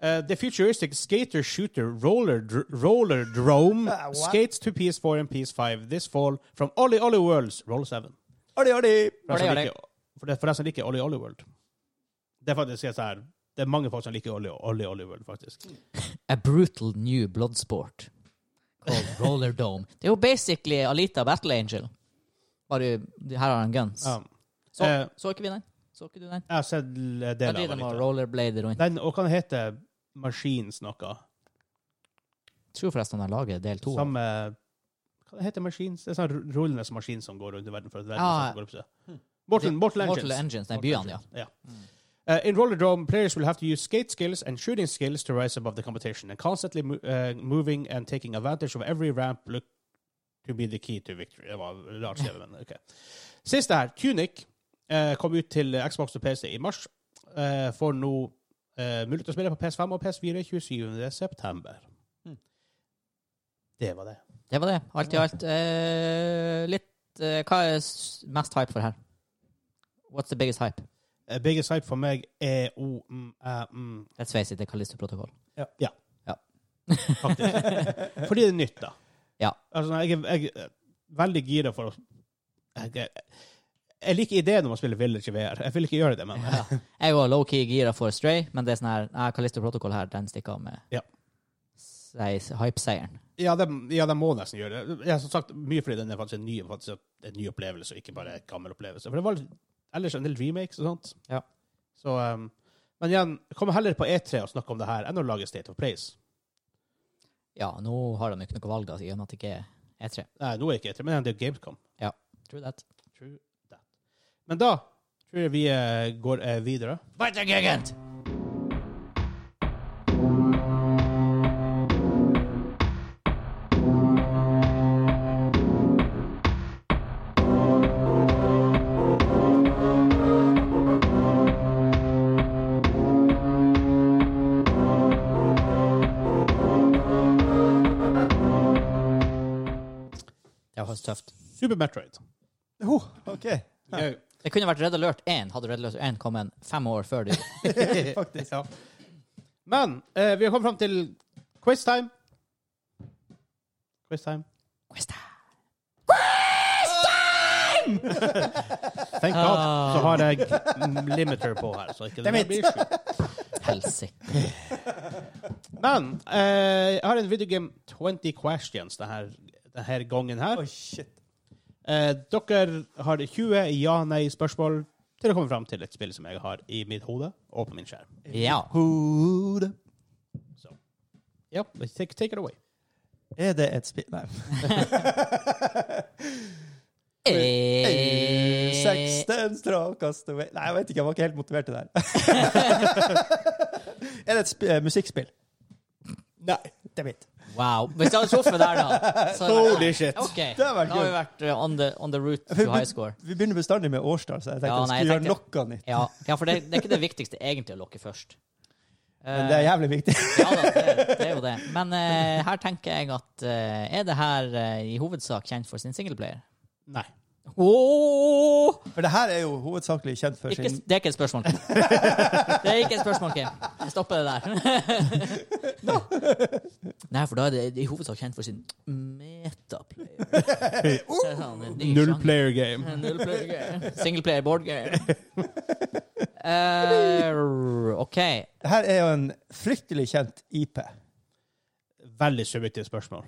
[SPEAKER 2] Eh, the futuristic skater shooter roller dr roller drome
[SPEAKER 3] Ah, what?
[SPEAKER 2] skates to PS4 and PS5 this fall from Ollie Ollie Worlds Roll 7.
[SPEAKER 3] Artig, artig!
[SPEAKER 2] For den som
[SPEAKER 1] Ollie,
[SPEAKER 2] liker- for den- for den som liker Ollie Ollie World. Det er faktisk jeg sier, sånn det er mange folk som liker Ollie Ollie, Ollie World, faktisk.
[SPEAKER 1] A brutal new bloodsport called Roller Dome. Det er jo basically Alita Battle Angel. Bare her har han guns.
[SPEAKER 2] Ja.
[SPEAKER 1] Så,
[SPEAKER 2] Eh,
[SPEAKER 1] så ikke vi den? Så ikke du den?
[SPEAKER 2] jeg har sett l-
[SPEAKER 1] Da
[SPEAKER 2] deler
[SPEAKER 1] driver de
[SPEAKER 2] av
[SPEAKER 1] og
[SPEAKER 2] det.
[SPEAKER 1] rollerblader rundt.
[SPEAKER 2] Den, og hva den heter Machines noe?
[SPEAKER 1] Jeg tror forresten han lager del to.
[SPEAKER 2] Samme Hva heter Machines? Det er sånn ru- rullende maskin som går rundt i verden for at verden
[SPEAKER 1] Ah. Hm.
[SPEAKER 2] går opp seg. Mortal, Mortal Engines.
[SPEAKER 1] Mortal Engines, den byen, ja.
[SPEAKER 2] Yeah. Uh, in Roller Dome, players will have to use skate skills and shooting skills to rise above the competition, and constantly mo- uh, moving and taking advantage of every ramp look to be the key to victory. Det var rart skrevet, men ok. Siste her, Tunic, uh, kom ut til uh, Xbox og PC i mars. Uh, får nå uh, mulighet til å spille på PS5 og PS4 27. september.
[SPEAKER 3] Mm.
[SPEAKER 2] Det var det.
[SPEAKER 1] Det var det. Alt i alt. Eh, litt eh, Hva er s- mest hype for her? What's the biggest hype?
[SPEAKER 2] Eh, Biggest hype for meg er O, mm, æ, mm,
[SPEAKER 1] Let's face it, det er Callisto-protokoll.
[SPEAKER 2] faktisk. Fordi det er nytt, da.
[SPEAKER 1] Ja.
[SPEAKER 2] Altså, jeg, er- jeg er veldig gira for å jeg, er- jeg liker ideen om å spille Village i VR. Jeg vil ikke gjøre det, men
[SPEAKER 1] Ja. Jeg var low-key gira for Stray, men det er sånn her Nei, Callisto Protocol her, den stikker av med
[SPEAKER 2] Ja.
[SPEAKER 1] sier- hype-seieren.
[SPEAKER 2] ja, de, ja, de må nesten gjøre det. Jeg har som sagt mye fordi den er faktisk en ny, faktisk en ny opplevelse, og ikke bare en gammel opplevelse. For det var litt- ellers en del remakes og sånt.
[SPEAKER 1] Ja.
[SPEAKER 2] Så, um, men igjen, kom heller på E3 og snakk om det her enn å lage State of Place.
[SPEAKER 1] Ja, nå har de ikke noe valg, da, i og med at det ikke er E E3.
[SPEAKER 2] Nei, nå er ikke E3, men det er jo Gamescom.
[SPEAKER 1] True that.
[SPEAKER 2] True that. Men da tror jeg vi eh, går eh, videre.
[SPEAKER 1] Weitergegend! Det var tøft.
[SPEAKER 2] Super Metroid.
[SPEAKER 3] Oh, OK. Ja,
[SPEAKER 2] Jeg-
[SPEAKER 1] Det kunne vært Red Alert 1 hadde Red Alert 1 kommet fem år før det.
[SPEAKER 3] faktisk. Ja.
[SPEAKER 2] Men eh, vi har kommet fram til quiztime. Quiztime.
[SPEAKER 1] Questa.
[SPEAKER 2] Thank God.
[SPEAKER 1] Ah.
[SPEAKER 2] Så har jeg mm, limiter på her, så ikke det
[SPEAKER 3] Dammit.
[SPEAKER 2] blir sjukt.
[SPEAKER 1] Helsike.
[SPEAKER 2] Men eh, jeg har en videogame 20 questions denne, denne gangen her.
[SPEAKER 3] Oi, shit.
[SPEAKER 2] Eh, dere har 20 ja-nei-spørsmål til å komme fram til et spill som jeg har i mitt hode og på min skjerm.
[SPEAKER 1] Ja.
[SPEAKER 3] Hode.
[SPEAKER 2] Så ja, take, take it away.
[SPEAKER 3] Er det et spill Nei.
[SPEAKER 1] Eh,
[SPEAKER 3] Sexten straw castaway Nei, jeg vet ikke. Jeg var ikke helt motivert til det her. er det et sp eh, musikkspill? Nei. Det er mitt.
[SPEAKER 1] Wow. Hvis jeg hadde truffet der, da så hadde jeg vært-
[SPEAKER 2] Holy shit.
[SPEAKER 1] Ok,
[SPEAKER 3] Det hadde vært
[SPEAKER 1] Da har vi vært uh, on the, on the route to high score.
[SPEAKER 3] Vi begynner bestandig med årstall, så jeg tenkte
[SPEAKER 1] Ja,
[SPEAKER 3] jeg
[SPEAKER 1] nei, jeg
[SPEAKER 3] skulle gjøre noe nytt.
[SPEAKER 1] Ja, ja for det, det er ikke det viktigste egentlig å lokke først. Eh,
[SPEAKER 3] Men det er jævlig viktig.
[SPEAKER 1] Ja da, det, det er jo det. Men eh, her tenker jeg at eh, Er det her eh, i hovedsak kjent for sin singleplayer?
[SPEAKER 2] Nei.
[SPEAKER 1] Oh!
[SPEAKER 3] For det her er jo hovedsakelig kjent for
[SPEAKER 1] Ikke,
[SPEAKER 3] sin
[SPEAKER 1] det er ikke et spørsmål. Kim. Det er ikke et spørsmål, Kim. Jeg stopper det der. Nei, for da er det i hovedsak kjent for sin metaplayer. Så er det sånn, en ny
[SPEAKER 2] Null
[SPEAKER 1] sjanger.
[SPEAKER 2] player game.
[SPEAKER 1] Nullplayer. Singleplayer board game. Eh, OK.
[SPEAKER 3] Det her er jo en fryktelig kjent IP.
[SPEAKER 2] Veldig subjektivt spørsmål.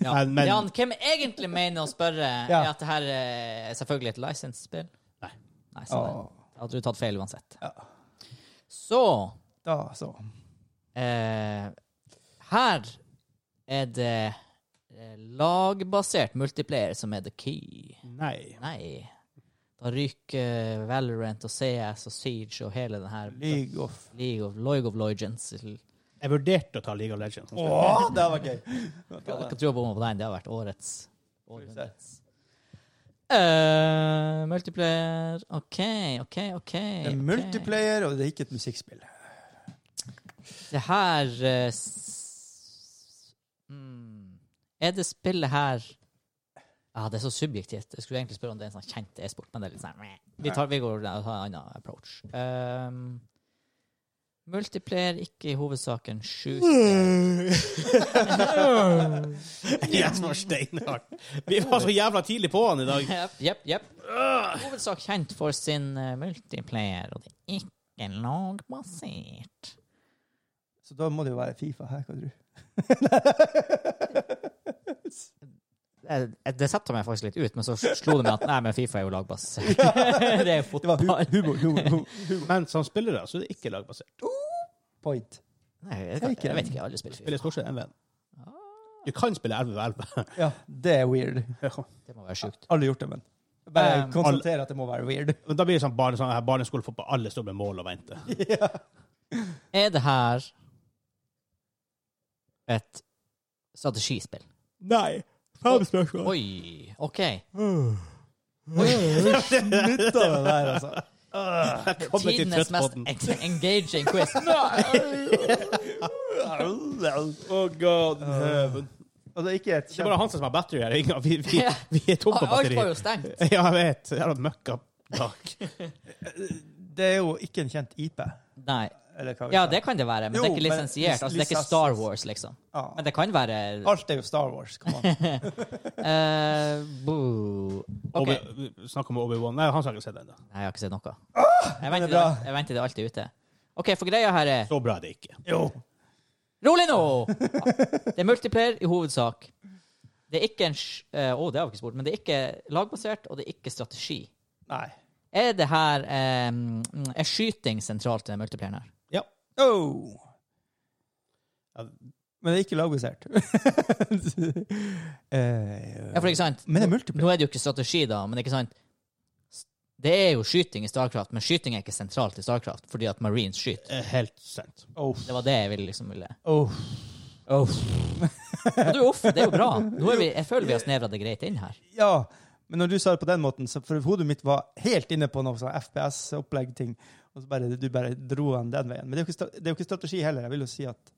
[SPEAKER 1] Ja.
[SPEAKER 2] Men- men-
[SPEAKER 1] Jan, hvem egentlig mener å spørre
[SPEAKER 3] Ja.
[SPEAKER 1] er at det her er selvfølgelig et lisensspill?
[SPEAKER 2] Nei.
[SPEAKER 1] Nei, så det-
[SPEAKER 3] Åh,
[SPEAKER 1] Da hadde du tatt feil uansett.
[SPEAKER 3] Ja.
[SPEAKER 1] Så
[SPEAKER 3] da, så.
[SPEAKER 1] Eh, her er det eh, lagbasert multiplayer som er the key.
[SPEAKER 2] Nei.
[SPEAKER 1] Nei. Da ryker Valorant og CS og Siege og hele den her
[SPEAKER 3] League of
[SPEAKER 1] League of, League of Legends. Jeg
[SPEAKER 2] Jeg vurderte å ta League of Legends.
[SPEAKER 3] Å, det var gøy!
[SPEAKER 1] kan ikke tro på meg på den. Det har vært årets. årets. Eh, multiplayer OK, OK, OK.
[SPEAKER 3] Det er
[SPEAKER 1] ok.
[SPEAKER 3] multiplayer, og det er ikke et musikkspill.
[SPEAKER 1] Det her eh, s- mm, Er det spillet her Ja, Det er så subjektivt. Jeg skulle egentlig spørre om det er en sånn kjent e-sport, men det er litt sånn meh. Vi, tar, vi går og tar en annen approach. Um, multiplayer, ikke i hovedsaken shooter.
[SPEAKER 2] Yes, var steinhardt. Vi var så jævla tidlig på han i dag.
[SPEAKER 1] Jepp, jepp. jepp. Hovedsak kjent for sin eh, multiplayer, og det er ikke lagbasert.
[SPEAKER 3] Så da må det jo være Fifa her, hva tror du?
[SPEAKER 1] Eh, Det setter meg faktisk litt ut, men så slo det meg at nei, men Fifa er jo lagbasert. det er jo
[SPEAKER 3] Det var
[SPEAKER 1] fotball.
[SPEAKER 3] hu humor, humor, humor.
[SPEAKER 2] Men som spillere så er det ikke lagbasert.
[SPEAKER 3] Point.
[SPEAKER 1] Nei, jeg, vet ikke- jeg vet ikke. Jeg har aldri spilt
[SPEAKER 2] Spiller
[SPEAKER 1] FIFA.
[SPEAKER 2] stort sett 11. Ah. Du kan spille 11 ved 11.
[SPEAKER 3] Ja, det er weird.
[SPEAKER 1] Det må være sjukt.
[SPEAKER 3] Alle gjort det, men. Bare
[SPEAKER 1] Um,
[SPEAKER 3] konstatere at det må være weird.
[SPEAKER 2] Men da blir det sånn, barne, sånn her barneskolefotball. Alle står med mål og venter.
[SPEAKER 1] Er det her et strategispill?
[SPEAKER 2] Nei. Fem spørsmål.
[SPEAKER 1] Oi, OK.
[SPEAKER 3] Nytt av det der, altså.
[SPEAKER 2] Jeg kommer til
[SPEAKER 1] Tidenes mest
[SPEAKER 2] trøttbåten.
[SPEAKER 1] en- engaging quiz.
[SPEAKER 2] Oh god, heaven.
[SPEAKER 3] Og det er ikke et
[SPEAKER 2] Det er bare Hansen som har battery her. Ingen, vi, vi,
[SPEAKER 1] Ja.
[SPEAKER 2] vi er tom på
[SPEAKER 1] Alt
[SPEAKER 2] batteri.
[SPEAKER 1] var jo stengt.
[SPEAKER 2] Ja, jeg vet. Jeg har hatt møkka bak.
[SPEAKER 3] Det er jo ikke en kjent IP.
[SPEAKER 1] Nei.
[SPEAKER 3] Eller hva vi
[SPEAKER 1] Ja,
[SPEAKER 3] sa.
[SPEAKER 1] det kan det være, men
[SPEAKER 3] Jo,
[SPEAKER 1] det er ikke
[SPEAKER 3] men
[SPEAKER 1] lisensiert. Altså, det er ikke
[SPEAKER 3] lisens-
[SPEAKER 1] Star Wars, liksom.
[SPEAKER 3] Ja.
[SPEAKER 1] Men det kan være
[SPEAKER 3] Alt er jo Star Wars. Kom an.
[SPEAKER 1] eh, boo. OK. Nei,
[SPEAKER 2] Obi, snakk om Obi-Wan. Nei, han har ikke sett den ennå.
[SPEAKER 1] jeg har ikke sett noe. Jeg
[SPEAKER 3] Ah, det er
[SPEAKER 1] venter,
[SPEAKER 3] bra.
[SPEAKER 1] jeg venter det alltid ute. OK, for greia her er
[SPEAKER 2] Så bra er det ikke.
[SPEAKER 3] Jo.
[SPEAKER 1] Rolig nå! Det er multiplayer i hovedsak. Det er ikke en sj- eh, Å, det har vi ikke spurt, men det er ikke lagbasert, og det er ikke strategi.
[SPEAKER 3] Nei.
[SPEAKER 1] Er det her eh, Er skyting sentralt i den multiplayeren her?
[SPEAKER 2] Ja.
[SPEAKER 3] Oh.
[SPEAKER 2] Ja.
[SPEAKER 3] Men det er ikke lagbasert. Eh,
[SPEAKER 1] Ja, for ikke sant?
[SPEAKER 3] Men det er multiplayer.
[SPEAKER 1] Nå er det jo ikke strategi, da, men ikke sant Det er jo skyting i Starcraft, men skyting er ikke sentralt i Starcraft, fordi at Marines skyter.
[SPEAKER 2] eh, Helt sent.
[SPEAKER 3] Oh.
[SPEAKER 1] Det var det jeg ville liksom ville
[SPEAKER 3] Oh.
[SPEAKER 1] Men du, uff, det er jo bra. Nå er vi, jeg føler vi har snevra det greit inn her.
[SPEAKER 3] Ja, men når du sa det på den måten, så for hodet mitt var helt inne på noe sånn FPS-opplegg-ting, og så bare, du bare dro han den veien. Men det er, jo ikke, stra- det er jo ikke strategi heller. Jeg vil jo si at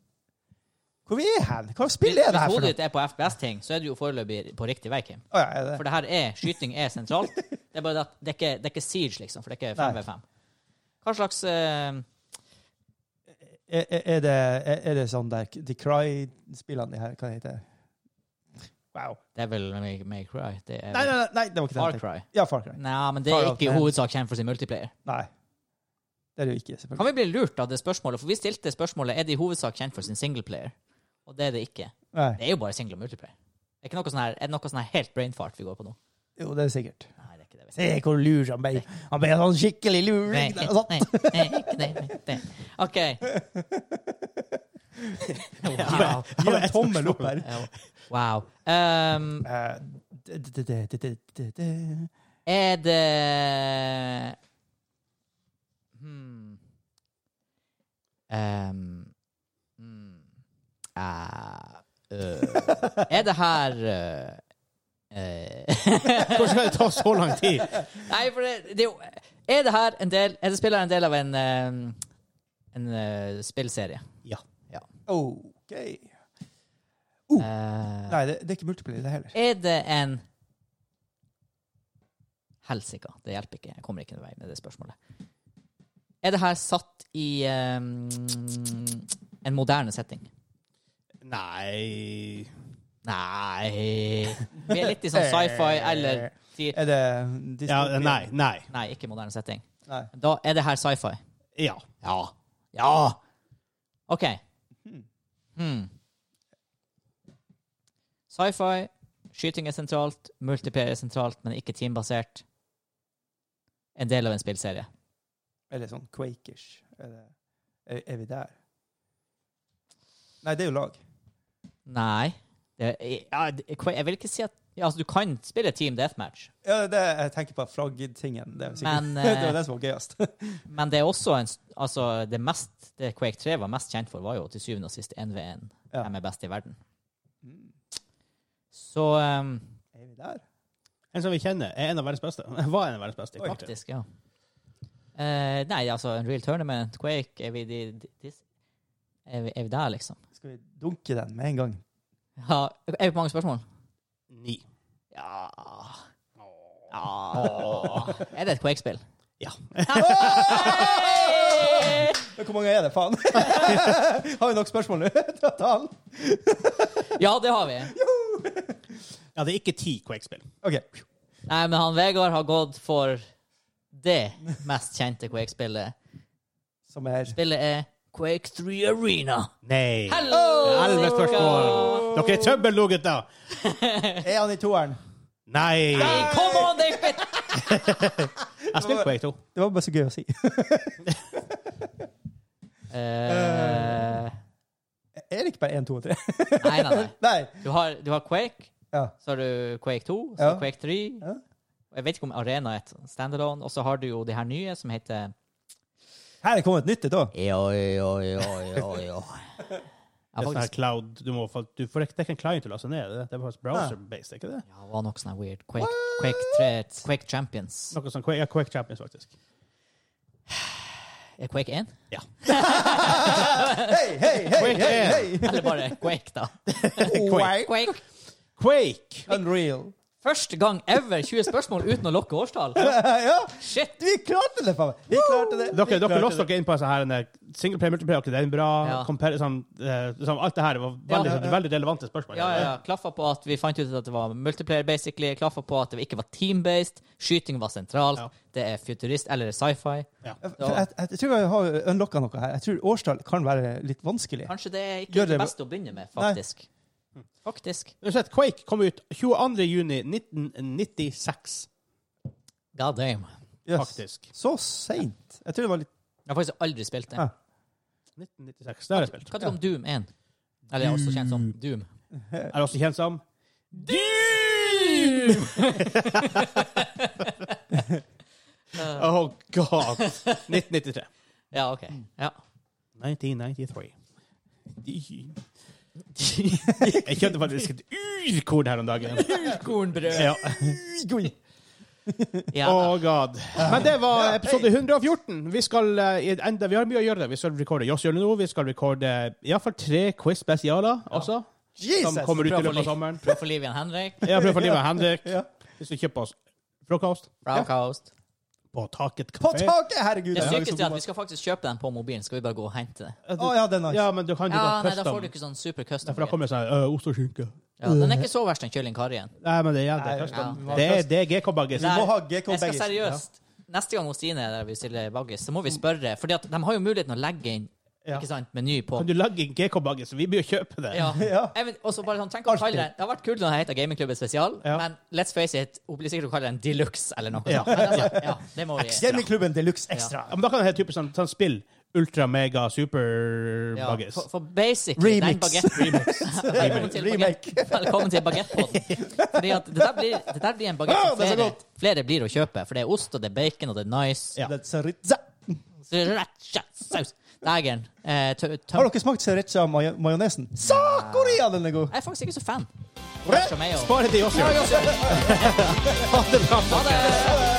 [SPEAKER 3] Hvor vi er hen? Hva spill
[SPEAKER 1] Hvis
[SPEAKER 3] er det her for
[SPEAKER 1] hodet
[SPEAKER 3] noe?
[SPEAKER 1] ditt er på FPS-ting, så er du jo foreløpig på riktig vei, Kim.
[SPEAKER 3] Å ja, er
[SPEAKER 1] For
[SPEAKER 3] det?
[SPEAKER 1] det her er Skyting er sentralt. Det er bare det at det er ikke det er ikke Siege, liksom, for det er ikke 5v5. Hva slags eh,
[SPEAKER 3] Er, er- er, det, er, er det sånn der De Cry-spillene de her, hva heter det? Wow.
[SPEAKER 1] Det er vel May, May Cry? Det er
[SPEAKER 3] Nei, nei,
[SPEAKER 1] vel
[SPEAKER 3] nei, nei, det var ikke det.
[SPEAKER 1] Far
[SPEAKER 3] jeg tenkte.
[SPEAKER 1] Cry?
[SPEAKER 3] Ja, Far Cry.
[SPEAKER 1] Nei, men det
[SPEAKER 3] Far
[SPEAKER 1] er
[SPEAKER 3] Out
[SPEAKER 1] ikke i
[SPEAKER 3] There.
[SPEAKER 1] hovedsak kjent for sin multiplayer.
[SPEAKER 3] Nei. Det er det jo ikke, selvfølgelig.
[SPEAKER 1] Kan vi bli lurt av det spørsmålet? For vi stilte spørsmålet er det i hovedsak kjent for sin singleplayer. Og det er det ikke.
[SPEAKER 3] Nei.
[SPEAKER 1] Det er jo bare single og multiplayer. Det er ikke noe sånn her, er det noe sånn her helt brainfart vi går på nå.
[SPEAKER 3] Jo, det er sikkert.
[SPEAKER 1] Nei, det er ikke det. vi
[SPEAKER 3] Se hvor lur han ble. Han ble sånn skikkelig lur.
[SPEAKER 1] Nei,
[SPEAKER 3] ikke sant?
[SPEAKER 1] nei, nei, ikke det, nei, det. OK. Wow.
[SPEAKER 3] Gi en tommel opp her.
[SPEAKER 1] Eh, wow. Um,
[SPEAKER 3] Eh, d- d- d- d- d- d- d-
[SPEAKER 1] er det hmm. um, hmm. Eh, øh. Er det her øh, eh,
[SPEAKER 2] Hvordan kan det ta så lang tid?
[SPEAKER 1] Nei, for det, det er jo Er det her en del Er det spiller en del av en eh, En eh, spillserie?
[SPEAKER 2] Ja.
[SPEAKER 3] OK.
[SPEAKER 1] Eh,
[SPEAKER 3] Nei, det, det er ikke multiplayer, det heller.
[SPEAKER 1] er det en Helsika, det hjelper ikke. Jeg kommer ikke noen vei med det spørsmålet. Er det her satt i eh, en moderne setting?
[SPEAKER 2] Nei
[SPEAKER 1] Nei Vi er litt i sånn sci-fi eller ti-
[SPEAKER 3] Er det
[SPEAKER 2] ja,
[SPEAKER 3] dystopi?
[SPEAKER 2] Nei. Nei.
[SPEAKER 1] Nei, ikke moderne setting.
[SPEAKER 3] Nei.
[SPEAKER 1] Da er det her sci-fi.
[SPEAKER 2] Ja.
[SPEAKER 1] Ja. Ja! OK. Hmm. Sci-fi, skyting er sentralt, multiplayer er sentralt, men ikke teambasert. En del av en spillserie.
[SPEAKER 3] Eller sånn Quakers. Er, det, er, er vi der? Nei, det er jo lag.
[SPEAKER 1] Nei. Det, ja, det- jeg vil ikke si at ja, altså, Du kan spille Team Deathmatch,
[SPEAKER 3] Ja, det er det jeg tenker på flaggtingen. Det, er jo sikkert-
[SPEAKER 1] Men,
[SPEAKER 3] det
[SPEAKER 1] eh,
[SPEAKER 3] var det som var gøyest.
[SPEAKER 1] men det er også en s- Altså, det mest Det Quake 3 var mest kjent for, var jo til syvende og sist 1v1.
[SPEAKER 3] Ja.
[SPEAKER 1] Hvem er best i verden?
[SPEAKER 3] Mm.
[SPEAKER 1] Hmm. Så um,
[SPEAKER 3] Er vi der?
[SPEAKER 2] En som vi kjenner, er en av verdens beste. Var en av verdens beste. i
[SPEAKER 3] Oi.
[SPEAKER 2] kvarter.
[SPEAKER 1] Faktisk, ja. Eh, nei, altså, Unreal Tournament, Quake Er vi, de, de, dis- er vi, er vi der, liksom?
[SPEAKER 3] Skal vi dunke den med en gang?
[SPEAKER 1] Ja, er vi på mange spørsmål?
[SPEAKER 2] Ni.
[SPEAKER 1] Ja ja. Er det et Quake-spill?
[SPEAKER 2] Ja.
[SPEAKER 1] Hei!
[SPEAKER 3] Men hvor mange er det, faen? Har vi nok spørsmål nå? til å ta den?
[SPEAKER 1] Ja, det har vi.
[SPEAKER 2] Ja, det er ikke ti Quake-spill.
[SPEAKER 3] OK.
[SPEAKER 1] Nei, men han Vegard har gått for det mest kjente Quake-spillet.
[SPEAKER 3] Som er
[SPEAKER 1] Spillet er Quake 3 Arena.
[SPEAKER 2] Nei.
[SPEAKER 1] Hello!
[SPEAKER 2] Elleve spørsmål. Dere er trøbbel nå, gutter.
[SPEAKER 3] Er han i toeren?
[SPEAKER 2] Nei.
[SPEAKER 1] Hey, come on, David!
[SPEAKER 2] Jeg spilte Quake 2.
[SPEAKER 3] Det var bare så gøy å si.
[SPEAKER 1] Eh,
[SPEAKER 3] Er det ikke bare én, to og tre?
[SPEAKER 1] nei, nei, nei.
[SPEAKER 3] Nei.
[SPEAKER 1] Du har, du har Quake,
[SPEAKER 3] Ja.
[SPEAKER 1] så har du Quake 2, så har du
[SPEAKER 3] Ja.
[SPEAKER 1] Quake 3.
[SPEAKER 3] Ja.
[SPEAKER 1] Og Jeg vet ikke om Arena er et standalone. Og så har du jo det her nye som heter
[SPEAKER 3] Her er kommet et nytt et òg.
[SPEAKER 1] Ja,
[SPEAKER 2] Det er sånn her
[SPEAKER 1] faktisk,
[SPEAKER 2] cloud du må, få- du, For det det er ikke en client du laster ned. det er- Det er faktisk browser-based, er ikke det?
[SPEAKER 1] ja, det var noe sånn her weird. Quake, Quake, 3, Quake Champions.
[SPEAKER 2] Noe sånn Quake, ja, Quake Champions, faktisk.
[SPEAKER 1] Er Quake 1?
[SPEAKER 3] Hei, hei, hei, hei, hei!
[SPEAKER 1] Eller bare Quake, da.
[SPEAKER 2] Quake.
[SPEAKER 1] Quake.
[SPEAKER 2] Quake.
[SPEAKER 3] Unreal.
[SPEAKER 1] Første gang ever 20 spørsmål uten å lokke årstall.
[SPEAKER 3] ja,
[SPEAKER 1] Shit!
[SPEAKER 3] vi klarte det, faen meg! Vi klarte det.
[SPEAKER 2] Dere,
[SPEAKER 3] Vi
[SPEAKER 2] dere
[SPEAKER 3] klarte
[SPEAKER 2] låste
[SPEAKER 3] det.
[SPEAKER 2] dere inn på sånn her, en singleplayer, multiplayer, ok, det er en bra
[SPEAKER 1] Ja.
[SPEAKER 2] compare, sånn, eh, sånn, Alt det her var veldig,
[SPEAKER 1] Ja.
[SPEAKER 2] sånn, veldig relevante spørsmål.
[SPEAKER 1] Ja, ja, ja. Klaffa på at vi fant ut at det var multiplayer, basically. Klaffa på at det ikke var team-based. Skyting var sentralt.
[SPEAKER 2] Ja.
[SPEAKER 1] Det er futurist, eller sci-fi.
[SPEAKER 3] Jeg, jeg, jeg tror jeg har unlocka noe her. Jeg tror årstall kan være litt vanskelig.
[SPEAKER 1] Kanskje det er ikke
[SPEAKER 3] Gjør
[SPEAKER 1] det
[SPEAKER 3] det-
[SPEAKER 1] beste å begynne med, faktisk. Faktisk.
[SPEAKER 2] Uansett, Quake kom ut 22. juni 1996,
[SPEAKER 1] God damn.
[SPEAKER 3] Yes.
[SPEAKER 2] faktisk.
[SPEAKER 3] Så seint. Jeg tror det var litt
[SPEAKER 1] Jeg har faktisk aldri spilt det.
[SPEAKER 2] Ah,
[SPEAKER 3] Ja.
[SPEAKER 2] 1996, det har jeg spilt.
[SPEAKER 1] Hva tenker du om Doom 1? Eller jeg er også kjent som Doom.
[SPEAKER 2] Er også kjent som
[SPEAKER 1] Doom!
[SPEAKER 2] Oh god! 1993.
[SPEAKER 1] Eh, Ja, OK. Ja.
[SPEAKER 2] 1993. Jeg kjøpte faktisk et urkorn her om dagen.
[SPEAKER 1] Kornbrød.
[SPEAKER 2] Ja.
[SPEAKER 1] Ja.
[SPEAKER 2] Oh god. Men det var episode 114. Vi skal eh, i et enda, vi har mye å gjøre. Vi skal recorde Joss Hjørne nå. Vi skal recorde eh, iallfall tre quiz-spesialer også,
[SPEAKER 3] Jesus!
[SPEAKER 2] som kommer
[SPEAKER 1] Prøv
[SPEAKER 2] ut i
[SPEAKER 1] for
[SPEAKER 2] løpet av
[SPEAKER 1] liv.
[SPEAKER 2] sommeren.
[SPEAKER 1] Prøv for Livian Henrik.
[SPEAKER 2] Jeg har prøvd for livet av Henrik.
[SPEAKER 3] Ja.
[SPEAKER 2] Hvis du kjøper oss frokost
[SPEAKER 1] Browcoast.
[SPEAKER 2] på Taket
[SPEAKER 3] På
[SPEAKER 2] kafé
[SPEAKER 3] taket! Herregud.
[SPEAKER 1] Det
[SPEAKER 3] jeg lager så
[SPEAKER 1] sykeste er
[SPEAKER 3] god
[SPEAKER 1] at vi skal faktisk kjøpe den på mobilen. Skal vi bare gå og hente det?
[SPEAKER 3] mat. Å ja, det er nice.
[SPEAKER 2] Ja, men du kan jo
[SPEAKER 1] Ja,
[SPEAKER 2] bare
[SPEAKER 1] nei, da får
[SPEAKER 2] custom.
[SPEAKER 1] du ikke sånn super custom.
[SPEAKER 2] For da kommer det sånn øh, ost og skinke.
[SPEAKER 1] Ja, den er ikke så verst enn kylling karrien.
[SPEAKER 2] Nei, men det er det. er
[SPEAKER 1] Ja.
[SPEAKER 2] custom. Det er DG-kobagis.
[SPEAKER 3] Vi må ha GK
[SPEAKER 1] Jeg skal
[SPEAKER 3] Baggis.
[SPEAKER 1] seriøst Neste gang hos Stine der vi stiller baggis, så må vi spørre. Fordi at de har jo muligheten å legge inn
[SPEAKER 3] Ja.
[SPEAKER 1] ikke sant, meny på.
[SPEAKER 2] Kan du lage en GK-bagis? Vi bør kjøpe det.
[SPEAKER 1] Ja.
[SPEAKER 3] Ja.
[SPEAKER 1] Jeg vet- Og så bare sånn, tenk om kaller det Det har vært kult når det heter Gamingklubben spesial,
[SPEAKER 2] Ja.
[SPEAKER 1] men let's face it, hun blir sikkert å kalle den deluxe eller noe.
[SPEAKER 2] Ja.
[SPEAKER 1] sånt. Men altså, ja, det må vi
[SPEAKER 3] Gamingklubben Deluxe Extra.
[SPEAKER 2] Ja, men da kan det hete typisk sånn, sånn spill. Ultra, mega,
[SPEAKER 1] ja,
[SPEAKER 2] super-bagis.
[SPEAKER 1] for, for basically den
[SPEAKER 3] Remix.
[SPEAKER 1] bagetten Velkommen til
[SPEAKER 3] Remake.
[SPEAKER 1] baguette- Velkommen til bagettpodden. Fordi at det der blir, det der blir en bagett som
[SPEAKER 3] Åh, Ah, det er så
[SPEAKER 1] flere,
[SPEAKER 3] godt.
[SPEAKER 1] flere blir å kjøpe. For det er ost, og det er bacon, og det er nice.
[SPEAKER 2] Ja.
[SPEAKER 3] That's a rizza.
[SPEAKER 1] Sriracha saus. Dægeren. Eh, tø- tøm-
[SPEAKER 3] Har dere smakt sriracha majo- majonesen? Sakoria, den er god!
[SPEAKER 1] Jeg er faktisk ikke så fan.
[SPEAKER 2] Spar
[SPEAKER 1] Som jeg jo.
[SPEAKER 2] det til oss, Jørgen.
[SPEAKER 1] Ha det!